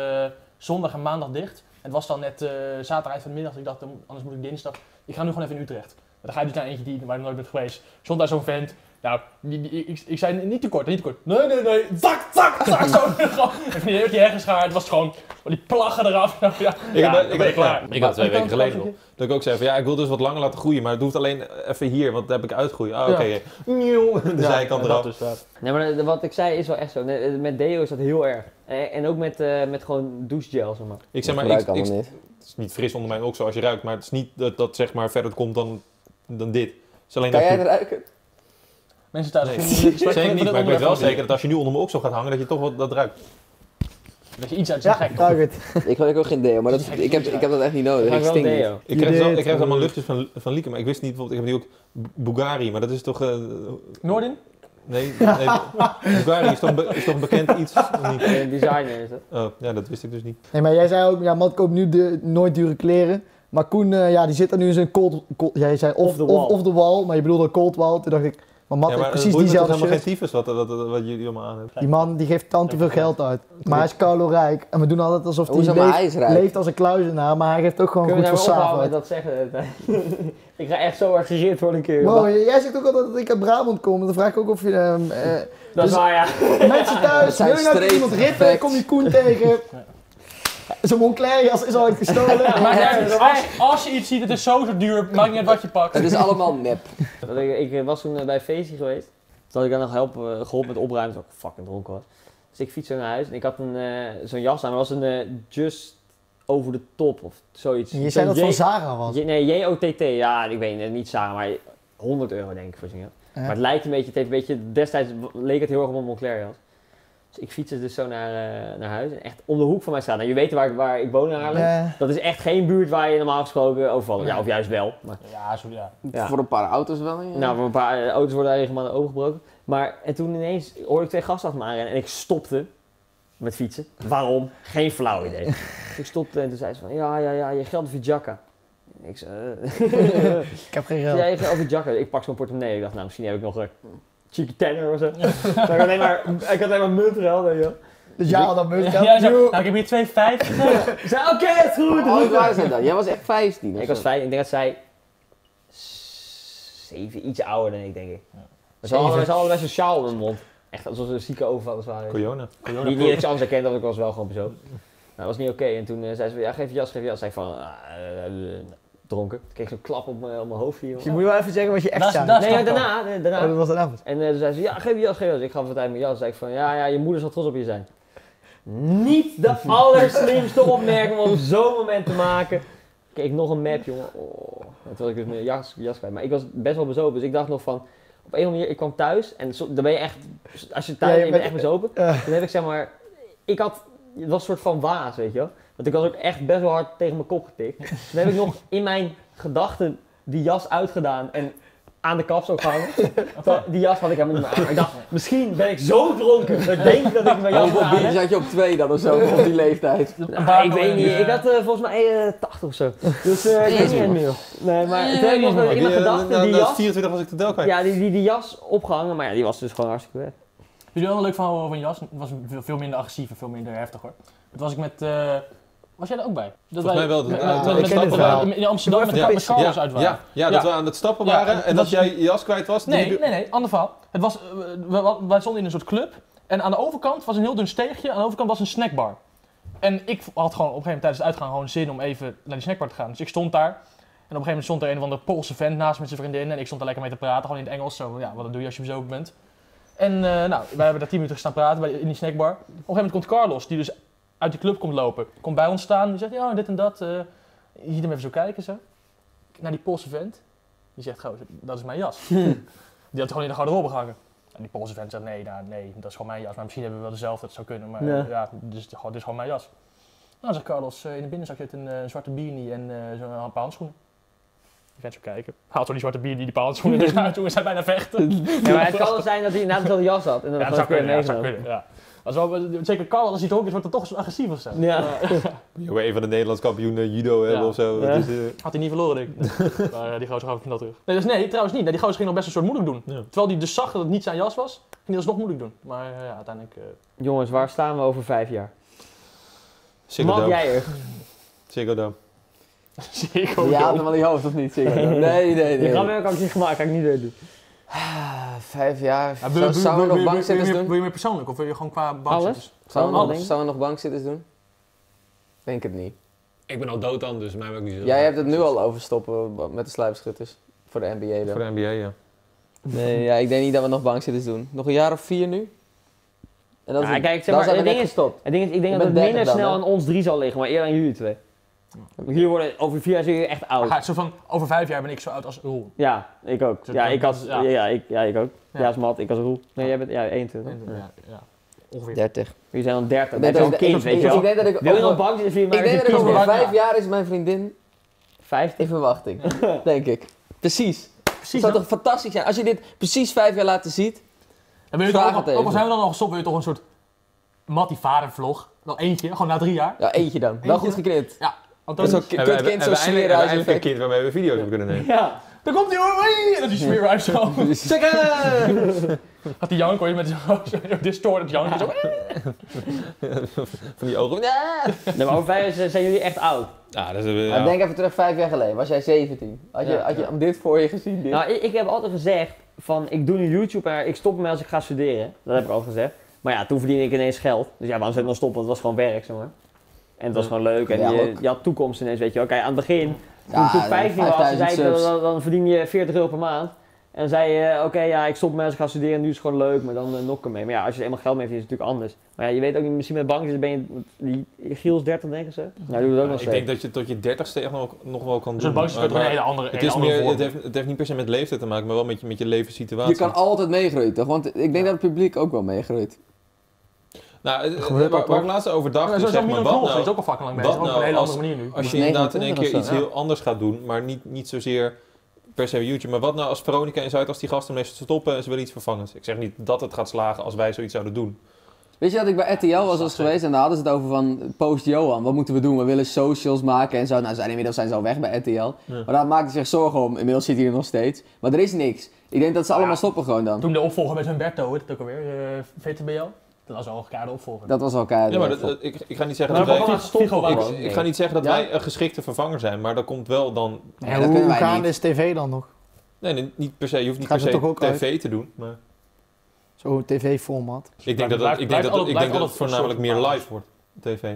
zondag en maandag dicht. Het was dan net eh zaterdag eind van de middag, dus ik dacht, dan- anders moet ik dinsdag. Ik ga nu gewoon even in Utrecht. En dan ga je dus naar eentje die waar ik nog nooit bent geweest. Stond daar zo'n vent. Nou, die, die- ik, ik zei niet te kort, niet te kort. Nee, nee, nee. Zak, zak, zak. Zo. [LAUGHS] Gewoon, Even die hele keer hergeschaard. Het was gewoon die plaggen eraf. [LAUGHS] Nou, ja,
Ik,
ja,
had-
dan
ik,
ben
had-
je klaar.
ja, ik had twee
Maar-
weken geleden nog. Dat ik ook zei van ja, ik wil dus wat langer laten groeien, maar het hoeft alleen even hier, want dat heb ik uitgroeien. Ah,
Ja.
oké. Nieuw, De zijkant
dat
eraf.
dus, ja.
Nee, maar eh, wat ik zei is wel echt zo. Nee, eh, Met deo is dat heel erg. En, en ook met, eh, met gewoon douchegel, zeg maar.
Ik zeg maar,
Dat
ik,
gebruik ik
ik-
allemaal niet.
het is niet fris onder mijn oksel als je ruikt, maar het is niet dat dat zeg maar verder komt dan, dan dit. Het is alleen
Kan
dat
jij
je-
het ruiken?
Mensen thuis.
Nee,
ik vind- ik
[LAUGHS] Zeker
spreek van
niet,
dit
maar ik weet
onderwerp
wel
van-
zeker dat als je nu onder mijn oksel gaat hangen, dat je toch wat dat ruikt.
Dat je iets uit zijn
Ja,
gek.
nou goed.
Ik gebruik ook geen deo, maar dat, ik, heb, ik heb dat echt niet nodig.
Maar
Ik
wel
stink niet.
deo.
Ik krijg,
Dit
wel, ik krijg allemaal
moet.
luchtjes van, van Lieke, maar ik wist niet, bijvoorbeeld, ik heb nu ook Bulgari, maar dat is toch... eh,
Noordin?
nee, nee Bulgari is toch, be- is toch een bekend iets? of niet?
Eh, designer is dat.
Oh, ja, dat wist ik dus niet.
Nee, maar jij zei ook, ja, man, ik koop nu de, nooit dure kleren. Maar Koen, eh, ja, die zit er nu in zijn cold, cold- jij zei off,
Off the
off-
wall.
off the wall, maar je bedoelde cold wall. Toen dacht ik, maar Matt
ja,
heeft
maar eh,
precies
het boeit me toch
diezelfde
helemaal geen
shirt.
tyfus wat, wat, wat, wat jullie allemaal aan hebben.
Die man die geeft tant te veel geld uit. Maar hij is kalorijk en we doen altijd alsof hij
Hoezo, maar hij is
leeft,
rijk.
leeft als een kluizenaar, maar hij geeft ook gewoon
Kunnen we
goed
daar
voor
maar ophouden met
samen.
dat zeggen? ik ga echt zo erg gereerd worden een keer.
Wow, jij zegt ook altijd dat ik uit Brabant kom, dan vraag ik ook of je... ehm, eh,
dat is
dus-
[LAUGHS]
waar, ja.
[LAUGHS]
Mensen thuis,
zijn
wil je nou
straight
tegen iemand ritten,
facts.
kom je Koen
[LAUGHS]
tegen. Zijn Moncler jas is al uitgestolen.
Maar als, als je iets ziet, het is zo zo duur, maakt niet uit wat je pakt.
Het is allemaal nep.
Dat ik, ik was toen eh, bij Feestie geweest. Toen had ik dan nog helpen, eh, geholpen met opruimen, toen ik fucking dronken was. Dus ik fietste naar huis en ik had een, eh, zo'n jas aan, maar dat was een eh, Just Over the Top of zoiets.
Je zei dat
Zo'n
van
J-
Zara was.
J- nee, JOTT, ja, ik weet het, niet samen, maar 100 euro denk ik voor zo'n jas.
Ja.
Maar het lijkt een beetje, het heeft een beetje, destijds w- leek het heel erg op een Moncler jas. Dus ik fietste dus zo naar, eh, naar huis en echt om de hoek van mijn straat. Nou, je weet waar, ik- waar ik woon in Haarlem.
Eh,
Dat is echt geen buurt waar je normaal gesproken overvalt. Ja, of juist wel. Maar,
Ja, zo ja.
[LAUGHS] Ja.
Voor een paar auto's wel. ja.
nou, een paar eh, auto's worden daar regelmatig overgebroken. Maar en toen ineens hoorde ik twee gasten achter me aanrennen en ik stopte met fietsen. Waarom? Geen flauw idee. Dus ik stopte en toen zei ze van, ja, ja, ja, je geld of je jacka. En Ik zei, eh,
ik heb geen
[LAUGHS] Ja,
geld.
je geld of je jacka. Ik pak zo'n portemonnee. Ik dacht, nou, misschien heb ik nog een cheeky tenner of zo. Dus ik had alleen maar, ik had alleen maar muntgeld. weet je wel.
Dus ja, dan moet
Ja, zo, nou, ik heb hier twee vijf.
[LAUGHS] Ik zei, oké, het is goed.
Hoe oud waren zij dan? Jij was echt 15 of
Ik was
zo.
vijf, ik denk dat zij s- zeven, iets ouder dan ik, denk ik. Maar ze
Zeven.
hadden, ze hadden best een sjaal om hun mond. Echt alsof ze een zieke overvallers waren.
Corona.
Niet, niet dat je anders herkent, want ik was wel gewoon bezopen. Nou, dat was niet oké. En toen eh, zei ze, ja, geef je jas, geef je jas. Zei ik van, ah, eh, eh, dronken. Toen kreeg ik zo'n klap op mijn op mijn hoofd hier.
Je moet wel even zeggen wat je echt
Dat-
zei.
dat-
Nee,
snap
ja,
ik wel.
daarna, eh,
Oh,
daarna.
dat was een avond.
En eh, toen zei ze, ja, geef je jas, geef je jas. Ik gaf het uit mijn jas. zei ik van, ja, ja, je moeder zal trots op je zijn. Niet [LAUGHS] de allerslimste opmerking om op zo'n moment te maken. Kijk, nog een map, jongen. Oh. En Toen was ik dus mijn jas, jas kwijt. Maar ik was best wel bezopen, dus ik dacht nog van... Oké, op een of andere manier, ik kwam thuis en so- dan ben je echt, als je
Ja,
thuis
je
bent, ben je
bent-
echt bezopen.
Eh,
Toen heb ik zeg maar, ik had, het was een soort van waas, weet je wel. Want ik was ook echt best wel hard tegen mijn kop getikt. Toen heb ik nog in mijn gedachten die jas uitgedaan en aan de kapstok gehangen. Terwijl Die jas had ik helemaal niet meer aan. Maar Ik dacht, misschien ben ik zo dronken dat [LAUGHS] ik denk dat ik mijn jas
Hoeveel
aan heb.
biertjes had je op twee dan of zo, op die leeftijd?
Ah, ik weet niet, ik had eh, volgens mij eh, 80 of zo. Dus eh, ik weet niet meer. Nee, maar
Nee,
toen heb ik nog
Maar
in mijn
die, eh, na-
gedachten die
na
jas
24 was ik de tel kwijt.
ja, die, die, die jas opgehangen, maar ja, die was dus gewoon hartstikke weg.
Jullie wel een leuk verhaal over een jas. Het was veel, veel minder agressief en veel minder heftig hoor. Het was ik met. eh, was jij er ook bij? Dat
Volgens mij wel.
Met,
Ja, ik
met- met-
ken
met-
dit
met-
verhaal.
in Amsterdam met,
Ja,
met Carlos
ja,
uit
ja,
waren.
ja, dat
Ja.
we aan het stappen
Ja,
waren
en
en dat
dat-
jij je jas kwijt was. die
Nee,
duur-
nee, nee, ander verhaal. Het was, eh, we- we- wij stonden in een soort club en aan de overkant was een heel dun steegje, aan de overkant was een snackbar. En ik had gewoon op een gegeven moment tijdens het uitgaan gewoon zin om even naar die snackbar te gaan. Dus ik stond daar en op een gegeven moment stond er een of andere Poolse vent naast met zijn vriendin en ik stond daar lekker mee te praten, gewoon in het Engels. Zo, ja, wat doe je als je bezopen bent. En eh, nou, wij hebben daar tien minuten gestaan praten bij, in die snackbar. Op een gegeven moment komt Carlos, die dus uit de club komt lopen, komt bij ons staan. Die zegt, ja, dit en dat. eh je ziet hem even zo kijken, zo. Naar die Poolse vent. Die zegt, gozer, dat is mijn [LAUGHS] jas. Die had gewoon in de garderobe gehangen. En die Poolse vent zegt, nee, nou, nee, dat is gewoon mijn jas. Maar misschien hebben we wel dezelfde, dat zou kunnen. Maar
Ja.
ja, dit, is, dit is gewoon mijn jas. Nou, zegt Carlos, eh, in de binnenzak zit een eh, zwarte beanie en eh, zo'n paar handschoenen. Die vent zo kijken. Haalt zo die zwarte beanie, die paar handschoenen eruit. Toen we zijn bijna vechten.
Ja, maar het kan wel zijn dat hij inderdaad dezelfde jas had. En dat
Ja, dat
was
zou
weer
kunnen, ja, dat zou
meegenomen.
kunnen, ja. Als wel, eh, zeker Carlos, als hij dronken is, wordt hij toch zo agressief of zo.
Ja. [LAUGHS]
Ja, maar een van de Nederlands kampioenen judo hebben
Ja.
of zo.
Ja.
Dat is, eh,
Had hij niet verloren, denk
[LAUGHS]
ik. maar eh, die gozer gaf ik hem dat terug. Nee, dus nee, trouwens niet. Nee, die gozer ging nog best een soort moeilijk doen.
Ja.
Terwijl hij dus zag dat het niet zijn jas was, ging hij alsnog moeilijk doen. Maar eh, ja, uiteindelijk... eh, [LAUGHS]
Jongens, waar staan we over vijf jaar?
Ziggo
Mag
Dome.
jij er?
Ziggo Dome.
zeker ook
Je haalt
wel.
hem wel in je hoofd of
[LAUGHS]
niet, zeker? Nee, nee,
Die grap
nee.
heb ik ook niet gemaakt, kan ik niet weer doen.
Ah, Vijf jaar.
Ja,
Zou- Zouden we nog bankzitters doen?
meer persoonlijk of wil je gewoon qua
bankzitters?
Zouden we
Allemaal
nog-
dingen?
zouden we nog bankzitters doen? Denk het niet.
Ik ben al dood dan, dus mij ook niet zo.
Jij hebt het nu al over stoppen met de sluipschutters. Voor de NBA dan.
Voor de NBA, ja.
Nee, ja, ik denk niet dat we nog bankzitters doen. Nog een jaar of vier nu? En dat
Ja,
is,
kijk, zeg
dan
maar,
zijn we
het
net
ding is-
gestopt.
Ik denk, ik denk
Je
dat het
bent
minder
dertig dan,
snel
hè?
aan ons drie zal liggen, maar eerder aan jullie twee. Want Jullie worden, over vier jaar zijn jullie echt oud.
Ah, zo van, over vijf jaar ben ik zo oud als Roel.
Ja, ik ook.
Zo
Ja,
dat-
ik had, ja,
ja.
ik, ja, ik ook.
Ja.
Ja, als Matt, ik als Roel. Nee, jij bent, ja, 21.
Ja, ja, ja. Ongeveer.
30.
Jullie zijn dan 30,
Ik
maar
denk
zo'n
dat ik-
kind, weet je
Ik
wel.
denk dat ik
Wil je nog
over,
bang zijn? Vind je
ik
maar
denk
dat
dat ik
je
kies
over
maar.
vijf jaar is mijn vriendin
50?
in
[LAUGHS]
verwachting. Denk ik. Precies. Het
Precies.
zou
hè?
toch fantastisch zijn als je dit precies vijf jaar later ziet.
En wil je toch
Vraag
ook,
het
ook al
even.
zijn we dan al gestopt, wil je toch een soort Mattie vader vlog? Wel eentje, gewoon na drie jaar.
Ja, eentje dan. Wel
Eentje?
goed geknipt. Met
Antonius.
zo'n ki- kut kind, zo'n
Hij heeft een
smeerhuis.
kind waarmee we video's hebben kunnen nemen.
Ja.
Daar komt hij hoor! En dat is weer
[LAUGHS]
uit zo. Had die jank hoor, je met zo'n zo'n distorted jank. Zo.
Van die ogen.
Nee, maar over vijf jaar zijn- zijn jullie echt oud.
Ja, dat is, eh,
Ja,
ja.
Denk even terug, vijf jaar geleden. Was jij 17? Had je,
Ja,
had je dit voor je gezien? Dit?
Nou, ik, ik heb altijd gezegd van ik doe nu YouTube en ik stop ermee als ik ga studeren. Dat heb ik al gezegd. Maar ja, toen verdiende ik ineens geld. Dus ja, waarom zou ik dan stoppen? Want het was gewoon werk, zeg maar. En het was gewoon leuk en
Ja,
je,
ook.
je had toekomst ineens, weet je wel. Kijk, aan het begin, toen
Ja,
ik 15 was, toen
5000
zei ik, dan,
subs.
dan, dan verdien je 40 euro per maand. En dan zei je, oké, ja, ik stop met als ik ga studeren, nu is het gewoon leuk, maar dan eh, nok ermee. Maar ja, als je er eenmaal geld mee verdient, is het natuurlijk anders. Maar ja, je weet ook niet, misschien met bankjes ben je, die Giels 30 denken ze. Nou, doe dat ook nog
Ik
steeds.
denk dat je tot je dertigste echt nog, nog wel kan doen.
Zo'n bankje Dus is
Maar-
toch een
maar
hele andere,
Het,
hele
is
andere
meer,
vorm.
het, heeft, het heeft niet per se met leeftijd te maken, maar wel met je, met je levenssituatie.
Je kan altijd meegroeien, toch? Want ik denk dat het publiek ook wel meegroeit.
nou, eh,
Gebeurt
waar,
dat
waar
toch?
ik laatst over dacht,
Ja,
is
Zo'n
zeg
zo
maar,
Milan
wat
Knol
nou
is ook al fucking lang
wat
bezig, ook op
nou
een hele
als-
andere manier nu.
Als je
Maar
inderdaad in één
29
keer
of
iets
zo,
heel anders gaat doen, maar niet, niet zozeer per se YouTube. Maar wat nou als Veronica en Zuid, als die gasten mee stoppen en ze willen iets vervangens? Ik zeg niet dat het gaat slagen als wij zoiets zouden doen.
Weet je dat ik bij RTL was, was geweest en daar hadden ze het over van post Johan. Wat moeten we doen? We willen socials maken en zo. Nou, zijn, inmiddels zijn ze al weg bij RTL. Maar daar maakte ze zich zorgen om. Inmiddels zit hij er nog steeds. Maar er is niks. Ik denk dat ze allemaal stoppen gewoon dan.
Toen de opvolger met Humberto, weet het ook alweer, eh VTBL. Dat was al een keiharde opvolger.
Dat was eh, elkaar.
Ja, maar dat, dat- ik, ik ga niet zeggen dat
Maar we
Nou,
wij...
gaan
Ik,
het stoppen
ik-
gewoon.
ik ga niet zeggen dat
Ja.
wij een geschikte vervanger zijn, maar dat komt wel dan...
en
Nee, dat kunnen
hoe
wij
gaan
niet.
is tv dan nog?
Nee, nee, niet per se. Je hoeft niet
Gaan
per
ze
se
toch ook
tv te doen. Maar
Zo'n tv-format.
ik denk dat,
blijft-
dat, ik denk
blijft
dat,
alle-
ik denk
blijft
dat
alle
het voornamelijk meer
soorten
live wordt, tv.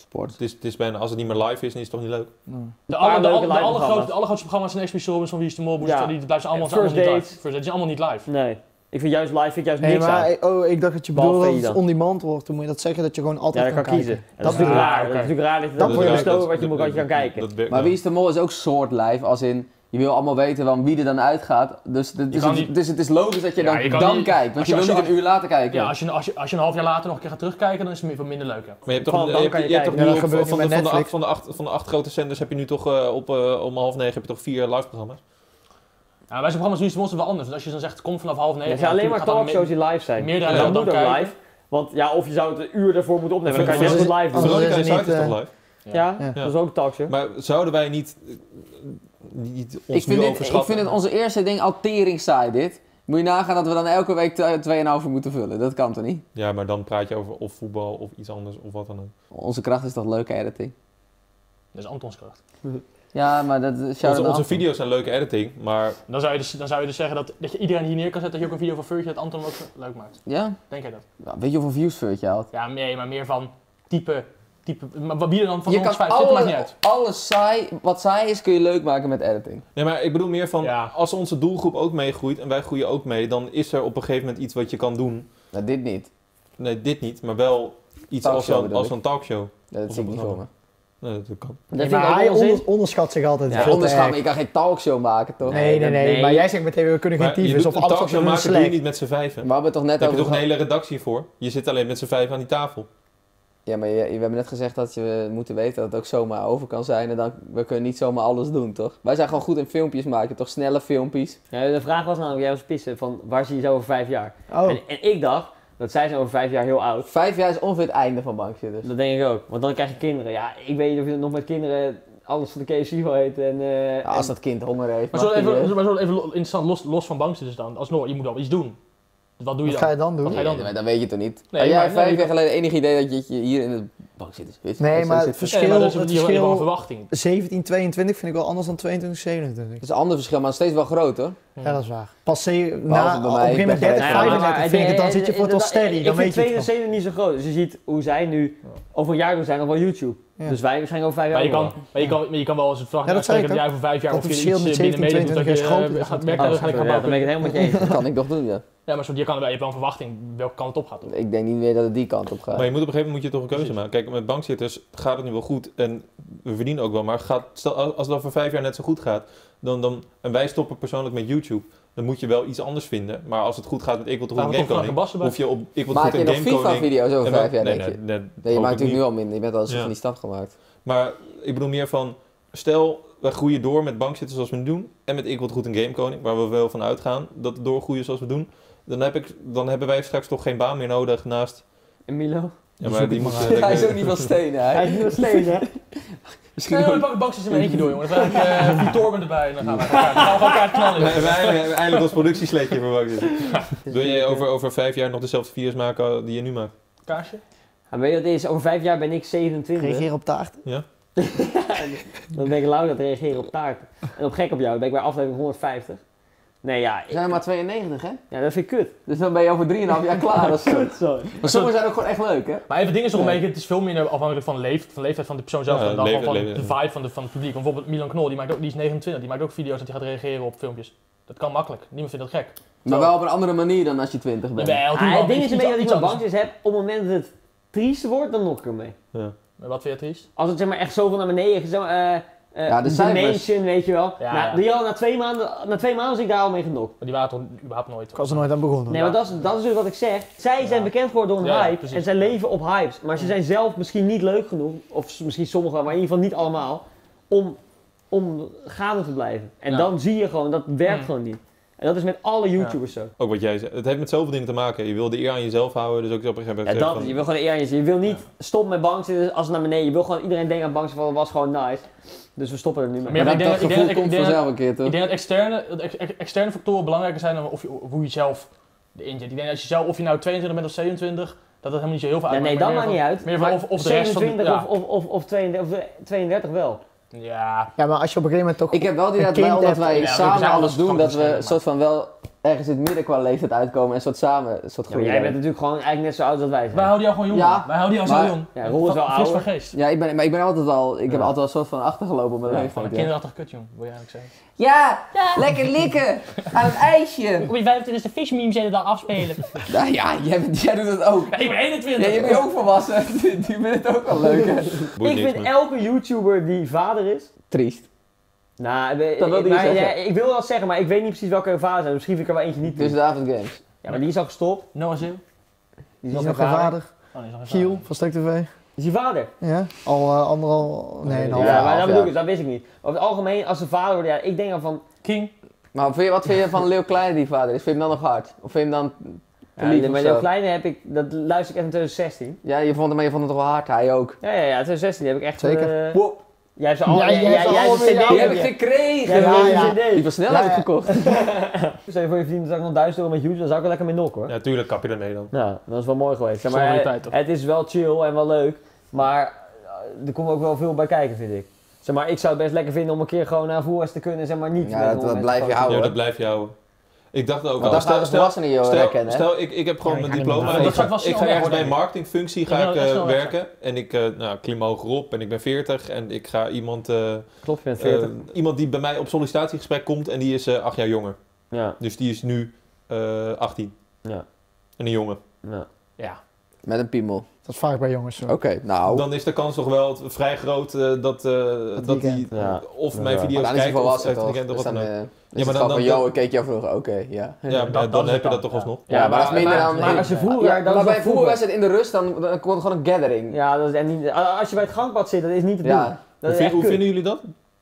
Sport.
Het is, het is bijna, als het niet meer live is, dan is het toch niet leuk.
De,
paar
aller, de,
leuke
aller- de
live
allergrootste,
programma's.
de allergrootste programma's zijn Expeditie Robinson, van Wie is de Mol, Booster,
Ja.
die blijven ze allemaal,
En
zijn allemaal
First
niet live.
Dates.
First Dates zijn allemaal niet live.
Nee, ik vind juist live, vind ik juist
Nee,
niks aan.
maar oh, ik dacht dat je
Behalve
bedoelde dat het
dan.
on-demand wordt. Dan moet je dat zeggen dat je gewoon
Ja,
altijd
dat kan
kijken.
kiezen. En Dat is
Ja,
natuurlijk raar.
oké.
Dat is natuurlijk raar dat je
Dat
dat
wordt
wordt
je dus-
bestoken wat je, wat je kan kijken.
Dat werkt
Maar
wel.
Wie is de Mol is ook soort live, als in Je wil allemaal weten van wie er dan uitgaat. Dus, het- dus,
kan
het,
niet-
dus het is logisch dat je
Ja,
dan,
je kan
dan
niet-
kijkt.
als
Want
je-
je,
als
wil
je-
niet een uur later kijken.
Ja, als je, als, je, als je een half jaar later nog een keer gaat terugkijken, dan is het meer- wat minder leuk. Ja.
Maar je hebt
Van-
toch, nu-
dan
je
kan je
hebt, je hebt toch
kijken.
nu
Ja,
op-
dat gebeurt
van,
niet
de,
met
van, de acht,
Netflix.
van, de acht, van de acht grote zenders heb je nu toch eh, op, eh, om half negen heb je toch vier live-programma's?
Nou, bij zo'n programma's nu is het monster wel anders. Want als je dan zegt, kom vanaf half negen.
Er zijn alleen maar
natuurlijk gaat dan
talkshows die live zijn.
meerdere
En dat
dan
moet ook
kijken.
live. Want ja, of je zou het een uur daarvoor moeten opnemen. Dan kan je
Ver-
net zo goed live doen.
Anders
Veronica
is
en Zuid
het
is
niet,
toch live?
Ja,
Ja.
dat is ook een talkshow.
Maar zouden wij niet, eh, niet ons
ik, vind
nu
dit,
overschatten?
ik vind het onze eerste ding al tering saai dit. Moet je nagaan dat we dan elke week twee- 2,5 moeten vullen. Dat kan toch niet?
Ja, maar dan praat je over of voetbal of iets anders of wat dan ook.
Onze kracht is toch leuke editing?
mee- Dat is Antons kracht.
Ja, maar dat shout
Onze, onze video's zijn leuke editing, maar
Dan zou je dus, dan zou je dus zeggen dat, dat je iedereen hier neer kan zetten. Dat je ook een video van Furtje dat Anton ook leuk maakt.
Ja?
Denk jij dat?
Nou, weet je hoeveel views Furtje haalt?
Ja, nee, maar meer van type. type maar wat- wie er dan van
je
ons
kan
vijf zit, maakt niet
alle,
uit.
alles saai, wat saai is, kun je leuk maken met editing.
Nee, maar ik bedoel meer van,
Ja.
als onze doelgroep ook meegroeit en wij groeien ook mee, dan is er op een gegeven moment iets wat je kan doen.
Nou, dit niet.
Nee, dit niet, maar wel iets
Talkshow
als zo'n
bedoel
als
ik.
zo'n talkshow.
Dat
Of
zie ik
een
niet voor me.
programma. Nee, dat kan.
Dat
Nee,
vind ik
maar
ook
hij
onzin.
onder- onderschat zich altijd.
Ja,
veel te
onderschat
erg.
me. Je kan geen talkshow maken, toch?
Nee, nee,
dat-
nee, Maar jij zegt meteen, we kunnen geen
Maar je
tyfus
doet
of
een
alles wat we
talkshow
doen is
maken doe je
slecht.
niet met z'n vijven.
We hebben het toch net
Daar heb
over
je toch een
gehad-
hele redactie voor? Je zit alleen met z'n vijven aan die tafel.
Ja, maar je, we hebben net gezegd dat je moeten weten dat het ook zomaar over kan zijn. En dan, we kunnen niet zomaar alles doen, toch? Wij zijn gewoon goed in filmpjes maken, toch? Snelle filmpjes.
Ja, de vraag was namelijk, jij was pissen, van waar zie je zo over vijf jaar?
Oh,
En, en ik dacht, dat zij zijn over vijf jaar heel oud.
Vijf jaar is ongeveer het einde van dus. bankzitters.
Dat denk ik ook, want dan krijg je kinderen. Ja, ik weet niet of je nog met kinderen alles van de KFC wil eten en... eh,
Ja, als
en-
dat kind honger heeft.
Maar
mag
zo even,
die,
maar
eh,
zullen we even lo- interessant, los, los van bankzitters dan. Alsnog, je moet wel iets doen. Dus Wat doe je
wat ga
dan?
je dan doen?
Wat ga je dan
nee,
doen?
maar dat weet je toch niet?
Nee,
Had jij
maar-
vijf
nee,
jaar geleden enig idee dat je- dat je hier in de bankzitters zit?
Nee, maar het
Dat
verschil-
Ja, maar dat is
het
hier wel- hier wel een
verschil-
verwachting.
1722 vind ik wel anders dan 2227.
is een ander verschil, maar steeds wel groot, hoor.
Ja, dat is waar. Pas zeer
bij
na,
mij,
op een gegeven
ik ben
moment 30,
gelijk.
Nou maar-
35 vind ik het, dan zit je voor het al sterry,
Ik-
dan
Ik
weet
vind
je het
72 niet zo groot, dus je ziet hoe zij nu over een jaar nog zijn nog wel YouTube.
Ja.
Dus wij waarschijnlijk over vijf
Maar
jaar Oh,
je,
ook
kan, maar, je kan, maar je kan wel eens het vraag
Ja, dat zei
uitspreken dat
ik
jij voor vijf jaar
Dat
of je iets
verschil met
eh, binnen
17,
meedoet dat
22 is groot,
je
is
eh, gaat
dat
wel.
merken dat
Oh,
ga ik
sorry,
gaan
ja, dan ben
bouwen.
ik het helemaal met je eens.
[LAUGHS]
[LAUGHS] Dat kan ik toch doen, ja.
Ja, maar soort, je, kan, je hebt wel een verwachting welke kant het op gaat. toch?
Ik denk niet meer dat het die kant op gaat.
Maar je moet op een gegeven moment moet je toch een keuze maken. Kijk, met bankzitters gaat het nu wel goed en we verdienen ook wel. Maar gaat, stel, als het over vijf jaar net zo goed gaat, dan, dan, en wij stoppen persoonlijk met YouTube, dan moet je wel iets anders vinden. Maar als het goed gaat met Ik wil toch
Daar
een
komt
Game
Frank
Koning,
en Bassen bij.
of je op Ik wil toch
Maak
goed
je
een
nog
Game Koning...
FIFA-video's over
Ja, maar-
vijf jaar,
nee,
denk je?
nee, nee,
Nee, je
hoop
maakt
ik
natuurlijk
niet.
nu al minder. Je bent al een soort
Ja.
van die stap gemaakt.
Maar ik bedoel meer van, stel we groeien door met bankzitters zoals we nu doen en met Ik word goed in Game Koning, waar we wel van uitgaan dat we doorgroeien zoals we doen, dan, heb ik, dan hebben wij straks toch geen baan meer nodig naast.
En Milo?
Ja, maar die moet. [LAUGHS]
Hij is ook niet van stenen,
Hij
hij.
is nu nog steeds,
[LAUGHS]
hè?
Misschien
Nee,
ook-
we pakken bankjes in mijn eentje door, jongen. Dan heb ik eh,
[LAUGHS]
die Torben erbij en dan gaan we elkaar, dan gaan we elkaar knallen.
We
joh.
hebben eindelijk, we eindelijk ons productiesletje voor
[LAUGHS]
bankzitters. Wil je over, over vijf jaar nog dezelfde video's maken die je nu maakt?
Kaarsje?
Ja, weet je wat het is? Over vijf jaar ben ik
toch.
27.
Reageer op taart.
Dan ben ik lauw dat reageren op taart. En op gek op jou, dan ben ik bij aflevering 150. Nee, ja, ik-
We zijn maar 92, hè?
ja dat vind ik kut.
Dus dan ben je over 3,5 jaar klaar of zo.
Kut, sorry.
Maar sommige zijn ook gewoon echt leuk, hè?
Maar even het ding is toch een
Nee.
beetje, het is veel minder afhankelijk van de, leef, van de leeftijd van de persoon zelf
Ja,
dan, dan
leven-
van
leven-
de vibe van, de, van het publiek. Want bijvoorbeeld Milan Knol, die, maakt ook, die is 29, die maakt ook video's dat hij gaat reageren op filmpjes. Dat kan makkelijk, niemand vindt dat gek.
Maar wel op een andere manier dan als je 20 bent.
Nee, want die
Ah,
man-
het ding is
iets-
een beetje dat ik
iets
zo bang
anders.
is heb, op het moment dat het triest wordt, dan nog ik ermee.
Maar Wat vind je triest?
Als het zeg maar echt zoveel naar beneden, zo, eh eh
Ja, de cijfers.
Dimension, weet je wel.
Ja,
nou,
ja.
Die al, na, twee maanden, na twee maanden was ik daar al mee genokt.
Maar die waren toch überhaupt nooit.
Ik was er nooit aan begonnen.
Nee, maar dat is, dat is dus wat ik zeg. Zij zijn bekend geworden door een
Ja, ja,
hype
precies.
en zij leven op hypes. Maar ze zijn zelf misschien niet leuk genoeg, of s- misschien sommigen, wel, maar in ieder geval niet allemaal, om, om gaande te blijven. En
Ja.
dan zie je gewoon, dat werkt
Mm.
gewoon niet. En dat is met alle YouTubers zo.
Ook wat jij zei. Het heeft met zoveel dingen te maken. Je wil de eer aan jezelf houden, dus ook op een gegeven
Ja,
moment.
dat,
zeggen
je
van-
wil gewoon eerlijk zijn. Je wil niet stoppen met bankzitten als het naar beneden. Je wil gewoon iedereen denken aan bankzitten van dat was gewoon nice. Dus we stoppen er nu mee.
Maar-
Maar
ik
dat,
denk
dat
dat- ik denk
gevoel
dat- ik
komt
denk dat-
vanzelf een keer,
eh.
Ik
toch?
denk dat externe, dat ex- ex- externe factoren belangrijker zijn dan of je, of hoe je zelf erin zit. Ik denk dat je zelf, of je nou 22 bent of 27, dat dat helemaal niet zo heel veel
Ja,
uitmaakt.
nee,
maar
dat maakt
meer
niet
van-
uit.
meer van
maar
of- of de rest van de-
27
ja.
of, of, of, of 32, of 32 wel.
Ja,
Ja, maar als je op een gegeven moment toch...
Ik heb wel die dat
kind
wij, omdat
heeft-
wij
Ja, we
samen
zijn
alles doen, dat we
verschillend,
een soort van wel ergens in het midden qua leeftijd uitkomen en soort samen een soort
Ja, maar
groeien.
jij bent natuurlijk gewoon eigenlijk net zo oud als wij
wij
zijn.
houden jou gewoon jong.
Ja,
wij houden jou zo
maar-
jong.
Ja, Roel is wel
Fris van
ouder.
geest.
ja, ik ben, maar ik ben altijd al, ik heb altijd al een soort van achtergelopen op mijn
Ja,
Van
leeftijd.
een
ja.
kinderachtig kut, jong, wil je eigenlijk zeggen.
Ja, lekker likken aan het ijsje.
Op je 25 e fishmeme zitten dan afspelen.
Nou ja, jij, bent- jij doet het ook.
ik ben 21.
Ja, je bent ook volwassen. [LAUGHS] Die vindt het ook wel leuk. hè?
Boeit
Ik
niks,
vind
maar-
elke YouTuber die vader is,
Triest.
Nou, we-
Dat wilde je
maar-
zeggen.
ja, ik wil dat zeggen, maar ik weet niet precies welke fase. Misschien vind ik er wel eentje niet.
Dus
toe.
David Games.
Ja, maar die is al gestopt.
Noah Zeeuw? Oh,
Die
Die
is
is
al
nog
zijn
geen
vader.
vader.
nee, Dus is nog geen
Giel
vader.
van Stek TV.
Die is je vader.
Ja, al eh, anderhalf... Nee, een
Ja,
Ja,
half
half
maar
jaar.
dat bedoel ik, dus, dat wist ik niet. Over het algemeen, als ze vader wordt, ja, ik denk dan van.
King?
Maar vind je- wat vind je van Leo Kleine die vader is? Vind je hem dan nog hard? Of vind je hem dan...
Ja,
Lief of
maar
zo.
de kleine heb ik, dat luister ik echt in 2016.
Ja, je vond hem, maar je vond hem toch wel hard, hij ook.
Ja, ja, ja, 2016 heb ik echt.
Zeker.
eh, jij hebt ze al.
Ja, jij hebt ze
jij hebt
al
een
weer,
CD.
ja.
Die heb
heb
ik
je.
gekregen!
Jij hebt
Ja,
een
ja.
Die
CD.
was snel
Ja,
heb ik
ja.
gekocht.
Stel je voor je vrienden dat ik nog 1000 euro met YouTube, dan zou ik er lekker mee nokken hoor.
Ja, tuurlijk kap je daarmee dan.
Nou, dat is wel mooi geweest. Zeg
Zonder
maar,
die
eh,
tijd, toch?
het is wel chill en wel leuk, maar eh, er komt ook wel veel bij kijken, vind ik. Zeg maar, ik zou het best lekker vinden om een keer gewoon naar voetbal te kunnen, zeg maar niet.
Ja,
met
dat-
honderd
dat
mensen
blijf je
foto's.
houden.
Ja,
hoor.
dat blijf je houden. Ik dacht ook
Want
al.
dan gaan
Stel,
de
stel,
volwassenen je
stel,
herkennen, hè?
stel ik, ik heb gewoon
Ja, ik
mijn
ga niet
diploma.
meer
en
naar
ik ga,
voetbal.
ik ga ergens bij een
Ja.
marketingfunctie
Ik
ga
wil
ik, eh,
echt snel weg
werken. En ik eh, nou, klim hogerop en ik ben 40. En ik ga iemand, eh,
Klopt, je bent 40.
eh, iemand die bij mij op sollicitatiegesprek komt en die is eh, acht jaar jonger.
ja,
Dus die is nu eh 18.
Ja.
En een jongen.
ja.
Met een piemel.
Dat is vaak bij jongens zo.
Oké, nou.
Dan is de kans toch wel t- vrij groot eh, dat, eh, dat die
weekend.
Ja.
of mijn
Ja.
video's
maar dan is hij
kijkt of
volwassen
het
toch?
weekend of
Dus
wat
dan,
dan ook.
eh, is
maar
het
dan-
gewoon van,
dan-
yo, ik keek jou vroeger. Oké, ja.
Ja, maar
dat- dat
dan
is
heb je
dan.
dat toch
Ja.
alsnog.
Ja, maar dat is minder dan...
Maar als je voetbal,
Ja,
ja, dan is
maar bij
dat
een
voetbal.
voetbalwedstrijd in de rust, dan, dan komt gewoon een gathering.
Ja, dat is en niet, als je bij het gangpad zit, dat is niet te doen.
Ja.
Dat
Hoe,
is
vind-
echt
hoe
kut.
vinden jullie dat?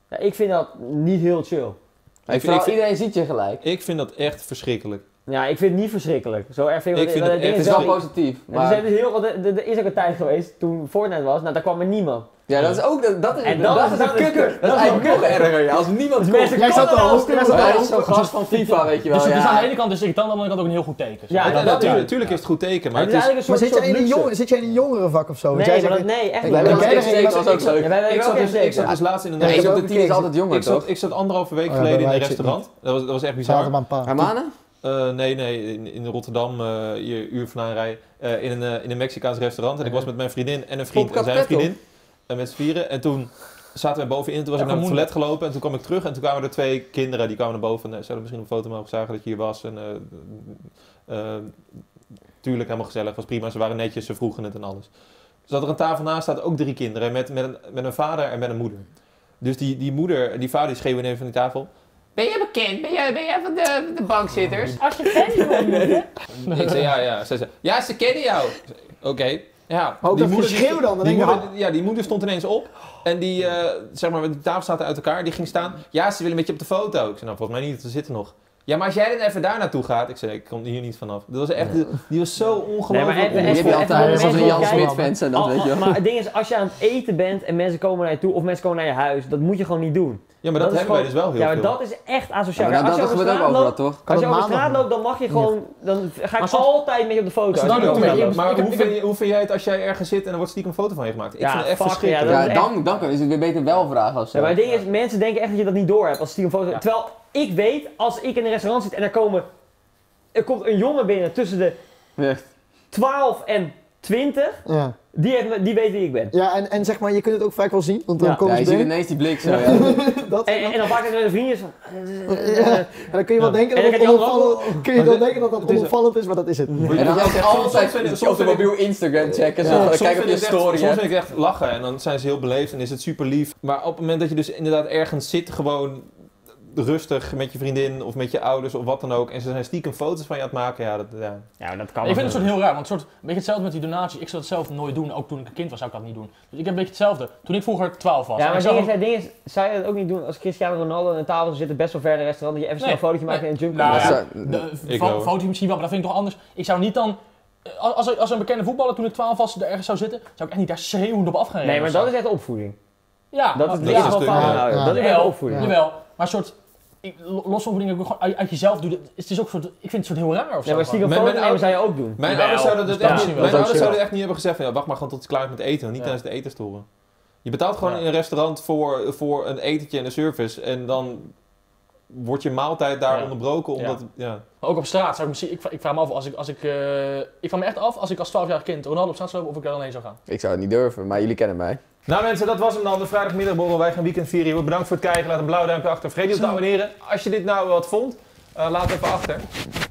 Ja, ik vind dat niet heel chill.
Ik
Ik vind- ik vind-
iedereen ziet je gelijk.
Ik vind dat echt verschrikkelijk.
Ja, ik vind het niet verschrikkelijk. Zo erg vind
Ik vind
dat-
het
dat
echt
ding
Het is
Sorry.
wel positief.
er, zijn
Maar,
dus heel, wat- er, er is ook een tijd geweest toen Fortnite was, nou daar kwam er niemand.
ja, dat is ook... Dat, dat is,
En dat is-
is
dat is
kutter.
kut.
Dat is
Dat is
eigenlijk nog erger. ja, Als niemand
Dus
komt.
mensen
Jij
komen
zat er
wel
al,
eens
jij
toe.
zat er
Ja,
al.
dat is zo'n gast van FIFA, weet je wel.
Dus, dus aan de
Ja.
ene kant is het irritant, aan de andere kant ook een heel goed teken.
Ja,
Ja,
dat-
natuurlijk,
ja.
natuurlijk is het goed teken,
Maar
maar
het
het
is
is,
eigenlijk een
Maar zit
soort,
jij,
soort
in een
luxe.
jongen, zit jij in een jongerenvak of zo? Want jij
Nee, maar
zegt
dat, nee, echt
Bij
niet.
hebben
ons
ook
X
gathering,
steek was ook zo.
Ja, wij
Ik
hebben
zat,
ook
dus,
een
ik zat dus laatst in een
Nee,
ik
één
restaurant.
op
heb
de
ook
tien is
gekeken.
altijd jonger,
Ik zat,
toch?
ik zat anderhalve week
Oh ja,
geleden
bij
in een
mij zit
restaurant. Dat was, dat was echt bizar.
zaten maar een paar.
Hermanen?
Eh, nee, nee, in, in Rotterdam, eh, hier uur van aanrijden, eh, in, een, eh, in een Mexicaans restaurant. En ik was met mijn vriendin en een vriend en
Popcorn
zijn
Petal.
vriendin. En met z'n vieren. En toen zaten we bovenin, toen was
Ja,
ik naar het
vermoedelijk.
toilet gelopen. En toen kwam ik terug en toen kwamen er twee kinderen. Die kwamen naar boven en eh, zouden misschien een foto mogen zagen dat je hier was. En eh, eh, tuurlijk, helemaal gezellig, was prima. Ze waren netjes, ze vroegen het en alles. Zat er een tafel naast, staat ook drie kinderen. Met, met, een, met een vader en met een moeder. Dus die, die moeder, die vader die schreeuwde ineens van die tafel.
Ben jij bekend? Ben jij, ben jij van de, de bankzitters?
Als je fan wil ontmoeten,
Ik zei ja, ja. Zij zei, ja, ze kennen jou. Ik zei, Oké. Ja,
Ook dat
moeder
geschreeuw
die-
dan, dan
Die
denk ik,
moeder, ja, die moeder stond ineens op. En die, eh, zeg maar, de tafel zaten uit elkaar. Die ging staan. Ja, ze willen met je op de foto. Ik zei, nou, volgens mij niet. Ze zitten nog. Ja, maar als jij dan even daar naartoe gaat. Ik zei, ik kom hier niet vanaf. Dat was echt, die was zo ongelooflijk.
Nee, maar even-
Die heb je
ongevoelig.
even-
altijd. Dat
even-
is een Jan
even-
Smit fan zijn dat,
Al-
dus- weet je
al-
wel.
maar het ding is, als je aan het eten bent en mensen komen naar je toe of mensen komen naar je huis, dat moet je gewoon niet doen.
ja, maar dat,
dat is
hebben wij dus wel heel
ja, maar
veel.
dat is echt
Ja,
asociaal.
maar dat
als je
dat
over
gebeurt ook
straat
overal,
loopt,
toch?
als je
Kan
over
het
straat
maandag
loopt, dan mag je gewoon, dan ga ik
Maar soms-
altijd met je op de foto.
Als het dan
Ja,
ook
Ja, maar-
Ja,
maar
ik heb-
hoe vind, je, hoe vind jij het als jij ergens zit en er wordt stiekem een foto van je gemaakt? Ik
Ja,
vind het echt
fuck,
verschrikkelijk.
ja, dat-
Ja, dan, dan is het weer beter wel vragen of zo.
maar het ding is, mensen denken echt dat je dat niet door hebt als die een foto.
Ja.
Terwijl ik weet, als ik in een restaurant zit en er komen, er komt een jongen binnen tussen de
Ja.
12 en 20,
Ja.
die, heeft, me- die weet wie ik ben.
Ja, en, en zeg maar, je kunt het ook vaak wel zien, want dan
Ja.
Ja,
komen
je
ze
ziet
binnen.
ineens die blik zo, ja.
[LAUGHS]
Dat,
En, en dan vaak met mijn vrienden van. "Oh,
Ja. En dan kun je wel
Ja.
denken
En
dat dat
dan gaat die andere
onopvallend, kun je
Maar
wel
dit-
denken dat dat
het is- Mhm.
onopvallend is, maar dat is het. niet.
En dan
Ja,
gaat ze
soms- soms vind ik-
altijd
soms
op de
vind ik-
mobiel Instagram checken, zo.
soms
Kijk op
vind
je
ik het
story,
Echt,
hè.
soms vind ik echt lachen en dan zijn ze heel beleefd en is het super lief. Maar op het moment dat je dus inderdaad ergens zit, gewoon rustig met je vriendin of met je ouders of wat dan ook. En ze zijn stiekem foto's van je aan het maken. Ja, dat, ja.
Ja, dat kan
Ik vind het soort heel raar, want soort, een beetje hetzelfde met die donatie. Ik zou het zelf nooit doen, ook toen ik een kind was zou ik dat niet doen. Dus ik heb een beetje hetzelfde. Toen ik vroeger 12 was.
Ja,
en
maar
ik
het
zag
ding,
ook-
is, het ding is, zou je dat ook niet doen als Cristiano Ronaldo aan de tafel zou zitten, best wel ver in een restaurant, dat je even snel
Nee,
een fotootje maakt
nee.
en een jump
Nou,
komt?
ja.
Zo-
De
Ik
fo-
wel, hoor.
foto misschien wel, maar dat vind ik toch anders. Ik zou niet dan... eh, Als, als, als een bekende voetballer toen ik 12 was er ergens zou zitten, zou ik echt niet daar schreeuwend op af gaan
Nee, maar
rennen of zo.
dat is echt opvoeding.
Ja, dus
Dat is
dat
het
is
eerste
een
wat
stuk,
van
ja.
houden.
Ja.
Dat is echt
Jawel,
opvoeding.
Jawel, maar een soort... ik- lo- Los van dingen, gewoon uit, uit jezelf doen. het is- Het is ook soort, ik vind het soort heel raar of zo.
Nee, maar
gewoon.
stiekem
Mijn-
foto
mijn
nemen
oude-
zou je ook doen.
Mijn
Jawel,
ouders zouden
dat
dus dat
is
echt
misschien
niet, mijn
wel.
Dat is
ouders
ook
zouden echt niet hebben gezegd van ja, wacht maar gewoon tot ze klaar is met eten. Niet
Ja.
tijdens het eten storen. Je betaalt gewoon
Ja.
in een restaurant voor, voor een etentje en een service en dan wordt je maaltijd daar
Ja.
onderbroken omdat... Ja.
Maar ook op straat zou ik misschien... Ik, vra- ik vraag me af, als ik... Als ik, eh, ik vraag me echt af, als ik als 12-jarig kind Ronaldo op straat zou lopen, of ik daar dan heen zou gaan.
Ik zou het niet durven, maar jullie kennen mij.
Nou mensen, dat was hem dan. De vrijdagmiddagborrel. Wij gaan weekend vieren. Heel Bedankt voor het kijken. Laat een blauw duimpje achter. Vergeet niet te abonneren. Als je dit nou wat vond, eh, laat het even achter.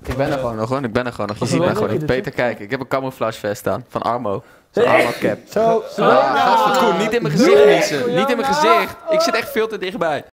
Ik ben er gewoon nog, hoor. Ik ben er gewoon nog. Je ziet mij gewoon niet. Peter, kijk. Ik heb een camouflage vest aan. Van Armo. Zo'n Armo cap.
Zo.
Ah, Gast van Koen, niet in mijn gezicht, mensen. Niet in mijn gezicht. Ik zit echt veel te dichtbij.